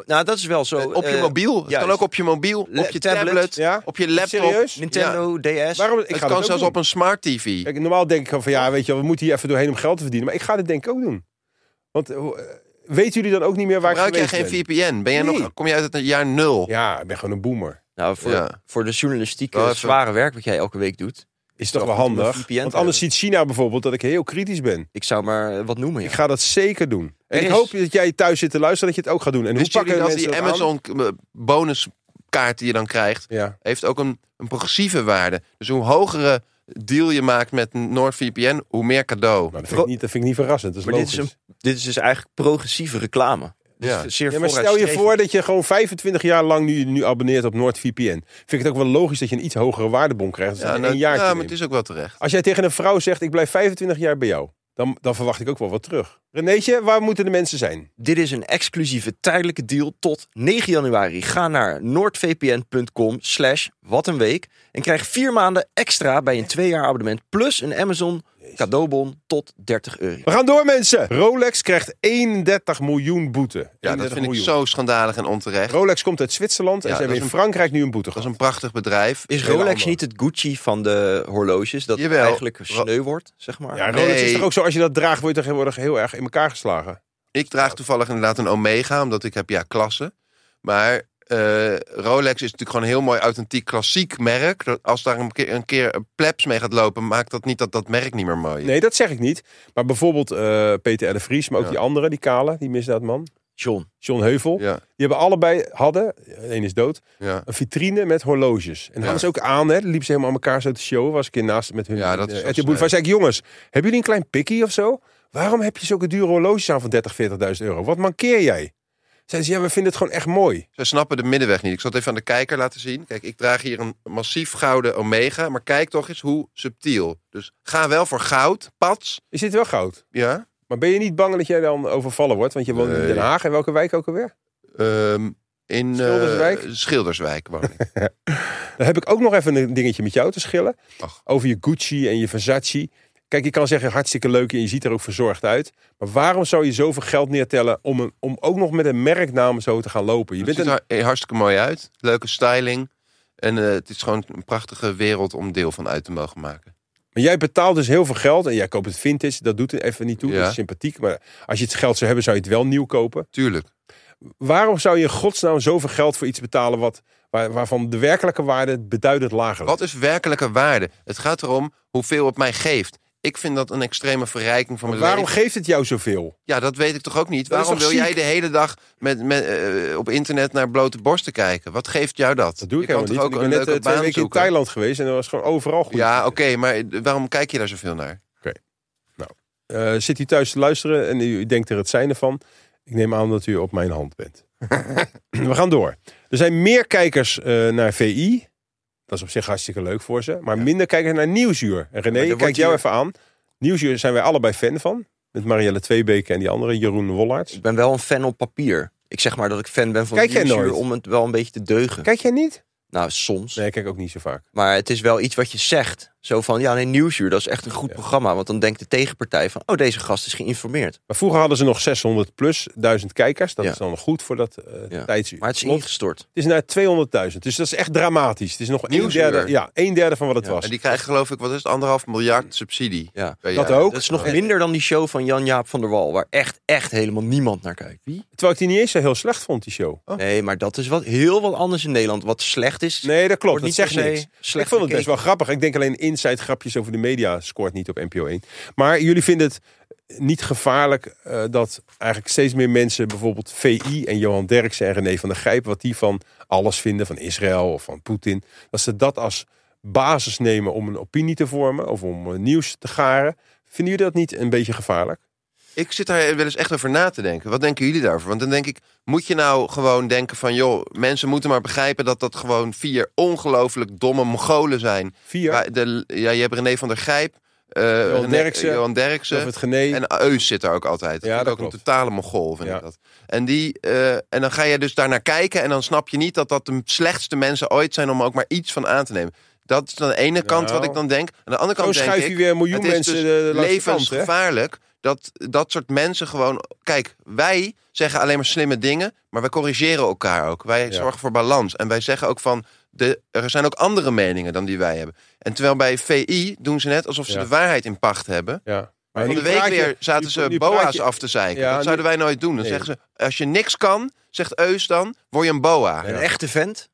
Speaker 4: Nou, dat is wel
Speaker 2: Oh,
Speaker 4: zo.
Speaker 3: Op je
Speaker 4: eh,
Speaker 3: mobiel. Het
Speaker 4: juist.
Speaker 3: kan ook op je mobiel, op
Speaker 4: Le-
Speaker 3: je
Speaker 4: tablet.
Speaker 3: tablet,
Speaker 2: Ja?
Speaker 3: op je laptop.
Speaker 2: Serieus?
Speaker 4: Nintendo DS.
Speaker 2: Waarom, ik
Speaker 3: het
Speaker 2: ga
Speaker 3: kan
Speaker 2: dat ook
Speaker 3: zelfs
Speaker 2: doen.
Speaker 3: op een smart TV.
Speaker 2: Kijk, normaal denk ik dan van ja, weet je, wel, we moeten hier even doorheen om geld te verdienen. Maar ik ga dit denk ik ook doen. Want eh, hoe- eh, weten jullie dan ook niet meer waar ik
Speaker 3: Gebruik jij
Speaker 2: geweest
Speaker 3: geen
Speaker 2: ben?
Speaker 3: VPN? Ben jij
Speaker 2: Nee.
Speaker 3: nog, kom je uit het jaar nul?
Speaker 2: Ja, ik ben gewoon een boomer.
Speaker 4: Nou, voor,
Speaker 3: Ja.
Speaker 4: voor de journalistieke
Speaker 3: Wel even-
Speaker 4: zware werk wat jij elke week doet.
Speaker 2: Is toch
Speaker 4: toch
Speaker 2: wel
Speaker 4: goed om een
Speaker 2: handig.
Speaker 4: VPN te
Speaker 2: Want
Speaker 4: hebben.
Speaker 2: anders ziet China bijvoorbeeld dat ik heel kritisch ben.
Speaker 4: Ik zou maar eh, wat noemen, ja.
Speaker 2: Ik ga dat zeker doen. En
Speaker 4: Er
Speaker 2: ik
Speaker 4: is-
Speaker 2: hoop dat jij thuis zit te luisteren dat je het ook gaat doen. En hoe
Speaker 3: Wist jullie
Speaker 2: pakken
Speaker 3: dat
Speaker 2: mensen
Speaker 3: die
Speaker 2: dat
Speaker 3: Amazon k- bonuskaart die je dan krijgt,
Speaker 2: aan? Ja.
Speaker 3: heeft ook een, een progressieve waarde. Dus hoe hogere deal je maakt met NordVPN, hoe meer cadeau.
Speaker 2: Nou, dat, vind ik niet, dat vind ik niet verrassend. Dat is
Speaker 4: Maar dit
Speaker 2: logisch.
Speaker 4: is, een, dit is dus eigenlijk progressieve reclame.
Speaker 3: Ja.
Speaker 4: Dus zeer
Speaker 2: Ja, maar stel je
Speaker 4: vooruitstrevend.
Speaker 2: voor dat je gewoon 25 jaar lang nu, nu abonneert op NordVPN. Vind ik het ook wel logisch dat je een iets hogere waardebon krijgt.
Speaker 3: Ja,
Speaker 2: Dan
Speaker 3: nou,
Speaker 2: een jaar
Speaker 3: ja, maar het is ook wel terecht.
Speaker 2: Als jij tegen een vrouw zegt, ik blijf 25 jaar bij jou. Dan, dan verwacht ik ook wel wat terug. Renéetje, waar moeten de mensen zijn?
Speaker 4: Dit is een exclusieve tijdelijke deal tot 9 januari. Ga naar noordvpn.com slash wat een week en krijg vier maanden extra bij een twee jaar abonnement plus een Amazon cadeaubon tot 30 euro.
Speaker 2: We gaan door, mensen. Rolex krijgt 31 miljoen boete.
Speaker 3: Ja,
Speaker 2: 31
Speaker 3: dat vind ik
Speaker 2: miljoen.
Speaker 3: zo schandalig en onterecht.
Speaker 2: Rolex komt uit Zwitserland en
Speaker 3: Ja,
Speaker 2: ze hebben in
Speaker 3: dat is
Speaker 2: Frankrijk nu een boete
Speaker 3: Dat is
Speaker 2: gehad.
Speaker 3: een prachtig bedrijf.
Speaker 4: Is
Speaker 2: Hele
Speaker 4: Rolex
Speaker 2: andere.
Speaker 4: niet het Gucci van de horloges? Dat
Speaker 3: Jawel.
Speaker 4: eigenlijk
Speaker 3: Ro-
Speaker 4: sneu wordt, zeg maar.
Speaker 2: Ja, Rolex is
Speaker 3: Nee.
Speaker 2: toch ook zo, als je dat draagt, word je tegenwoordig heel erg in elkaar geslagen.
Speaker 3: Ik draag toevallig inderdaad een Omega, omdat ik heb ja klasse. Maar eh, Rolex is natuurlijk gewoon een heel mooi authentiek klassiek merk. Dat Als daar een keer een, keer een plebs mee gaat lopen, maakt dat niet dat dat merk niet meer mooi is.
Speaker 2: Nee, dat zeg ik niet. Maar bijvoorbeeld eh, Peter R. de Vries, maar ook
Speaker 3: Ja.
Speaker 2: die andere, die kale, die misdaadman.
Speaker 4: John.
Speaker 2: John Heuvel.
Speaker 3: Ja,
Speaker 2: Die hebben allebei, hadden, één is dood,
Speaker 3: ja.
Speaker 2: een vitrine met horloges. En dat
Speaker 3: Ja.
Speaker 2: hadden ze ook aan, hè. Dan liepen ze helemaal aan elkaar zo te showen. Was ik een keer naast met hun.
Speaker 3: Ja, dat is
Speaker 2: eh,
Speaker 3: wel
Speaker 2: Ed de Boer.
Speaker 3: sneu.
Speaker 2: zei ik, jongens, hebben jullie een klein pikkie of zo? Waarom heb je zulke dure horloges aan van 30, 40.000 euro? Wat mankeer jij? Zeiden ze, ja, we vinden het gewoon echt mooi.
Speaker 3: Zij snappen de middenweg niet. Ik zal het even aan de kijker laten zien. Kijk, ik draag hier een massief gouden Omega, maar kijk toch eens hoe subtiel. Dus ga wel voor goud, pats.
Speaker 2: Is dit wel goud?
Speaker 3: Ja.
Speaker 2: Maar ben je niet bang dat jij dan overvallen wordt? Want je woont in
Speaker 3: Nee.
Speaker 2: Den Haag. En welke wijk ook alweer?
Speaker 3: Ehm, in eh,
Speaker 2: Schilderswijk?
Speaker 3: Schilderswijk
Speaker 2: [LAUGHS]
Speaker 3: woon ik.
Speaker 2: Dan heb ik ook nog even een dingetje met jou te schillen.
Speaker 3: Ach.
Speaker 2: Over je Gucci en je Versace. Kijk, je kan zeggen hartstikke leuk en je ziet er ook verzorgd uit. Maar waarom zou je zoveel geld neertellen om, een, om ook nog met een merknaam zo te gaan lopen? Je
Speaker 3: Het
Speaker 2: bent
Speaker 3: ziet
Speaker 2: een,
Speaker 3: er har- hartstikke mooi uit. Leuke styling. En eh, het is gewoon een prachtige wereld om deel van uit te mogen maken.
Speaker 2: maar jij betaalt dus heel veel geld en jij koopt het vintage. Dat doet er even niet toe.
Speaker 3: Ja.
Speaker 2: Dat is sympathiek. Maar als je het geld zou hebben, zou je het wel nieuw kopen.
Speaker 3: Tuurlijk.
Speaker 2: Waarom zou je in godsnaam zoveel geld voor iets betalen wat, waar, waarvan de werkelijke waarde beduidend lager ligt?
Speaker 3: Wat is werkelijke waarde? Het gaat erom hoeveel het mij geeft. Ik vind dat een extreme verrijking van mijn
Speaker 2: Waarom
Speaker 3: leven.
Speaker 2: geeft het jou zoveel?
Speaker 3: Ja, dat weet ik toch ook niet.
Speaker 2: Dat is
Speaker 3: Waarom wil
Speaker 2: toch
Speaker 3: jij
Speaker 2: ziek?
Speaker 3: de hele dag met, met, eh, op internet naar blote borsten kijken? Wat geeft jou dat?
Speaker 2: Dat doe ik
Speaker 3: je kan
Speaker 2: helemaal niet.
Speaker 3: toch
Speaker 2: Ik
Speaker 3: ook
Speaker 2: ben
Speaker 3: een
Speaker 2: net eh,
Speaker 3: leuke
Speaker 2: twee
Speaker 3: baan
Speaker 2: weken in
Speaker 3: zoeken?
Speaker 2: Thailand geweest en dat was gewoon overal goed.
Speaker 3: Ja, oké, maar eh, waarom kijk je daar zoveel naar?
Speaker 2: Eh, zit u thuis te luisteren en u denkt er het zijne van. Ik neem aan dat u op mijn hand bent.
Speaker 4: [LAUGHS]
Speaker 2: We gaan door. Er zijn meer kijkers eh, naar VI. Dat is op zich hartstikke leuk voor ze. Maar minder kijkers naar Nieuwsuur. En René,
Speaker 3: er
Speaker 2: ik
Speaker 3: wordt
Speaker 2: kijk jou
Speaker 3: hier-
Speaker 2: even aan. Nieuwsuur zijn wij allebei fan van. Met Marielle Tweebeke en die andere, Jeroen Wollaerts.
Speaker 4: Ik ben wel een fan op papier. Ik zeg maar dat ik fan ben van
Speaker 2: Kijk jij
Speaker 4: Nieuwsuur
Speaker 2: nooit?
Speaker 4: om het wel een beetje te deugen.
Speaker 2: Kijk jij niet?
Speaker 4: Nou, soms.
Speaker 2: Nee, ik kijk ook niet zo vaak.
Speaker 4: Maar het is wel iets wat je zegt. Zo van, ja, nee, Nieuwsuur, dat is echt een goed programma. Want dan denkt de tegenpartij van, oh, deze gast is geïnformeerd.
Speaker 2: Maar vroeger hadden ze nog 600 plus duizend kijkers. Dat
Speaker 4: Ja.
Speaker 2: is dan goed voor dat eh
Speaker 4: Ja.
Speaker 2: tijdsuur.
Speaker 4: Maar het is
Speaker 2: Klopt.
Speaker 4: ingestort.
Speaker 2: Het is naar 200.000. Dus dat is echt dramatisch. Het is nog een
Speaker 3: Nieuwsuur.
Speaker 2: derde, ja, een derde van wat het
Speaker 4: Ja,
Speaker 2: was.
Speaker 3: En die krijgen geloof ik, wat is het, anderhalf miljard subsidie.
Speaker 4: Ja.
Speaker 3: per
Speaker 2: Dat
Speaker 3: jaar.
Speaker 2: ook.
Speaker 4: Dat is nog minder dan die show van Jan-Jaap van der Wal... waar echt, echt helemaal niemand naar kijkt. Wie?
Speaker 2: Terwijl ik die niet eens zo heel slecht vond, die show.
Speaker 4: Nee, maar dat is wat, heel wat anders in Nederland. Wat slecht is,
Speaker 2: Nee, dat klopt.
Speaker 4: Wordt
Speaker 2: Dat zegt
Speaker 4: niet per se
Speaker 2: niks.
Speaker 4: slecht
Speaker 2: ik vond het best
Speaker 4: bekeken.
Speaker 2: wel grappig. Ik denk alleen inside grapjes over de media scoort niet op NPO 1. Maar jullie vinden het niet gevaarlijk eh, dat eigenlijk steeds meer mensen... bijvoorbeeld VI en Johan Derksen en René van der Gijp... wat die van alles vinden, van Israël of van Poetin... dat ze dat als basis nemen om een opinie te vormen... of om eh, nieuws te garen. Vinden jullie dat niet een beetje gevaarlijk?
Speaker 3: Ik zit daar wel eens echt over na te denken. Wat denken jullie daarover? Want dan denk ik, moet je nou gewoon denken van... joh, mensen moeten maar begrijpen dat dat gewoon vier ongelooflijk domme Mongolen zijn.
Speaker 2: Vier,
Speaker 3: Waar de- ja, je hebt René van der Gijp, eh, René-
Speaker 2: Derksen,
Speaker 3: Johan
Speaker 2: of
Speaker 3: Derksen
Speaker 2: het genee.
Speaker 3: en Eus zit daar ook altijd. Dat
Speaker 2: Ja,
Speaker 3: ja,
Speaker 2: dat
Speaker 3: ook een
Speaker 2: klopt.
Speaker 3: totale Mongool, vind
Speaker 2: Ja.
Speaker 3: ik dat. En, die, eh, en dan ga je dus daarnaar kijken en dan snap je niet... dat dat de slechtste mensen ooit zijn om ook maar iets van aan te nemen. Dat is aan de ene kant
Speaker 2: Nou.
Speaker 3: wat ik dan denk. Aan de andere
Speaker 2: Zo
Speaker 3: kant denk
Speaker 2: schuif
Speaker 3: ik...
Speaker 2: je weer een miljoen
Speaker 3: Het is
Speaker 2: mensen
Speaker 3: dus
Speaker 2: de langs de kant, hè?
Speaker 3: levensgevaarlijk dat dat soort mensen gewoon. Kijk, wij zeggen alleen maar slimme dingen, maar wij corrigeren elkaar ook. Wij zorgen voor balans en wij zeggen ook van. De, er zijn ook andere meningen dan die wij hebben. En terwijl bij VI doen ze net alsof ze
Speaker 2: Ja.
Speaker 3: de waarheid in pacht hebben.
Speaker 2: Ja.
Speaker 3: Van
Speaker 2: nu
Speaker 3: de week
Speaker 2: praat je-
Speaker 3: weer zaten
Speaker 2: nu-
Speaker 3: ze
Speaker 2: nu praat
Speaker 3: boa's
Speaker 2: je-
Speaker 3: af te zeiken.
Speaker 2: Ja,
Speaker 3: dat zouden wij nooit doen. Dan
Speaker 2: Nee.
Speaker 3: zeggen ze, als je niks kan, zegt Eus dan, word je een boa.
Speaker 2: Ja.
Speaker 4: een echte vent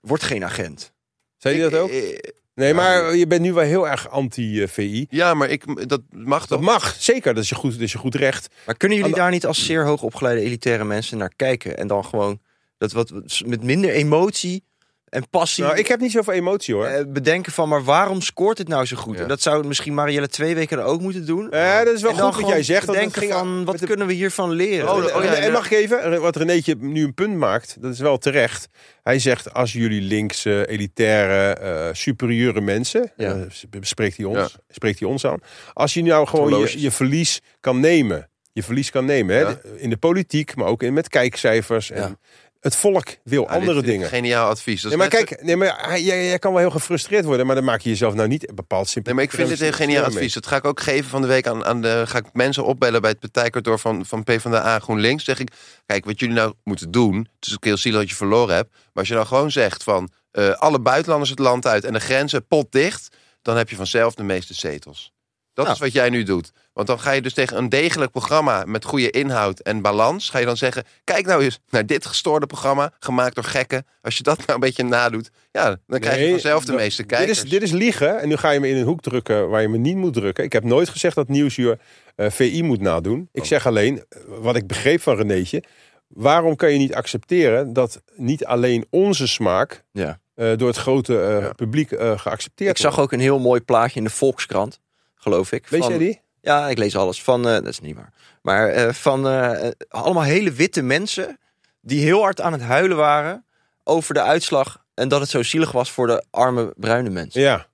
Speaker 4: wordt geen agent.
Speaker 2: Zei je
Speaker 3: Ik-
Speaker 2: dat ook?
Speaker 3: eh,
Speaker 2: Nee, maar je bent nu wel heel erg anti-VI.
Speaker 3: Ja, maar ik, dat mag
Speaker 2: Dat
Speaker 3: toch?
Speaker 2: mag, zeker. Dat is je goed, dat is je goed recht.
Speaker 4: Maar kunnen jullie
Speaker 2: Alle-
Speaker 4: daar niet als zeer hoogopgeleide elitaire mensen naar kijken? En dan gewoon dat wat met minder emotie en passie
Speaker 2: Nou, ik heb niet zoveel emotie hoor.
Speaker 4: eh, bedenken van... maar waarom scoort het nou zo goed?
Speaker 3: Ja.
Speaker 4: En dat zou misschien Marielle twee weken dan ook moeten doen.
Speaker 2: Eh, dat is wel
Speaker 4: en dan
Speaker 2: goed wat jij
Speaker 4: gewoon
Speaker 2: zegt. want dat
Speaker 4: bedenken
Speaker 2: ging-
Speaker 4: van, wat
Speaker 2: met de-
Speaker 4: kunnen we hiervan leren?
Speaker 3: Oh, oh, ja,
Speaker 2: en
Speaker 3: ja.
Speaker 2: mag ik even, wat Renéetje nu een punt maakt, dat is wel terecht. Hij zegt, als jullie linkse, elitaire, eh, superieure mensen,
Speaker 4: Ja.
Speaker 2: eh, spreekt, hij ons, spreekt hij ons aan. Als je nou gewoon je,
Speaker 3: Horloges.
Speaker 2: je verlies kan nemen, je verlies kan nemen, hè,
Speaker 3: Ja.
Speaker 2: de- in de politiek, maar ook in, met kijkcijfers en
Speaker 4: Ja.
Speaker 2: Het volk wil
Speaker 3: Ja, dit
Speaker 2: andere
Speaker 3: vind ik
Speaker 2: dingen.
Speaker 3: Geniaal advies. Dat is
Speaker 2: Nee, maar
Speaker 3: net zo-
Speaker 2: kijk, nee, maar hij- jij, jij kan wel heel gefrustreerd worden, maar dan maak je jezelf nou niet bepaald simpel.
Speaker 3: Nee, maar ik vind dit een geniaal advies. Dat ga ik ook geven van de week aan, aan de. Ga ik mensen opbellen bij het partijkantoor van, van PvdA GroenLinks. Zeg ik: Kijk, wat jullie nou moeten doen. Het is ook heel zielig dat je verloren hebt. Maar als je nou gewoon zegt van. eh, alle buitenlanders het land uit en de grenzen potdicht. dan heb je vanzelf de meeste zetels. Dat
Speaker 4: Nou.
Speaker 3: is wat jij nu doet. Want dan ga je dus tegen een degelijk programma met goede inhoud en balans. Ga je dan zeggen: Kijk nou eens naar dit gestoorde programma, gemaakt door gekken. Als je dat nou een beetje nadoet, ja, dan krijg je
Speaker 2: Nee,
Speaker 3: vanzelf de
Speaker 2: dat-
Speaker 3: meeste
Speaker 2: Dit
Speaker 3: kijkers.
Speaker 2: is, dit is liegen en nu ga je me in een hoek drukken waar je me niet moet drukken. Ik heb nooit gezegd dat Nieuwsuur eh, VI moet nadoen.
Speaker 3: Oh.
Speaker 2: Ik zeg alleen, eh, wat ik begreep van Renéetje... waarom kan je niet accepteren dat niet alleen onze smaak...
Speaker 4: Ja.
Speaker 2: eh, door het grote eh,
Speaker 3: Ja.
Speaker 2: publiek eh, geaccepteerd
Speaker 4: Ik zag ook een heel mooi plaatje in de Volkskrant, geloof ik.
Speaker 2: Weet
Speaker 4: van-
Speaker 2: jij die?
Speaker 4: Ja, ik lees alles. Van, eh, dat is niet waar. Maar eh, van eh, eh, allemaal hele witte mensen die heel hard aan het huilen waren over de uitslag. En dat het zo zielig was voor de arme bruine mensen.
Speaker 2: Ja,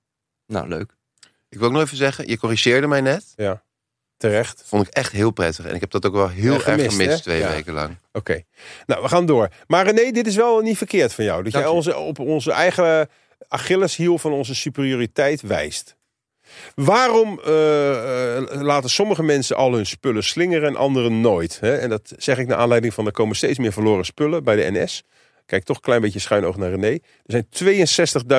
Speaker 4: Nou, leuk.
Speaker 3: Ik wil ook nog even zeggen, je corrigeerde mij net.
Speaker 2: terecht.
Speaker 3: vond ik echt heel prettig. En ik heb dat ook wel heel
Speaker 2: Ja,
Speaker 3: erg
Speaker 2: gemist,
Speaker 3: gemist
Speaker 2: hè?
Speaker 3: twee
Speaker 2: Ja.
Speaker 3: weken lang.
Speaker 2: Oké. Nou, we gaan door. Maar René, dit is wel niet verkeerd van jou. Dat
Speaker 4: Dank
Speaker 2: jij
Speaker 4: je.
Speaker 2: onze, op onze eigen Achilleshiel van onze superioriteit wijst. Waarom eh, eh, laten sommige mensen al hun spullen slingeren en anderen nooit? Hè? En dat zeg ik naar aanleiding van er komen steeds meer verloren spullen bij de NS. Kijk toch een klein beetje schuin oog naar René. Er zijn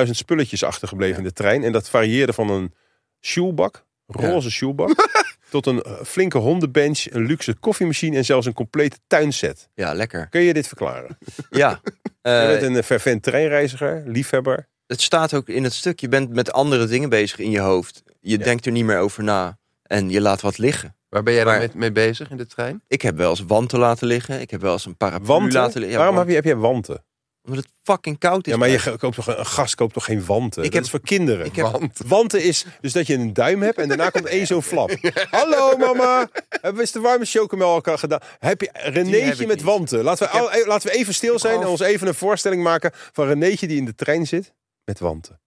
Speaker 2: 62.000 spulletjes achtergebleven in de trein. En dat varieerde van een sjoelbak, roze sjoelbak...
Speaker 4: [LAUGHS]
Speaker 2: tot een eh, flinke hondenbench, een luxe koffiemachine... en zelfs een complete tuinset.
Speaker 4: Ja, lekker.
Speaker 2: Kun je dit verklaren? [LAUGHS]
Speaker 4: Ja.
Speaker 2: Je
Speaker 4: Eh,
Speaker 2: bent een fervent treinreiziger, liefhebber.
Speaker 4: het staat ook in het stuk. Je bent met andere dingen bezig in je hoofd. Je
Speaker 2: Ja.
Speaker 4: denkt er niet meer over na. En je laat wat liggen.
Speaker 3: Waar ben jij dan
Speaker 4: Maar-
Speaker 3: mee, mee bezig in de trein?
Speaker 4: Ik heb wel eens wanten laten liggen. Ik heb wel eens een paraplu
Speaker 2: Wanten?
Speaker 4: laten liggen.
Speaker 2: Waarom heb, je, heb jij wanten?
Speaker 4: Omdat het fucking koud is.
Speaker 2: Ja, maar je
Speaker 4: buiten.
Speaker 2: ge- koopt toch, een gast koopt toch geen wanten?
Speaker 4: Ik
Speaker 2: Ik
Speaker 4: heb-
Speaker 2: heb, is voor kinderen.
Speaker 4: ik heb-
Speaker 3: Want
Speaker 2: Wanten is dus dat je een duim hebt en daarna komt één zo'n
Speaker 4: [LAUGHS]
Speaker 2: flap. Hallo mama, hebben we eens de warme chocomel elkaar gedaan? Heb je
Speaker 4: heb ik
Speaker 2: Renéetje met
Speaker 4: niet.
Speaker 2: wanten? Laten we, al- e- laten we even stil zijn en
Speaker 4: al-
Speaker 2: ons even een voorstelling maken van Renéetje die in de trein zit met wanten.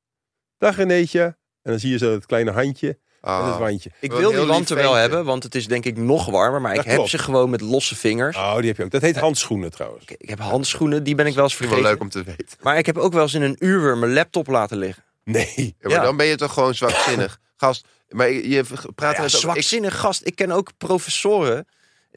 Speaker 2: Dag Renéetje. En dan zie je zo het kleine handje en het
Speaker 3: Ah.
Speaker 2: wandje.
Speaker 4: Ik wil
Speaker 3: Wel een
Speaker 4: die
Speaker 3: heel lief
Speaker 4: wanten wel
Speaker 3: ventje.
Speaker 4: hebben, want het is denk ik nog warmer. Maar ik
Speaker 2: Dat
Speaker 4: heb
Speaker 2: klopt.
Speaker 4: ze gewoon met losse vingers.
Speaker 2: Oh, die heb je ook. Dat heet handschoenen trouwens.
Speaker 4: Ik, ik heb handschoenen, die ben ik wel eens
Speaker 3: Vind ik
Speaker 4: vergeten.
Speaker 3: wel leuk om te weten.
Speaker 4: Maar ik heb ook wel eens in een uur mijn laptop laten liggen.
Speaker 2: Nee.
Speaker 3: Ja, maar
Speaker 4: Ja.
Speaker 3: dan ben je toch gewoon zwakzinnig. [LAUGHS] Gast, maar je- je praat
Speaker 4: Ja,
Speaker 3: net over... Ik,
Speaker 4: zwakzinnig gast. Ik ken ook professoren,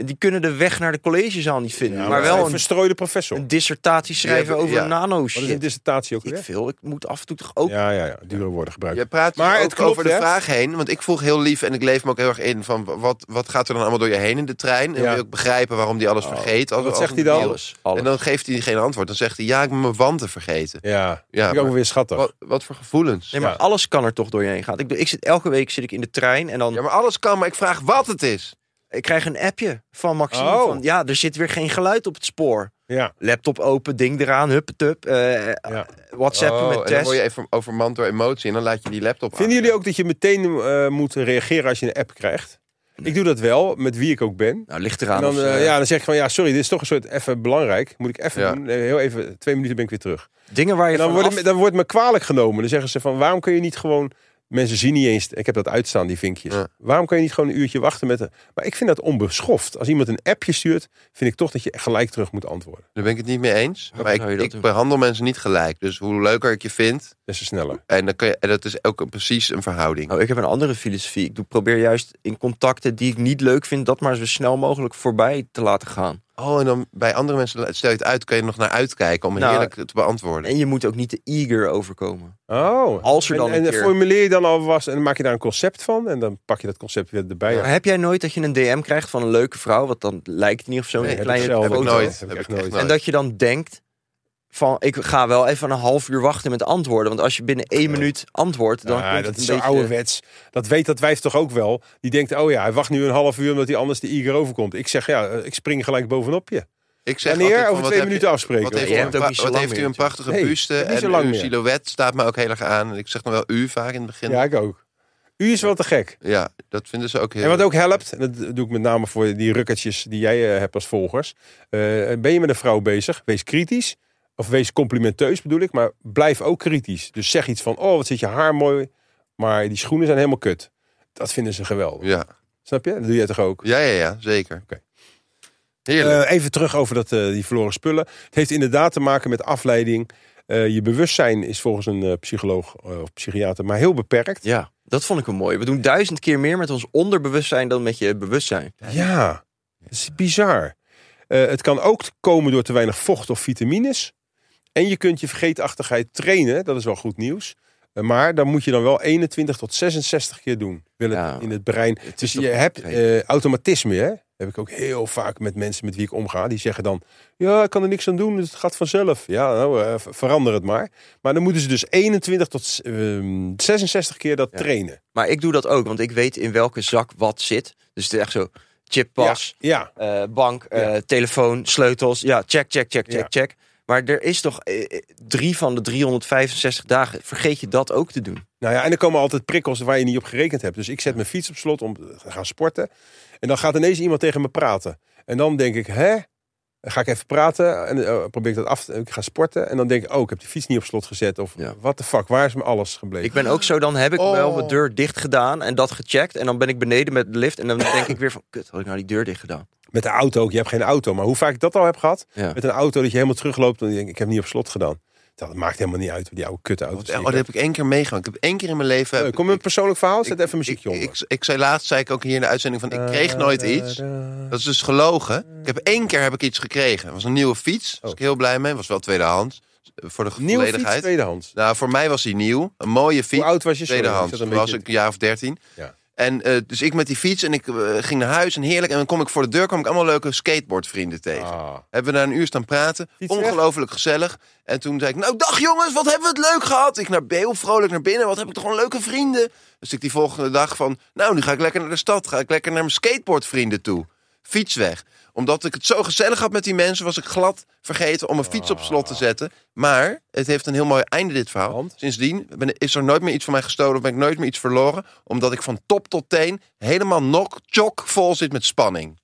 Speaker 4: die kunnen de weg naar de collegezaal niet vinden.
Speaker 2: Ja,
Speaker 4: maar
Speaker 2: hij
Speaker 4: wel
Speaker 2: een
Speaker 4: een,
Speaker 2: verstrooide professor.
Speaker 4: een dissertatie schrijven
Speaker 3: Ja,
Speaker 4: over
Speaker 3: ja.
Speaker 4: nano
Speaker 2: Wat is een
Speaker 4: shit.
Speaker 2: dissertatie ook
Speaker 4: Ik
Speaker 2: weer?
Speaker 4: veel, ik moet af en toe toch ook...
Speaker 2: Ja, ja, ja. Dure woorden gebruiken.
Speaker 3: je praat
Speaker 2: Maar
Speaker 3: maar ook
Speaker 2: het klopt,
Speaker 3: over de
Speaker 2: hè?
Speaker 3: vraag heen. Want ik vroeg heel lief en ik leef me ook heel erg in van... wat, wat gaat er dan allemaal door je heen in de trein? En
Speaker 2: Ja.
Speaker 3: wil je ook begrijpen waarom die alles vergeet. Als,
Speaker 2: wat
Speaker 3: als
Speaker 2: zegt
Speaker 3: een
Speaker 2: hij dan?
Speaker 3: debiel.
Speaker 4: Alles, alles.
Speaker 3: En dan geeft hij geen antwoord. Dan zegt hij, ja, ik moet mijn wanten vergeten.
Speaker 2: Ja,
Speaker 3: Ja,
Speaker 2: vind ik ook
Speaker 3: maar-
Speaker 2: weer schattig.
Speaker 3: Wat, wat voor gevoelens.
Speaker 4: Nee, maar
Speaker 2: Ja.
Speaker 4: alles kan er toch door je heen gaan. Ik, bedoel, ik zit, elke week zit ik in de trein en dan...
Speaker 3: Ja, maar alles kan, maar ik vraag wat het is.
Speaker 4: Ik krijg een appje van Maxime
Speaker 2: Oh.
Speaker 4: van... Ja, er zit weer geen geluid op het spoor.
Speaker 2: Ja,
Speaker 4: Laptop open, ding eraan, huppetup. eh
Speaker 2: ja.
Speaker 4: WhatsAppen
Speaker 3: Oh,
Speaker 4: met
Speaker 3: En dan
Speaker 4: Tess.
Speaker 3: word je even overmand door emotie en dan laat je die laptop
Speaker 2: Vinden
Speaker 3: aan.
Speaker 2: jullie ook dat je meteen eh, moet reageren als je een app krijgt? Ik doe dat wel, met wie ik ook ben.
Speaker 4: Nou, ligt
Speaker 2: En
Speaker 4: eraan
Speaker 2: dan,
Speaker 4: of, eh,
Speaker 2: eh, ja, dan zeg ik gewoon, ja, sorry, dit is toch een soort even belangrijk. Moet ik even
Speaker 3: Ja.
Speaker 2: doen? Nee, heel even, twee minuten ben ik weer terug.
Speaker 4: Dingen waar je
Speaker 2: En dan,
Speaker 4: van
Speaker 2: wordt
Speaker 4: af-
Speaker 2: me, dan wordt me kwalijk genomen. Dan zeggen ze van, waarom kun je niet gewoon... Mensen zien niet eens, ik heb dat uitstaan, die vinkjes.
Speaker 3: Ja.
Speaker 2: Waarom kun je niet gewoon een uurtje wachten met... een- Maar ik vind dat onbeschoft. Als iemand een appje stuurt, vind ik toch dat je gelijk terug moet antwoorden.
Speaker 3: Daar ben ik het niet mee eens.
Speaker 4: Waarom
Speaker 3: maar
Speaker 4: zou je
Speaker 3: ik,
Speaker 4: dat
Speaker 3: ik
Speaker 4: doen?
Speaker 3: behandel mensen niet gelijk. Dus hoe leuker ik je vind,
Speaker 2: Des te sneller.
Speaker 3: en, dan kun je, en dat is ook een- precies een verhouding.
Speaker 4: Nou, ik heb een andere filosofie. Ik doe, probeer juist in contacten die ik niet leuk vind, dat maar zo snel mogelijk voorbij te laten gaan.
Speaker 3: Oh, en dan bij andere mensen stel je het uit, kun je er nog naar uitkijken om
Speaker 4: Nou,
Speaker 3: heerlijk te beantwoorden.
Speaker 4: En je moet ook niet te eager overkomen.
Speaker 2: Oh.
Speaker 4: Als er dan
Speaker 2: en, en
Speaker 4: een keer-
Speaker 2: formuleer je dan alvast en dan maak je daar een concept van en dan pak je dat concept weer erbij.
Speaker 4: Maar heb jij nooit dat je een DM krijgt van een leuke vrouw, wat dan lijkt in ieder geval zo'n
Speaker 3: Nee, heb
Speaker 4: kleine
Speaker 2: zelf
Speaker 3: heb ik
Speaker 4: foto.
Speaker 3: nooit.
Speaker 2: Heb
Speaker 3: Heb
Speaker 2: ik
Speaker 3: ik
Speaker 2: nooit.
Speaker 3: echt
Speaker 4: En dat je dan denkt van, ik ga wel even een half uur wachten met antwoorden. Want als je binnen één minuut antwoordt, dan
Speaker 2: Ja,
Speaker 4: komt
Speaker 2: Ah, dat
Speaker 4: het
Speaker 2: is
Speaker 4: een
Speaker 2: zo
Speaker 4: beetje...
Speaker 2: ouderwets. Dat weet dat wijf toch ook wel. Die denkt, oh ja, hij wacht nu een half uur omdat hij anders de eager overkomt. Ik zeg, ja, eh, ik spring gelijk bovenop je.
Speaker 3: Ik zeg
Speaker 2: Wanneer?
Speaker 3: altijd van,
Speaker 2: Over
Speaker 3: wat
Speaker 2: twee
Speaker 3: heb je-
Speaker 2: minuten afspreken.
Speaker 3: Wat heeft,
Speaker 4: Je
Speaker 3: u,
Speaker 4: hebt
Speaker 3: een
Speaker 4: ook
Speaker 3: pa-
Speaker 4: niet zo
Speaker 3: wat
Speaker 4: lang
Speaker 3: heeft u
Speaker 4: meer
Speaker 3: een prachtige
Speaker 2: natuurlijk.
Speaker 3: buste
Speaker 2: Nee, niet zo
Speaker 3: en
Speaker 2: lang
Speaker 3: uw
Speaker 2: meer.
Speaker 3: silhouet staat me ook heel erg aan. En ik zeg nog wel u vaak in het begin.
Speaker 2: ja,
Speaker 3: Ja,
Speaker 2: ik ook. U is wel te gek.
Speaker 3: dat vinden ze ook heel...
Speaker 2: En wat ook helpt, en dat doe ik met name voor die rukketjes die jij eh, hebt als volgers. Eh, ben je met een vrouw bezig? Wees kritisch. Of wees complimenteus bedoel ik, maar blijf ook kritisch. Dus zeg iets van, oh wat zit je haar mooi, maar die schoenen zijn helemaal kut. Dat vinden ze geweldig.
Speaker 3: Ja,
Speaker 2: Snap je? Dat doe jij toch ook?
Speaker 3: ja, ja, ja zeker. Heerlijk.
Speaker 2: Eh, even terug over dat, eh, die verloren spullen. Het heeft inderdaad te maken met afleiding. Eh, je bewustzijn is volgens een eh, psycholoog eh, of psychiater maar heel beperkt.
Speaker 4: Ja, dat vond ik een mooi. We doen duizend keer meer met ons onderbewustzijn dan met je bewustzijn.
Speaker 2: Ja, dat is bizar. Eh, het kan ook komen door te weinig vocht of vitamines. En je kunt je vergeetachtigheid trainen, dat is wel goed nieuws. Eh, Maar dan moet je dan wel 21 tot 66 keer doen. Wil het
Speaker 4: Ja.
Speaker 2: in het brein.
Speaker 4: Het
Speaker 2: Dus
Speaker 4: is
Speaker 2: je
Speaker 4: toch-
Speaker 2: hebt eh, automatisme, hè? Heb ik ook heel vaak met mensen met wie ik omga. Die zeggen dan: Ja, ik kan er niks aan doen, het gaat vanzelf. Ja, nou, eh, ver- verander het maar. Maar dan moeten ze dus 21 tot ehm, 66 keer dat
Speaker 4: Ja.
Speaker 2: trainen.
Speaker 4: Maar ik doe dat ook, want ik weet in welke zak wat zit. Dus het is echt zo chippas,
Speaker 2: Ja, ja.
Speaker 4: eh, bank, eh, telefoon, sleutels. Ja, check, check, check, check,
Speaker 2: Ja.
Speaker 4: check. Maar er is toch eh, eh, drie van de 365 dagen. Vergeet je dat ook te doen?
Speaker 2: Nou ja, en er komen altijd prikkels waar je niet op gerekend hebt. Dus ik zet mijn fiets op slot om te gaan sporten. En dan gaat ineens iemand tegen me praten. En dan denk ik, hè? Dan ga ik even praten en eh, probeer ik dat af. te- Ik ga sporten en dan denk ik, oh, ik heb die fiets niet op slot gezet. Of
Speaker 4: Ja.
Speaker 2: wat de fuck, waar is me alles gebleven?
Speaker 4: Ik ben ook zo, dan heb ik
Speaker 3: Oh.
Speaker 4: wel mijn deur dicht gedaan en dat gecheckt. En dan ben ik beneden met de lift [COUGHS] en dan denk ik weer van... Kut, had ik nou die deur dicht gedaan?
Speaker 2: Met de auto ook, je hebt geen auto. Maar hoe vaak ik dat al heb gehad,
Speaker 4: Ja.
Speaker 2: met een auto dat je helemaal terugloopt. En denk ik, ik heb niet op slot gedaan. Dat maakt helemaal niet uit, die oude kutte
Speaker 3: Oh,
Speaker 2: auto.
Speaker 3: dat heb ik één keer meegemaakt. Ik heb één keer in mijn leven...
Speaker 2: Kom met een persoonlijk verhaal,
Speaker 3: ik-
Speaker 2: zet even muziekje
Speaker 3: ik,
Speaker 2: onder.
Speaker 3: ik, ik zei laatst, zei ik ook hier in de uitzending van... Ik kreeg nooit iets. Dat is dus gelogen. Ik heb één keer heb ik iets gekregen. Het was een nieuwe fiets. Daar was ik heel blij mee. was wel tweedehands. eh, Voor de
Speaker 2: Oh. Nieuwe fiets,
Speaker 3: volledigheid.
Speaker 2: tweedehands.
Speaker 3: Nou, voor mij was hij nieuw. Een mooie fiets.
Speaker 2: Hoe oud was je? Sorry,
Speaker 3: Tweedehands.
Speaker 2: ik zat
Speaker 3: Toen
Speaker 2: een
Speaker 3: was
Speaker 2: beetje-
Speaker 3: ik een jaar of dertien.
Speaker 2: Ja.
Speaker 3: En eh, dus ik met die fiets en ik eh, ging naar huis en heerlijk. En dan kom ik voor de deur, kwam ik allemaal leuke skateboardvrienden tegen.
Speaker 2: Ah.
Speaker 3: Hebben we daar een uur staan praten.
Speaker 2: Fiets weg.
Speaker 3: Ongelooflijk gezellig. En toen zei ik, nou dag jongens, wat hebben we het leuk gehad. Ik naar Beel, vrolijk naar binnen. Wat heb ik toch gewoon leuke vrienden. Dus ik die volgende dag van, nou nu ga ik lekker naar de stad. Ga ik lekker naar mijn skateboardvrienden toe. Fiets weg. Omdat ik het zo gezellig had met die mensen, was ik glad vergeten om mijn fiets op slot te zetten. Maar het heeft een heel mooi einde dit verhaal.
Speaker 2: Ah. Want?
Speaker 3: Sindsdien ben- is er nooit meer iets van mij gestolen of ben ik nooit meer iets verloren. Omdat ik van top tot teen helemaal nok, chok vol zit met spanning.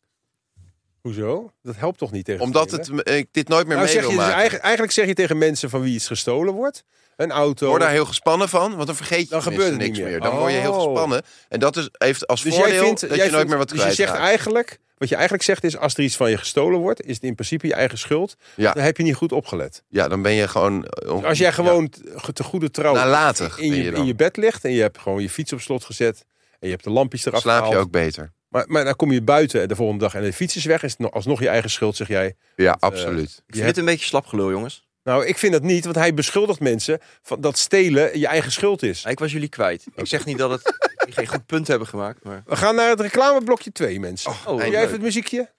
Speaker 2: Hoezo? Dat helpt toch niet tegen
Speaker 3: Omdat
Speaker 2: stelen?
Speaker 3: het, me- ik dit nooit meer
Speaker 2: Nou,
Speaker 3: mee
Speaker 2: zeg
Speaker 3: wil
Speaker 2: je dus
Speaker 3: maken.
Speaker 2: eigenlijk, eigenlijk zeg je tegen mensen van wie iets gestolen wordt. Een auto.
Speaker 3: Ik word daar heel gespannen van, want dan vergeet je
Speaker 2: Dan
Speaker 3: tenminste
Speaker 2: gebeurt het niet
Speaker 3: niks meer.
Speaker 2: meer.
Speaker 3: Dan word je heel
Speaker 2: Oh.
Speaker 3: gespannen. En dat is, heeft als
Speaker 2: dus
Speaker 3: voordeel
Speaker 2: jij vindt,
Speaker 3: dat
Speaker 2: jij
Speaker 3: je nooit
Speaker 2: vindt-
Speaker 3: meer wat
Speaker 2: Dus je
Speaker 3: kwijt
Speaker 2: zegt
Speaker 3: raakt.
Speaker 2: eigenlijk, wat je eigenlijk zegt is, als er iets van je gestolen wordt, is het in principe je eigen schuld.
Speaker 3: Ja.
Speaker 2: Dan heb je niet goed opgelet.
Speaker 3: Ja, dan ben je gewoon... eh, on-
Speaker 2: Als jij
Speaker 3: ja,
Speaker 2: gewoon te- te goede trouw
Speaker 3: Nalatig
Speaker 2: in,
Speaker 3: ben
Speaker 2: je,
Speaker 3: je dan.
Speaker 2: in je bed ligt en je hebt gewoon je fiets op slot gezet en je hebt de lampjes eraf
Speaker 3: slaap je
Speaker 2: gehaald.
Speaker 3: ook beter.
Speaker 2: Maar, maar dan kom je buiten de volgende dag en de fiets is weg. Is het nog- alsnog je eigen schuld, zeg jij.
Speaker 3: Ja, absoluut.
Speaker 4: Ik
Speaker 2: Je
Speaker 4: vind dit een beetje slap gelul, jongens.
Speaker 2: Nou, ik vind dat niet, want hij beschuldigt mensen van dat stelen je eigen schuld is.
Speaker 4: Maar Ik was jullie kwijt. Ik zeg niet dat [LAUGHS] het jullie geen goed punt hebben gemaakt, maar...
Speaker 2: We gaan naar het reclameblokje 2, mensen.
Speaker 4: Oh,
Speaker 2: Doe jij
Speaker 4: leuk.
Speaker 2: even het muziekje?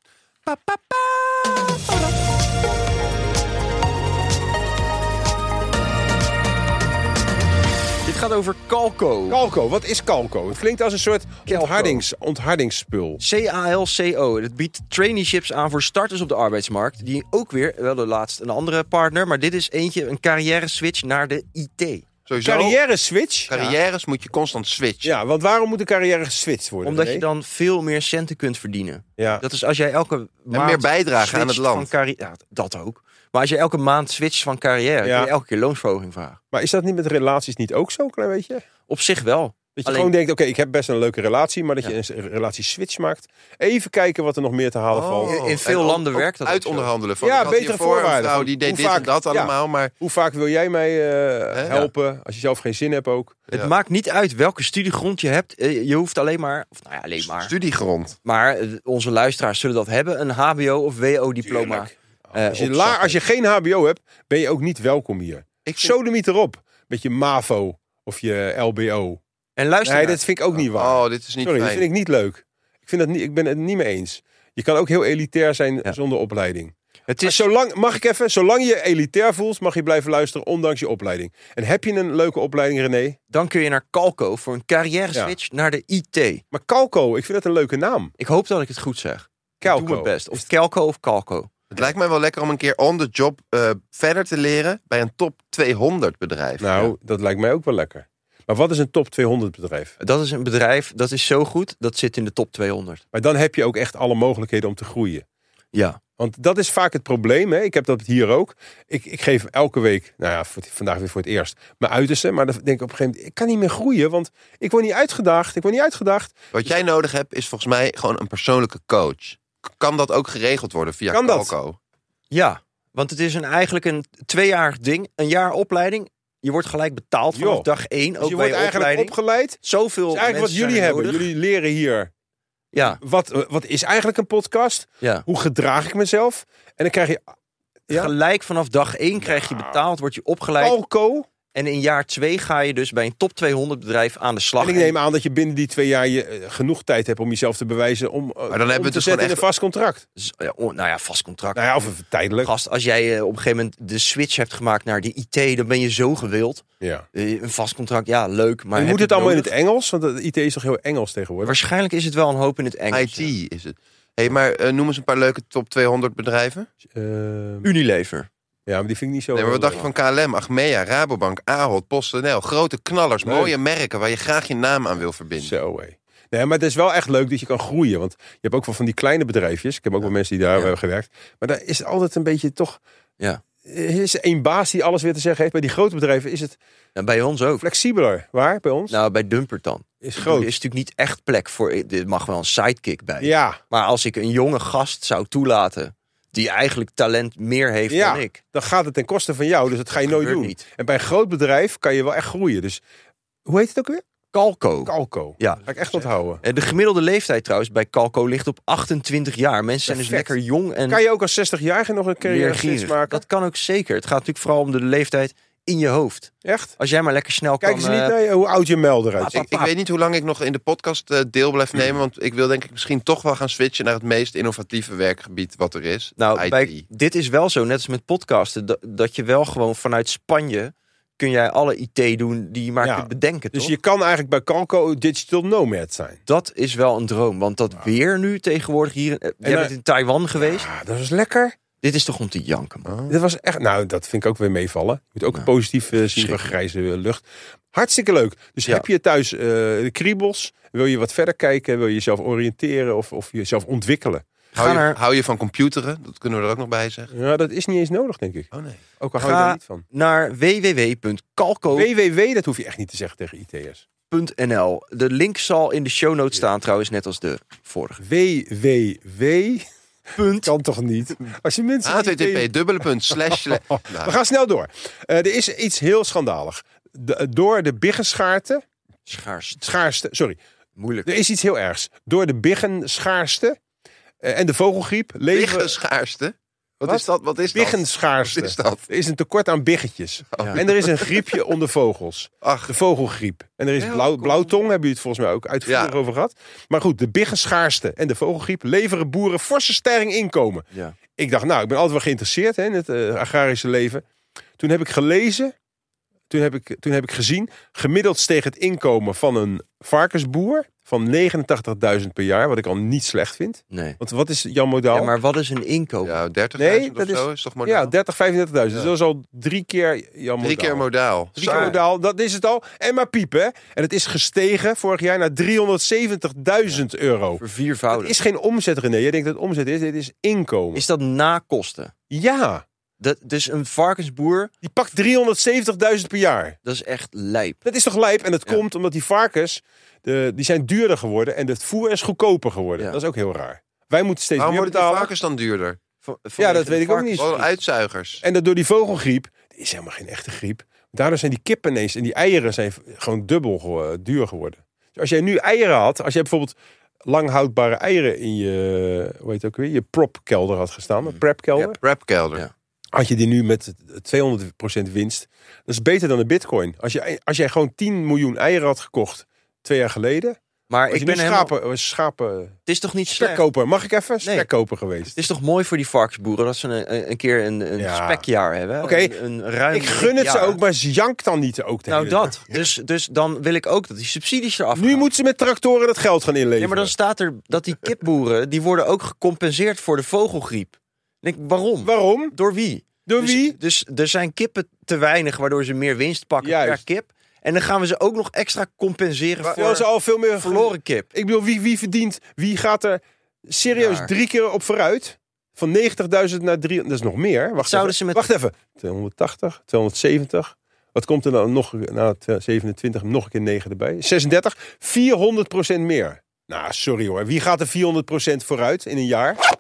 Speaker 4: Dit gaat over Calco.
Speaker 2: Calco, wat is calco? Het klinkt als een soort
Speaker 4: Calco.
Speaker 2: onthardings, onthardingsspul.
Speaker 4: CALCO. Dat biedt traineeships aan voor starters op de arbeidsmarkt. Die ook weer, wel de laatst een andere partner, maar dit is eentje, een carrière switch naar de IT.
Speaker 3: Sowieso,
Speaker 2: Carrière switch?
Speaker 3: carrières moet je constant switchen.
Speaker 2: Ja, want waarom moet de carrière geswitcht worden?
Speaker 4: Omdat
Speaker 2: René?
Speaker 4: je dan veel meer centen kunt verdienen.
Speaker 2: Ja.
Speaker 4: Dat is als jij elke maand.
Speaker 3: meer bijdragen aan het
Speaker 4: switcht van
Speaker 3: land.
Speaker 4: carri- ja, dat ook. Maar als je elke maand switcht van carrière,
Speaker 2: Ja.
Speaker 4: kun je elke keer loonsverhoging vragen.
Speaker 2: Maar is dat niet met relaties niet ook zo, een klein beetje? Dat je
Speaker 4: Op zich wel. Alleen-
Speaker 2: gewoon denkt, oké, ik heb best een leuke relatie, maar dat
Speaker 4: Ja.
Speaker 2: je een relatie switch maakt. Even kijken wat er nog meer te halen
Speaker 4: Oh.
Speaker 2: valt.
Speaker 4: in veel
Speaker 3: Oh. En ook-
Speaker 4: landen
Speaker 3: ook
Speaker 4: werkt dat ook zo.
Speaker 3: Uitonderhandelen. Van,
Speaker 2: Ja,
Speaker 3: ik had
Speaker 2: betere
Speaker 3: hiervoor een
Speaker 2: voorwaarden.
Speaker 3: vrouw
Speaker 2: Van,
Speaker 3: die deed
Speaker 2: hoe
Speaker 3: dit
Speaker 2: vaak-
Speaker 3: en dat
Speaker 2: ja.
Speaker 3: allemaal, maar
Speaker 2: Hoe vaak wil jij mij eh,
Speaker 3: Hè?
Speaker 2: helpen als je zelf geen zin hebt ook?
Speaker 4: Het
Speaker 3: Ja.
Speaker 4: maakt niet uit welke studiegrond je hebt. Eh, Je hoeft alleen maar, of nou ja, alleen maar.
Speaker 3: studiegrond.
Speaker 4: Maar eh, onze luisteraars zullen dat hebben: een HBO of WO-diploma. eh,
Speaker 2: Als je,
Speaker 4: op
Speaker 2: la-
Speaker 4: zak.
Speaker 2: als je geen hbo hebt, ben je ook niet welkom hier.
Speaker 3: Ik vind-
Speaker 2: Sodemiet erop. Met je MAVO of je LBO.
Speaker 4: En luister,
Speaker 2: Nee,
Speaker 4: naar-
Speaker 2: dat vind ik ook niet waar.
Speaker 3: nou. Oh, dit is niet
Speaker 2: Sorry, dat
Speaker 3: fijn.
Speaker 2: vind ik niet leuk. Ik, vind dat niet, ik ben het niet mee eens. Je kan ook heel elitair zijn
Speaker 4: Ja.
Speaker 2: zonder opleiding.
Speaker 4: het
Speaker 2: Maar
Speaker 4: is
Speaker 2: Zolang, mag ik even, zolang je elitair voelt, mag je blijven luisteren, ondanks je opleiding. En heb je een leuke opleiding, René?
Speaker 4: dan kun je naar Calco voor een carrière
Speaker 2: Ja.
Speaker 4: switch naar de IT.
Speaker 2: Maar Calco, ik vind dat een leuke naam.
Speaker 4: Ik hoop dat ik het goed zeg.
Speaker 2: Calco.
Speaker 4: Ik doe mijn best. Of Calco of Calco.
Speaker 3: Het lijkt mij wel lekker om een keer on the job eh, verder te leren bij een top 200 bedrijf.
Speaker 2: Nou, dat lijkt mij ook wel lekker. Maar wat is een top 200 bedrijf?
Speaker 4: Dat is een bedrijf, dat is zo goed, dat zit in de top 200.
Speaker 2: Maar dan heb je ook echt alle mogelijkheden om te groeien.
Speaker 4: Ja.
Speaker 2: Want dat is vaak het probleem. Hè? Ik heb dat hier ook. Ik, ik geef elke week, nou ja, voor, vandaag weer voor het eerst, mijn uiterste. Maar dan denk ik op een gegeven moment, ik kan niet meer groeien. Want ik word niet uitgedaagd. Dus Ik word niet uitgedaagd.
Speaker 3: Wat jij nodig hebt is volgens mij gewoon een persoonlijke coach. kan dat ook geregeld worden via
Speaker 2: Kan dat?
Speaker 3: Calco?
Speaker 4: Ja, want het is een, eigenlijk een tweejarig ding. Een jaar opleiding. Je wordt gelijk betaald vanaf
Speaker 2: Joh.
Speaker 4: dag één.
Speaker 2: Dus
Speaker 4: ook
Speaker 2: je
Speaker 4: bij
Speaker 2: wordt
Speaker 4: je
Speaker 2: eigenlijk
Speaker 4: opleiding.
Speaker 2: opgeleid. Dat
Speaker 4: Zoveel
Speaker 2: is eigenlijk wat
Speaker 4: mensen
Speaker 2: jullie
Speaker 4: zijn er
Speaker 2: hebben.
Speaker 4: nodig.
Speaker 2: Jullie leren hier.
Speaker 4: Ja,
Speaker 2: Wat, eh, wat is eigenlijk een podcast?
Speaker 4: ja.
Speaker 2: Hoe gedraag ik mezelf? En dan krijg je Ja? Oh.
Speaker 4: Gelijk vanaf dag één krijg je betaald, word je opgeleid.
Speaker 2: Alco.
Speaker 4: En in jaar twee ga je dus bij een top 200 bedrijf aan de slag.
Speaker 2: En ik neem aan dat je binnen die twee jaar je, eh, genoeg tijd hebt om jezelf te bewijzen om, eh,
Speaker 3: dan hebben we
Speaker 2: om te
Speaker 3: het dus
Speaker 2: zetten
Speaker 3: gewoon
Speaker 2: in een
Speaker 3: echt-
Speaker 2: vast contract.
Speaker 4: Z- ja, oh, nou ja, vast contract.
Speaker 2: Nou ja, of een tijdelijk.
Speaker 4: Gast, als jij eh, op een gegeven moment de switch hebt gemaakt naar de IT, dan ben je zo gewild.
Speaker 2: Ja.
Speaker 4: Eh, Een vast contract, ja, leuk. Maar
Speaker 2: En
Speaker 4: heb
Speaker 2: moet
Speaker 4: je
Speaker 2: het allemaal in het
Speaker 4: nodig?
Speaker 2: Engels? Want de IT is toch heel Engels tegenwoordig?
Speaker 4: Waarschijnlijk is het wel een hoop in het Engels. ja.
Speaker 3: IT is het. hey, maar eh, noem eens een paar leuke top 200 bedrijven.
Speaker 2: Ehm,
Speaker 4: Unilever.
Speaker 2: ja, maar die vind ik niet zo...
Speaker 3: Nee, maar wat dacht je van KLM, Achmea, Rabobank, Ahold, PostNL? Grote knallers,
Speaker 2: Leuk.
Speaker 3: mooie merken waar je graag je naam aan wil verbinden.
Speaker 2: Zo, hé. Nee, maar het is wel echt leuk dat je kan groeien. Want je hebt ook wel van die kleine bedrijfjes. Ik heb ook wel mensen die daar
Speaker 3: Ja.
Speaker 2: hebben gewerkt. Maar daar is het altijd een beetje toch...
Speaker 4: Ja.
Speaker 2: Er is één baas die alles weer te zeggen heeft. Bij die grote bedrijven is het
Speaker 4: En bij ons ook.
Speaker 2: flexibeler. Waar? Bij ons?
Speaker 4: Nou, bij Dumpert dan.
Speaker 2: is
Speaker 4: Er is
Speaker 2: groot.
Speaker 4: natuurlijk niet echt plek voor. eh, Er mag wel een sidekick bij.
Speaker 2: Ja,
Speaker 4: Maar als ik een jonge gast zou toelaten. die eigenlijk talent meer heeft
Speaker 2: Ja,
Speaker 4: dan ik.
Speaker 2: dan gaat het ten koste van jou. Dus dat ga je nooit
Speaker 4: gebeurt
Speaker 2: doen.
Speaker 4: niet.
Speaker 2: En bij een groot bedrijf kan je wel echt groeien. Dus hoe heet het ook weer?
Speaker 4: Calco.
Speaker 2: Calco.
Speaker 4: Ja.
Speaker 2: Ga ik echt onthouden.
Speaker 4: Eh, De gemiddelde leeftijd trouwens bij Calco ligt op 28 jaar. Mensen zijn dus
Speaker 2: Perfect.
Speaker 4: lekker jong en
Speaker 2: Kan je ook als 60-jarige nog een carrière switch
Speaker 4: leergierig.
Speaker 2: maken?
Speaker 4: Dat kan ook zeker. Het gaat natuurlijk vooral om de leeftijd in je hoofd.
Speaker 2: Echt?
Speaker 4: Als jij maar lekker snel
Speaker 2: Kijken ze
Speaker 4: kan...
Speaker 2: niet
Speaker 4: eh, Ah,
Speaker 2: naar je, hoe oud je melder eruit ziet?
Speaker 3: Ik, ik weet niet hoe lang ik nog in de podcast eh, deel blijf nemen. Want ik wil denk ik misschien toch wel gaan switchen naar het meest innovatieve werkgebied wat er is.
Speaker 4: Nou,
Speaker 3: IT.
Speaker 4: bij, dit is wel zo, net als met podcasten, dat, dat je wel gewoon vanuit Spanje kun jij alle IT doen die je maar
Speaker 2: Ja,
Speaker 4: kunt bedenken,
Speaker 2: Dus
Speaker 4: toch?
Speaker 2: je kan eigenlijk bij Calco digital nomad zijn.
Speaker 4: Dat is wel een droom, want dat weer nu tegenwoordig hier... eh, Jij
Speaker 2: dan-
Speaker 4: bent in Taiwan geweest.
Speaker 2: Ah, dat was lekker.
Speaker 4: Dit is toch om te janken, man.
Speaker 2: Dit was echt, nou, dat vind ik ook weer meevallen. Je moet ook
Speaker 4: Ja.
Speaker 2: positief eh, zien van
Speaker 4: Schrikken.
Speaker 2: grijze eh, lucht. Hartstikke leuk. Dus
Speaker 4: Ja.
Speaker 2: heb je thuis eh, de kriebels? Wil je wat verder kijken? Wil je jezelf oriënteren of, of jezelf ontwikkelen?
Speaker 3: hou, je,
Speaker 4: Ga naar-
Speaker 3: hou je van computeren? Dat kunnen we er ook nog bij zeggen.
Speaker 2: Ja, dat is niet eens nodig, denk ik.
Speaker 3: Oh nee.
Speaker 2: Ook al hou je
Speaker 4: Ga
Speaker 2: daar niet van.
Speaker 4: naar www.calco.nl.
Speaker 2: WWW, dat hoef je echt niet te zeggen tegen IT'ers.
Speaker 4: De link zal in de show notes staan, trouwens, net als de vorige.
Speaker 2: WWW. Kan toch niet? Als je mensen.
Speaker 3: http dubbele punt slash slash-
Speaker 2: We
Speaker 3: Nou,
Speaker 2: gaan snel door. Eh, er is iets heel schandalig. De- door de biggenschaarte,
Speaker 4: Schaars.
Speaker 2: schaarste, sorry,
Speaker 4: Moeilijk.
Speaker 2: Er is iets heel ergs. Door de biggenschaarste eh, en de vogelgriep leven...
Speaker 3: biggenschaarste. Wat,
Speaker 2: Wat?
Speaker 3: is dat? Wat is dat?
Speaker 2: Biggenschaarste.
Speaker 3: Wat is dat? Oh.
Speaker 2: Er is een tekort aan biggetjes.
Speaker 4: Ja.
Speaker 2: En er is een
Speaker 3: [LAUGHS]
Speaker 2: griepje onder vogels.
Speaker 3: Ach.
Speaker 2: De vogelgriep. En er is blauw, blauwtong, hebben jullie het volgens mij ook uitvoerig
Speaker 3: Ja.
Speaker 2: over gehad. Maar goed, de biggenschaarste en de vogelgriep leveren boeren forse stijging inkomen.
Speaker 4: Ja.
Speaker 2: Ik dacht, nou, ik ben altijd wel geïnteresseerd hè, in het eh, agrarische leven. Toen heb ik gelezen, toen heb ik, toen heb ik gezien, gemiddeld steeg het inkomen van een varkensboer van 89.000 per jaar, wat ik al niet slecht vind.
Speaker 4: Nee.
Speaker 2: Want wat is Jan Modaal?
Speaker 4: Ja, maar wat is een inkomen?
Speaker 3: Ja, 30.000
Speaker 2: Nee,
Speaker 3: of
Speaker 2: dat is-
Speaker 3: zo is toch modaal?
Speaker 2: Ja, 30, 35.000. Dus dat is al drie keer Jan
Speaker 3: Drie keer
Speaker 2: Modaal.
Speaker 3: modaal.
Speaker 2: Drie keer modaal, dat is het al. En maar piepen. En het is gestegen vorig jaar naar 370.000 euro. Het
Speaker 4: Verviervoudig.
Speaker 2: is geen omzet, René. Jij denkt dat het omzet is. Dit is inkomen.
Speaker 4: Is dat na kosten?
Speaker 2: Ja,
Speaker 4: Dat, dus een varkensboer,
Speaker 2: die pakt 370.000 per jaar.
Speaker 4: dat is echt lijp.
Speaker 2: Dat is toch lijp? En dat
Speaker 4: Ja.
Speaker 2: komt omdat die varkens, de, die zijn duurder geworden en het voer is goedkoper geworden.
Speaker 4: Ja.
Speaker 2: Dat is ook heel raar. Wij moeten steeds
Speaker 3: Waarom
Speaker 2: meer
Speaker 3: worden die
Speaker 2: betalen.
Speaker 3: varkens dan duurder?
Speaker 4: Van-
Speaker 2: Ja,
Speaker 4: vanwege
Speaker 2: dat
Speaker 4: de
Speaker 2: weet ik ook
Speaker 4: varkens.
Speaker 2: niet.
Speaker 3: Gewoon Uitzuigers.
Speaker 2: En dat door die vogelgriep, die is helemaal geen echte griep. Daardoor zijn die kippen ineens en die eieren zijn gewoon dubbel ge- eh, duur geworden. Dus als jij nu eieren had, als jij bijvoorbeeld lang houdbare eieren in je, hoe heet het ook weer, je propkelder had gestaan, een prepkelder,
Speaker 3: Rapkelder.
Speaker 4: Ja.
Speaker 2: had je die nu met 200% winst. Dat is beter dan de bitcoin. Als, je, als jij gewoon 10 miljoen eieren had gekocht twee jaar geleden,
Speaker 4: Maar
Speaker 2: ik
Speaker 4: ik
Speaker 2: ben
Speaker 4: ben
Speaker 2: een
Speaker 4: helemaal...
Speaker 2: schapen, eh, schapen
Speaker 4: Het is toch niet slecht?
Speaker 2: spekkoper. Mag ik even? Spekkoper
Speaker 4: Het
Speaker 2: geweest.
Speaker 4: is toch mooi voor die varkensboeren dat ze een- een, een keer een, een
Speaker 2: Ja.
Speaker 4: spekjaar hebben?
Speaker 2: Oké,
Speaker 4: Een, een ruim
Speaker 2: Ik gun het ze
Speaker 4: jaar.
Speaker 2: ook, maar ze jankt dan niet ook de
Speaker 4: Nou
Speaker 2: hele dag.
Speaker 4: dat. Dus, dus dan wil ik ook dat die subsidies eraf
Speaker 2: Nu
Speaker 4: gaan.
Speaker 2: moeten ze met tractoren dat geld gaan inleveren.
Speaker 4: Ja, maar dan staat er dat die kipboeren, die worden ook gecompenseerd voor de vogelgriep. Ik denk, waarom?
Speaker 2: Waarom?
Speaker 4: Door wie?
Speaker 2: Door
Speaker 4: Dus-
Speaker 2: wie?
Speaker 4: Dus, er zijn kippen te weinig, waardoor ze meer winst pakken per
Speaker 2: Juist.
Speaker 4: kip. En dan gaan we ze ook nog extra compenseren
Speaker 2: Terwijl
Speaker 4: voor
Speaker 2: ze al veel meer
Speaker 4: verloren kip.
Speaker 2: Ik bedoel, wie, wie verdient? Wie gaat er serieus
Speaker 4: Daar.
Speaker 2: drie keer op vooruit? Van 90.000 naar 300. Dat is nog meer. Wacht
Speaker 4: Zouden
Speaker 2: even.
Speaker 4: ze met-
Speaker 2: Wacht even. 280, 270. Wat komt er dan nog na 27? Nog een keer 9 erbij. 36. 400 meer. Nou, sorry hoor. Wie gaat er 400 vooruit in een jaar?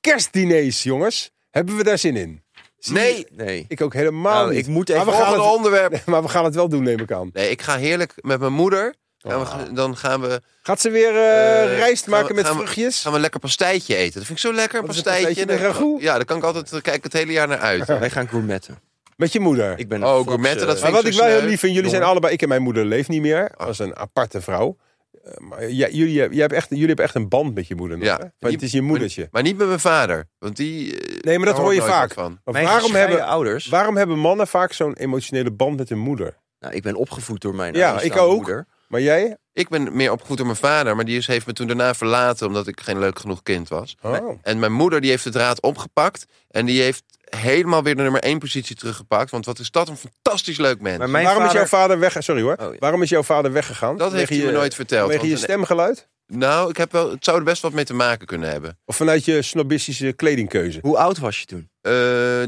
Speaker 2: kerstdiners, jongens. Hebben we daar zin in?
Speaker 3: Nee,
Speaker 4: Nee.
Speaker 2: Ik ook helemaal
Speaker 4: Nou,
Speaker 2: niet.
Speaker 4: ik moet
Speaker 2: maar
Speaker 4: even
Speaker 2: we gaan
Speaker 3: volgende
Speaker 2: het,
Speaker 3: onderwerp.
Speaker 2: Maar we gaan het wel [LAUGHS] doen, neem ik aan.
Speaker 3: Nee, ik ga heerlijk met mijn moeder. Gaan we, ge- dan gaan we,
Speaker 2: Gaat ze weer Oh. eh,
Speaker 3: Eh,
Speaker 2: rijst
Speaker 3: gaan we-
Speaker 2: maken met
Speaker 3: gaan we-
Speaker 2: vruchtjes?
Speaker 3: gaan we lekker pastijtje eten. Dat vind ik zo lekker,
Speaker 2: Wat is een
Speaker 3: pastijtje.
Speaker 2: pastijtje met ragout?
Speaker 3: Ja, daar kan ik altijd, daar kijk ik het hele jaar naar
Speaker 2: [LAUGHS]
Speaker 3: uit.
Speaker 4: Wij gaan gourmetten.
Speaker 2: Met je moeder.
Speaker 4: Ik ben
Speaker 3: Oh,
Speaker 4: een Fox,
Speaker 3: gourmetten,
Speaker 4: eh,
Speaker 3: dat
Speaker 2: maar
Speaker 3: vind
Speaker 2: wat
Speaker 3: ik
Speaker 2: ik
Speaker 3: zo
Speaker 2: wel heel
Speaker 3: sneu,
Speaker 2: lief vind, jullie zijn
Speaker 3: jongen.
Speaker 2: allebei... Ik en mijn moeder leeft niet meer. Dat is een aparte vrouw. Eh, maar ja, jullie, jij hebt echt, jullie hebben echt een band met je moeder nog,
Speaker 3: Ja.
Speaker 2: hè? Want het is je
Speaker 3: Maar-
Speaker 2: moedertje.
Speaker 3: Maar niet met mijn vader. Want die. eh,
Speaker 2: Nee, maar dat
Speaker 3: daar
Speaker 2: hoor je
Speaker 3: ik nooit
Speaker 2: vaak.
Speaker 3: Van.
Speaker 2: Maar
Speaker 4: Mijn
Speaker 2: waarom
Speaker 4: gescheiden
Speaker 2: hebben,
Speaker 4: ouders.
Speaker 2: waarom hebben mannen vaak zo'n emotionele band met hun moeder?
Speaker 4: Nou, ik ben opgevoed door mijn
Speaker 2: Ja,
Speaker 4: alleenstaande
Speaker 2: ik ook.
Speaker 4: moeder.
Speaker 2: Maar jij?
Speaker 3: Ik ben meer opgevoed door mijn vader, maar die is, heeft me toen daarna verlaten omdat ik geen leuk genoeg kind was.
Speaker 2: Oh.
Speaker 3: En mijn moeder die heeft de draad opgepakt en die heeft helemaal weer de nummer 1 positie teruggepakt. Want wat is dat een fantastisch leuk mens.
Speaker 4: Maar mijn
Speaker 2: waarom is
Speaker 4: vader-
Speaker 2: jouw vader weg? Sorry hoor.
Speaker 4: Oh, ja.
Speaker 2: Waarom is jouw vader weggegaan?
Speaker 3: Dat heeft
Speaker 2: Vanwege
Speaker 3: hij me
Speaker 2: je-
Speaker 3: nooit verteld.
Speaker 2: Vanwege je
Speaker 3: want-
Speaker 2: stemgeluid?
Speaker 3: Nou, ik heb wel, het zou er best wat mee te maken kunnen hebben.
Speaker 2: Of vanuit je snobistische kledingkeuze?
Speaker 4: Hoe oud was je toen?
Speaker 3: Eh,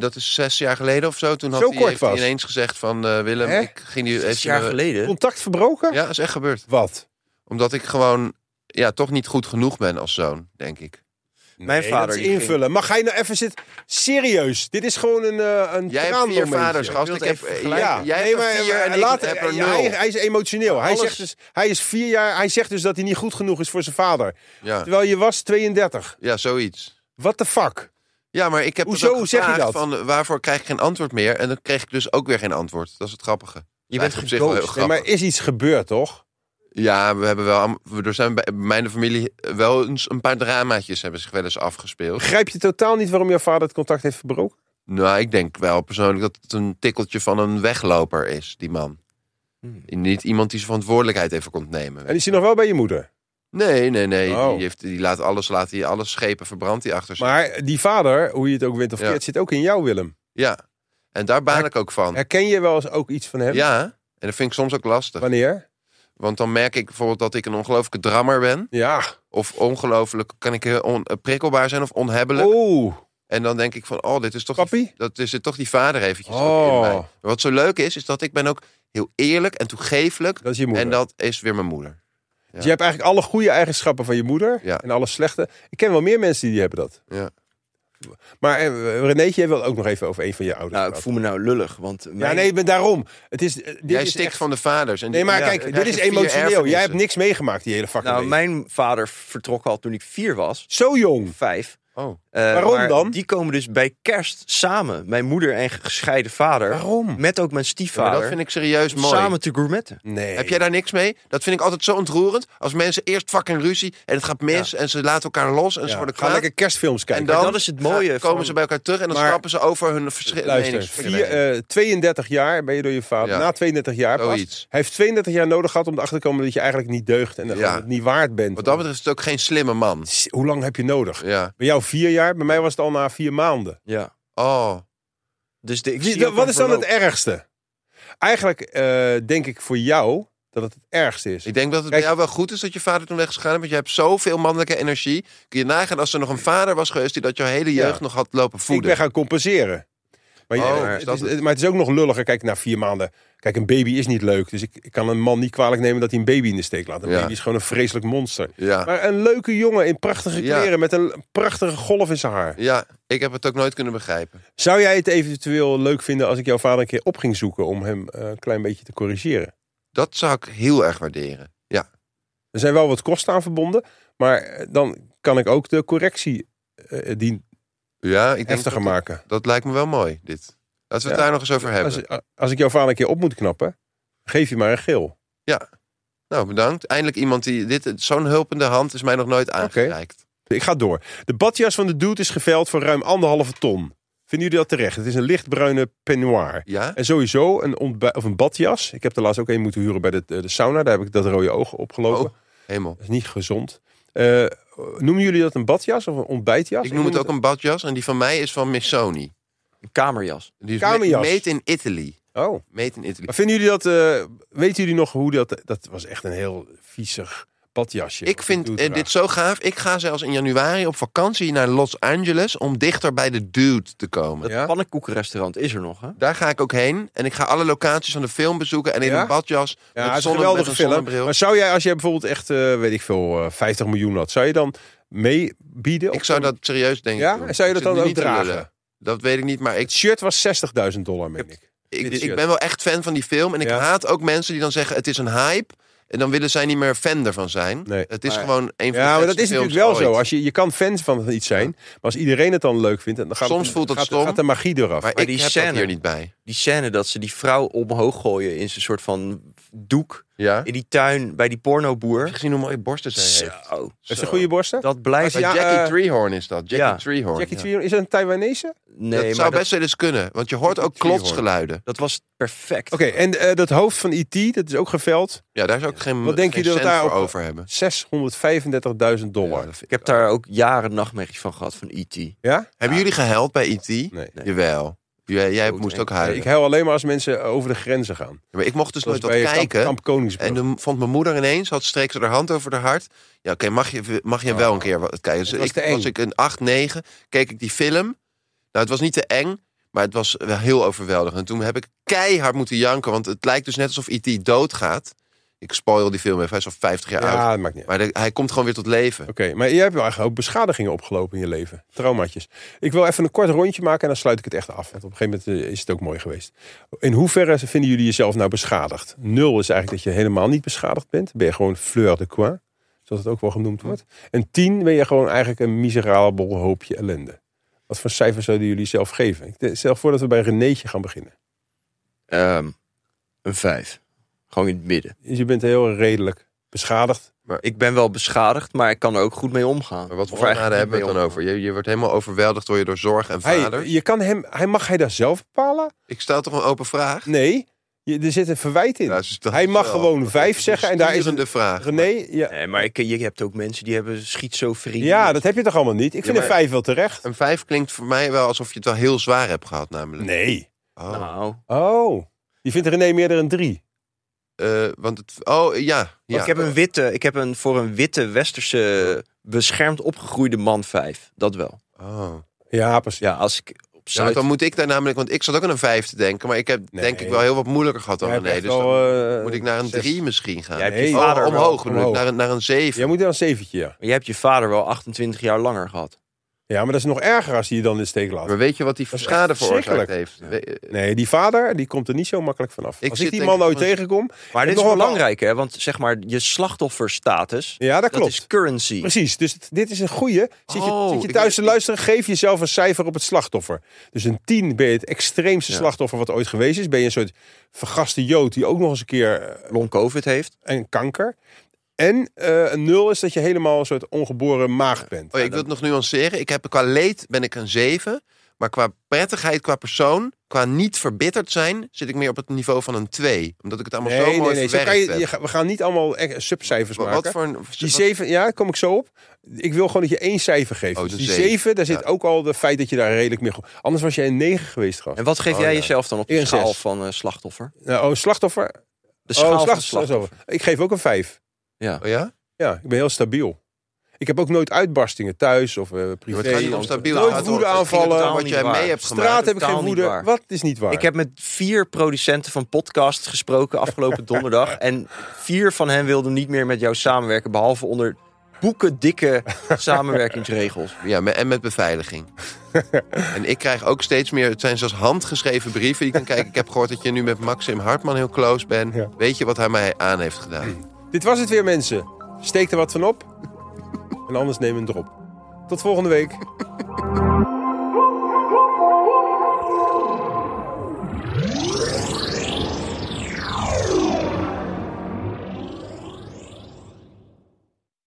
Speaker 3: dat is zes jaar geleden of zo. Toen had
Speaker 2: Zo
Speaker 3: hij,
Speaker 2: kort
Speaker 3: heeft hij
Speaker 2: vast.
Speaker 3: ineens gezegd van eh, Willem,
Speaker 2: Hè?
Speaker 3: ik ging die...
Speaker 4: Zes
Speaker 3: heeft hij
Speaker 4: jaar
Speaker 3: me-
Speaker 4: geleden?
Speaker 2: Contact verbroken?
Speaker 3: Ja, is echt gebeurd.
Speaker 2: Wat?
Speaker 3: Omdat ik gewoon ja, toch niet goed genoeg ben als zoon, denk ik.
Speaker 4: Mijn vader
Speaker 2: dat is
Speaker 4: die ging-
Speaker 2: invullen. Mag jij nou even zitten? Serieus, dit is gewoon een, eh een
Speaker 3: Jij hebt vier
Speaker 2: traanmomentje.
Speaker 3: vaders, gast. Ik
Speaker 4: het
Speaker 3: heb,
Speaker 4: even
Speaker 3: eh,
Speaker 4: vergelijken.
Speaker 3: jij, jij hebt er
Speaker 2: maar-
Speaker 3: vier
Speaker 2: maar
Speaker 3: en ik
Speaker 2: later-
Speaker 3: heb er
Speaker 2: ja, hij,
Speaker 3: nul.
Speaker 2: hij is emotioneel. Hij,
Speaker 3: Alles-
Speaker 2: zegt dus, hij is vier jaar. Hij zegt dus dat hij niet goed genoeg is voor zijn vader.
Speaker 3: Ja,
Speaker 2: Terwijl je was 32.
Speaker 3: ja, zoiets.
Speaker 2: What the fuck?
Speaker 3: Ja, maar ik heb het
Speaker 2: Hoezo
Speaker 3: ook
Speaker 2: zeg je
Speaker 3: gevraagd
Speaker 2: dat?
Speaker 3: van eh, waarvoor krijg ik geen antwoord meer? En dan kreeg ik dus ook weer geen antwoord. Dat is het grappige.
Speaker 4: Je
Speaker 3: Dat
Speaker 4: bent
Speaker 3: is op zich wel heel
Speaker 4: geghost.
Speaker 2: Nee,
Speaker 3: Grappig.
Speaker 2: maar er is iets gebeurd, toch?
Speaker 3: Ja, we hebben wel, am- we- er zijn bij bij mijn familie wel eens een paar dramaatjes hebben zich wel eens afgespeeld.
Speaker 2: Begrijp je totaal niet waarom jouw vader het contact heeft verbroken?
Speaker 3: Nou, ik denk wel persoonlijk dat het een tikkeltje van een wegloper is, die man.
Speaker 4: Hmm.
Speaker 3: Niet iemand die zijn verantwoordelijkheid even komt nemen.
Speaker 2: En is hij nog wel bij je moeder?
Speaker 3: Nee, nee, nee.
Speaker 2: Oh.
Speaker 3: Die, heeft, die laat alles, laat die alles schepen, verbrandt die achter zich.
Speaker 2: Maar die vader, hoe je het ook wint of
Speaker 3: Ja.
Speaker 2: keert, zit ook in jou, Willem.
Speaker 3: Ja, en daar baan ik ook van.
Speaker 2: Herken je wel eens ook iets van hem?
Speaker 3: Ja, en dat vind ik soms ook lastig.
Speaker 2: Wanneer?
Speaker 3: Want dan merk ik bijvoorbeeld dat ik een ongelooflijke drammer ben.
Speaker 2: Ja.
Speaker 3: Of ongelooflijk, kan ik heel on- eh, prikkelbaar zijn of onhebbelijk.
Speaker 2: Oeh.
Speaker 3: En dan denk ik van, oh, dit is toch,
Speaker 2: Oh. Papi?
Speaker 3: dat is het toch die vader eventjes ook in
Speaker 2: Oh.
Speaker 3: mij. Maar Wat zo leuk is, is dat ik ben ook heel eerlijk en toegefelijk.
Speaker 2: Dat is je moeder.
Speaker 3: En dat is weer mijn moeder.
Speaker 2: Dus je hebt eigenlijk alle goede eigenschappen van je moeder
Speaker 3: Ja.
Speaker 2: en alle slechte. Ik ken wel meer mensen die die hebben dat.
Speaker 3: Ja.
Speaker 2: Maar eh, Renéetje, jij wil ook nog even over een van je ouders.
Speaker 4: Nou, ik
Speaker 2: praten.
Speaker 4: voel me nou lullig, want
Speaker 2: ja,
Speaker 4: mijn-
Speaker 2: nee, maar daarom. Het is, eh, dit
Speaker 3: Jij
Speaker 2: is
Speaker 3: stikt
Speaker 2: echt-
Speaker 3: van de vaders. En
Speaker 2: Nee, maar
Speaker 3: ja, dan
Speaker 2: kijk, dit
Speaker 3: krijg
Speaker 2: is
Speaker 3: je vier
Speaker 2: emotioneel. Jij
Speaker 3: erfenissen.
Speaker 2: hebt niks meegemaakt die hele fucking
Speaker 4: nou,
Speaker 2: leven.
Speaker 4: mijn vader vertrok al toen ik vier was,
Speaker 2: Zo jong.
Speaker 4: vijf.
Speaker 3: Oh.
Speaker 4: Eh,
Speaker 2: Waarom
Speaker 4: maar
Speaker 2: dan?
Speaker 4: Die komen dus bij kerst samen, mijn moeder en gescheiden vader,
Speaker 2: Waarom?
Speaker 4: met ook mijn
Speaker 3: Ja, maar
Speaker 4: stiefvader,
Speaker 3: dat vind ik serieus mooi.
Speaker 4: samen te gourmetten.
Speaker 2: Nee.
Speaker 3: Heb jij daar niks mee? Dat vind ik altijd zo ontroerend. Als mensen eerst fucking ruzie en het gaat mis en ze laten elkaar los en ze
Speaker 2: Ja,
Speaker 3: worden
Speaker 2: Ga
Speaker 3: kwaad.
Speaker 2: lekker kerstfilms
Speaker 3: en
Speaker 2: kijken.
Speaker 3: dan
Speaker 4: dat is het mooie
Speaker 3: gaan- komen
Speaker 4: van-
Speaker 3: ze bij elkaar terug en dan
Speaker 2: Maar-
Speaker 3: schrappen ze over hun verschillende
Speaker 2: Luister,
Speaker 3: meningsverschillen.
Speaker 2: vier, eh, 32 jaar ben je door je vader.
Speaker 3: Ja.
Speaker 2: Na 32 jaar pas.
Speaker 3: Zoiets.
Speaker 2: Hij heeft 32 jaar nodig gehad om erachter te komen dat je eigenlijk niet deugt. En dat
Speaker 3: Ja.
Speaker 2: je het niet waard bent.
Speaker 3: Wat dat betreft is het ook geen slimme man.
Speaker 2: Hoe lang heb je nodig?
Speaker 3: Ja.
Speaker 2: Bij jou vier jaar, bij mij was het al na vier maanden.
Speaker 4: Ja.
Speaker 3: Oh.
Speaker 4: Dus de, ik
Speaker 2: Wie-
Speaker 4: zie ook
Speaker 2: wat
Speaker 4: een
Speaker 2: is dan het
Speaker 4: verloop.
Speaker 2: ergste? Eigenlijk eh, denk ik voor jou dat het het ergste is.
Speaker 3: Ik denk dat het bij
Speaker 2: Kijk-
Speaker 3: jou wel goed is dat je vader toen weg is gegaan. Want je hebt zoveel mannelijke energie. Kun je nagaan als er nog een vader was geweest die dat jouw hele jeugd nog had lopen
Speaker 2: Ik ben
Speaker 3: voeden.
Speaker 2: gaan compenseren. Maar, je- eh,
Speaker 3: Oh,
Speaker 2: het
Speaker 3: is dat
Speaker 2: is-
Speaker 3: het?
Speaker 2: maar het is ook nog lulliger. Kijk, na vier maanden. Kijk, een baby is niet leuk. Dus ik, ik kan een man niet kwalijk nemen dat hij een baby in de steek laat. Een
Speaker 3: Ja.
Speaker 2: baby is gewoon een vreselijk monster.
Speaker 3: Ja.
Speaker 2: Maar een leuke jongen in prachtige
Speaker 3: Ja.
Speaker 2: kleren met een prachtige golf in zijn haar.
Speaker 3: ja, ik heb het ook nooit kunnen begrijpen.
Speaker 2: Zou jij het eventueel leuk vinden als ik jouw vader een keer op ging zoeken om hem eh, een klein beetje te corrigeren?
Speaker 3: Dat zou ik heel erg waarderen. Ja.
Speaker 2: Er zijn wel wat kosten aan verbonden, maar eh, dan kan ik ook de correctie eh, die
Speaker 3: Ja, ik denk
Speaker 2: heftiger
Speaker 3: dat,
Speaker 2: maken.
Speaker 3: dat lijkt me wel mooi, dit. Laten we het
Speaker 2: Ja.
Speaker 3: daar nog eens over hebben.
Speaker 2: Als, als ik jouw vader een keer op moet knappen, geef je maar een geel.
Speaker 3: Nou, bedankt. Eindelijk iemand die dit... Zo'n hulpende hand is mij nog nooit aangereikt.
Speaker 2: Ik ga door. De badjas van de dude is geveild voor ruim anderhalve ton. Vinden jullie dat terecht? Het is een lichtbruine peignoir.
Speaker 3: Ja?
Speaker 2: En sowieso een, ontbij- of een badjas. Ik heb er laatst ook een moeten huren bij de, de sauna. Daar heb ik dat rode oog opgelopen.
Speaker 3: Oh, hemel.
Speaker 2: Dat is niet gezond. Eh, noemen jullie dat een badjas of een ontbijtjas?
Speaker 3: Ik noem het ook een badjas en die van mij is van Missoni.
Speaker 4: Een kamerjas.
Speaker 3: Die is
Speaker 2: e- Kamerjas.
Speaker 3: me- Made in Italy.
Speaker 2: Oh.
Speaker 3: Made in Italy.
Speaker 2: Maar vinden jullie dat... eh, weten jullie nog hoe dat... Dat was echt een heel viezig badjasje.
Speaker 3: Ik
Speaker 2: wat
Speaker 3: vind
Speaker 2: die dude
Speaker 3: eh, dit
Speaker 2: draagt.
Speaker 3: zo gaaf. Ik ga zelfs in januari op vakantie naar Los Angeles om dichter bij de dude te komen.
Speaker 4: Dat
Speaker 2: Ja?
Speaker 4: pannenkoekenrestaurant is er nog, hè?
Speaker 3: Daar ga ik ook heen en ik ga alle locaties van de film bezoeken en in
Speaker 2: Ja?
Speaker 3: een badjas
Speaker 2: Ja, het
Speaker 3: met,
Speaker 2: is een
Speaker 3: zonne- met
Speaker 2: geweldige
Speaker 3: een
Speaker 2: film.
Speaker 3: zonnebril.
Speaker 2: Maar zou jij, als jij bijvoorbeeld echt, eh, weet ik veel, eh, 50 miljoen had, zou je dan meebieden?
Speaker 3: Ik zou dat serieus denken.
Speaker 2: Ja,
Speaker 3: doen.
Speaker 2: en zou je
Speaker 3: Ik
Speaker 2: dat dan
Speaker 3: zit nu
Speaker 2: ook
Speaker 3: niet te lullen.
Speaker 2: dragen?
Speaker 3: Dat weet ik niet, maar ik,
Speaker 2: Het shirt was 60.000 dollar, meen ik.
Speaker 3: ik,
Speaker 2: Dit
Speaker 3: ik
Speaker 2: shirt.
Speaker 3: ben wel echt fan van die film. En ik
Speaker 2: Ja.
Speaker 3: haat ook mensen die dan zeggen het is een hype. En dan willen zij niet meer fan ervan zijn.
Speaker 2: Nee.
Speaker 3: Het is
Speaker 4: Maar-
Speaker 3: gewoon een van de
Speaker 2: Ja, maar dat
Speaker 3: vetste
Speaker 2: is natuurlijk
Speaker 3: films
Speaker 2: wel zo.
Speaker 3: ooit.
Speaker 2: Als je, je kan fan van iets zijn, maar als iedereen het dan leuk vindt, dan gaat,
Speaker 3: Soms voelt dat
Speaker 2: gaat,
Speaker 3: stom.
Speaker 2: gaat de magie eraf.
Speaker 3: Maar,
Speaker 4: Maar
Speaker 3: ik
Speaker 4: die
Speaker 3: heb dat
Speaker 4: scène-
Speaker 3: hier niet bij.
Speaker 4: Die scène dat ze die vrouw omhoog gooien in zo'n soort van doek
Speaker 3: Ja?
Speaker 4: in die tuin bij die
Speaker 3: Heb je
Speaker 4: pornoboer.
Speaker 3: gezien hoe mooie borsten zij heeft?
Speaker 4: Zo.
Speaker 2: Heeft ze goede borsten?
Speaker 4: Dat blijft...
Speaker 2: Ja,
Speaker 3: Bij Jackie
Speaker 2: eh,
Speaker 3: Treehorn is dat. Jackie
Speaker 4: ja.
Speaker 3: Treehorn.
Speaker 2: Jackie
Speaker 3: Ja.
Speaker 2: Treehorn, is dat een Taiwanese?
Speaker 4: nee,
Speaker 3: dat
Speaker 4: maar
Speaker 3: zou
Speaker 4: dat,
Speaker 3: best wel eens kunnen. Want je hoort ook
Speaker 2: Jackie Treehorn.
Speaker 3: klotsgeluiden.
Speaker 4: dat was perfect.
Speaker 2: Oké, en eh, dat hoofd van E.T., dat is ook geveld.
Speaker 3: Ja, daar zou ik geen,
Speaker 2: Wat denken
Speaker 3: geen
Speaker 2: jullie dat
Speaker 3: cent
Speaker 2: daar
Speaker 3: voor
Speaker 2: op-
Speaker 3: over hebben.
Speaker 2: 635.000 dollar.
Speaker 3: Ja, dat vind
Speaker 4: Ik heb daar ook jaren nachtmerries van gehad, van E E.T.
Speaker 2: Ja?
Speaker 3: Hebben jullie gehuild bij E.T.?
Speaker 2: Nee.
Speaker 3: Jawel. Jij, jij
Speaker 4: Goed,
Speaker 3: moest
Speaker 4: hè?
Speaker 3: ook huilen.
Speaker 2: Nou, Ik huil alleen maar als mensen over de grenzen gaan.
Speaker 3: Ja, maar ik mocht dus
Speaker 2: Zoals
Speaker 3: nooit wat
Speaker 2: bij Kamp,
Speaker 3: kijken.
Speaker 2: Kamp Koningsbrug.
Speaker 3: en dan vond mijn moeder ineens, had streek ze haar hand over haar hart. Ja, oké, mag je, mag je wel een keer wat kijken. Dus
Speaker 2: Het was
Speaker 3: ik,
Speaker 2: te eng.
Speaker 3: was ik een 8, 9, keek ik die film. Nou, het was niet te eng, maar het was wel heel overweldigend. En toen heb ik keihard moeten janken, want het lijkt dus net alsof E.T. doodgaat. Ik spoil die film even, hij is al 50 jaar
Speaker 2: ja,
Speaker 3: oud.
Speaker 2: dat maakt niet uit.
Speaker 3: Maar de- hij komt gewoon weer tot leven.
Speaker 2: Oké, maar jij hebt wel eigenlijk ook beschadigingen opgelopen in je leven. Traumaatjes. Ik wil even een kort rondje maken en dan sluit ik het echt af. Want op een gegeven moment eh, is het ook mooi geweest. In hoeverre vinden jullie jezelf nou beschadigd? Nul is eigenlijk dat je helemaal niet beschadigd bent. Ben je gewoon fleur de coin, zoals het ook wel genoemd wordt. En tien ben je gewoon eigenlijk een miserabel hoopje ellende. Wat voor cijfers zouden jullie zelf geven? Ik stel voor dat we bij Renéetje gaan beginnen.
Speaker 4: Ehm, een vijf. Gewoon in het midden.
Speaker 2: Dus Je bent heel redelijk beschadigd.
Speaker 4: Ik ben wel beschadigd, maar ik kan er ook goed mee omgaan.
Speaker 3: Maar wat voor
Speaker 4: Of eigenlijk
Speaker 3: voorraden
Speaker 4: niet
Speaker 3: hebben we
Speaker 4: mee
Speaker 3: het dan
Speaker 4: omgaan.
Speaker 3: over? Je, je wordt helemaal overweldigd door je door zorg en vader.
Speaker 2: Hij, je kan hem, hij, mag hij dat zelf bepalen?
Speaker 3: Ik stel toch een open vraag?
Speaker 2: Nee, je, er zit een verwijt in.
Speaker 3: Ja, dus dat
Speaker 2: Hij
Speaker 3: is
Speaker 2: mag
Speaker 3: wel
Speaker 2: gewoon vijf zeggen en daar is
Speaker 3: sturende
Speaker 2: een
Speaker 3: vraag.
Speaker 2: René, ja,
Speaker 4: Nee, maar ik, je hebt ook mensen die hebben schizofrenie.
Speaker 2: ja, dat heb je toch allemaal niet? Ik vind
Speaker 3: maar-
Speaker 2: een vijf wel terecht.
Speaker 3: Een vijf klinkt voor mij wel alsof je het wel heel zwaar hebt gehad, namelijk.
Speaker 2: Nee.
Speaker 3: Oh,
Speaker 4: Nou,
Speaker 2: Oh, je vindt René meer dan een drie.
Speaker 3: eh, want het, oh ja. ja.
Speaker 4: Ik heb een witte, ik heb een voor een witte westerse beschermd opgegroeide man vijf. Dat wel.
Speaker 3: Oh.
Speaker 2: Ja, precies.
Speaker 4: Ja, als ik op
Speaker 3: Ja, want
Speaker 4: Zuid...
Speaker 3: dan moet ik daar namelijk, want ik zat ook aan een vijf te denken, maar ik heb
Speaker 2: Nee.
Speaker 3: denk ik wel heel wat moeilijker gehad dan
Speaker 2: Jij hebt
Speaker 3: René.
Speaker 2: echt
Speaker 3: Dus
Speaker 2: wel,
Speaker 3: dan
Speaker 2: eh,
Speaker 3: moet ik naar een
Speaker 2: zes.
Speaker 3: drie misschien gaan.
Speaker 4: Jij hebt
Speaker 2: Nee.
Speaker 4: je
Speaker 3: Oh,
Speaker 4: vader wel-
Speaker 3: omhoog, bedoel ik,
Speaker 2: omhoog.
Speaker 3: Naar, een, naar een zeven.
Speaker 2: Jij moet dan een zeventje, ja.
Speaker 4: maar jij hebt je vader wel 28 jaar langer gehad.
Speaker 2: Ja, maar dat is nog erger als hij je dan in de steek laat.
Speaker 3: Maar weet je wat die
Speaker 2: Dat is
Speaker 3: schade
Speaker 2: echt
Speaker 3: veroorzaakt
Speaker 2: verschrikkelijk.
Speaker 3: heeft? We- eh,
Speaker 2: Nee, die vader, die komt er niet zo makkelijk vanaf.
Speaker 3: Ik
Speaker 2: als
Speaker 3: zit
Speaker 2: ik die
Speaker 3: denk
Speaker 2: man
Speaker 3: ik
Speaker 2: ooit
Speaker 3: gewoon-
Speaker 2: tegenkom...
Speaker 4: Maar dit is
Speaker 2: nog een
Speaker 4: belangrijk, hè? Want zeg maar, je slachtofferstatus,
Speaker 2: Ja, dat
Speaker 4: dat
Speaker 2: klopt.
Speaker 4: is currency.
Speaker 2: Precies, dus het- dit is een goeie. Zit je,
Speaker 3: Oh,
Speaker 2: zit je
Speaker 3: ik-
Speaker 2: thuis te luisteren, geef jezelf een cijfer op het slachtoffer. Dus een 10 ben je het extreemste
Speaker 3: Ja.
Speaker 2: slachtoffer wat ooit geweest is. Ben je een soort vergaste jood die ook nog eens een keer eh,
Speaker 4: Long COVID heeft.
Speaker 2: en kanker. En eh, een nul is dat je helemaal een soort ongeboren maagd bent. Nou,
Speaker 3: Oh, ik wil het nog nuanceren. Ik heb, qua leed ben ik een 7. Maar qua prettigheid, qua persoon, qua niet verbitterd zijn, zit ik meer op het niveau van een 2. Omdat ik het allemaal zo mooi
Speaker 2: Zo kan
Speaker 3: verwerkt
Speaker 2: je,
Speaker 3: heb.
Speaker 2: je ga- we gaan niet allemaal echt subcijfers
Speaker 3: Wa-
Speaker 2: maken.
Speaker 3: Wat voor een...
Speaker 2: Die
Speaker 3: wat-
Speaker 2: zeven, ja, daar kom ik zo op. Ik wil gewoon dat je één cijfer geeft.
Speaker 3: Oh,
Speaker 2: Dus
Speaker 3: de
Speaker 2: die
Speaker 3: zeven.
Speaker 2: zeven, daar
Speaker 3: Ja.
Speaker 2: zit ook al de feit dat je daar redelijk mee... goed- Anders was jij een negen geweest, gast.
Speaker 4: En wat geef
Speaker 3: Oh,
Speaker 4: jij
Speaker 3: ja.
Speaker 4: jezelf dan op
Speaker 2: Ik
Speaker 4: de
Speaker 2: een
Speaker 4: schaal
Speaker 2: zes.
Speaker 4: van eh, slachtoffer?
Speaker 2: Nou, oh, slachtoffer.
Speaker 4: De schaal
Speaker 2: oh,
Speaker 4: van
Speaker 2: slacht-
Speaker 4: slachtoffer.
Speaker 2: slachtoffer. Ik geef ook een vijf.
Speaker 4: Ja.
Speaker 3: Oh ja?
Speaker 2: Ja, ik ben heel stabiel. Ik heb ook nooit uitbarstingen thuis of eh, privé.
Speaker 3: Maar het gaat niet om
Speaker 2: of-
Speaker 3: stabiel.
Speaker 2: Nooit
Speaker 3: Het gaat om-
Speaker 2: woedeaanvallen.
Speaker 3: het ging om Wat
Speaker 4: Niet
Speaker 3: jij
Speaker 4: waar.
Speaker 3: mee hebt
Speaker 2: Straat
Speaker 3: gemaakt.
Speaker 2: heb ik geen
Speaker 4: Totaal niet
Speaker 2: woede.
Speaker 4: waar.
Speaker 2: Wat is niet waar?
Speaker 4: Ik heb met vier producenten van podcasts gesproken afgelopen donderdag. En vier van hen wilden niet meer met jou samenwerken. Behalve onder boekendikke samenwerkingsregels.
Speaker 3: Ja, me- en met beveiliging. en ik krijg ook steeds meer... Het zijn zelfs handgeschreven brieven. Die ik kan kijken. Ik heb gehoord dat je nu met Maxim Hartman heel close bent.
Speaker 2: Ja.
Speaker 3: Weet je wat hij mij aan heeft gedaan?
Speaker 2: Dit was het weer, mensen. Steek er wat van op. En anders neem een drop. Tot volgende week.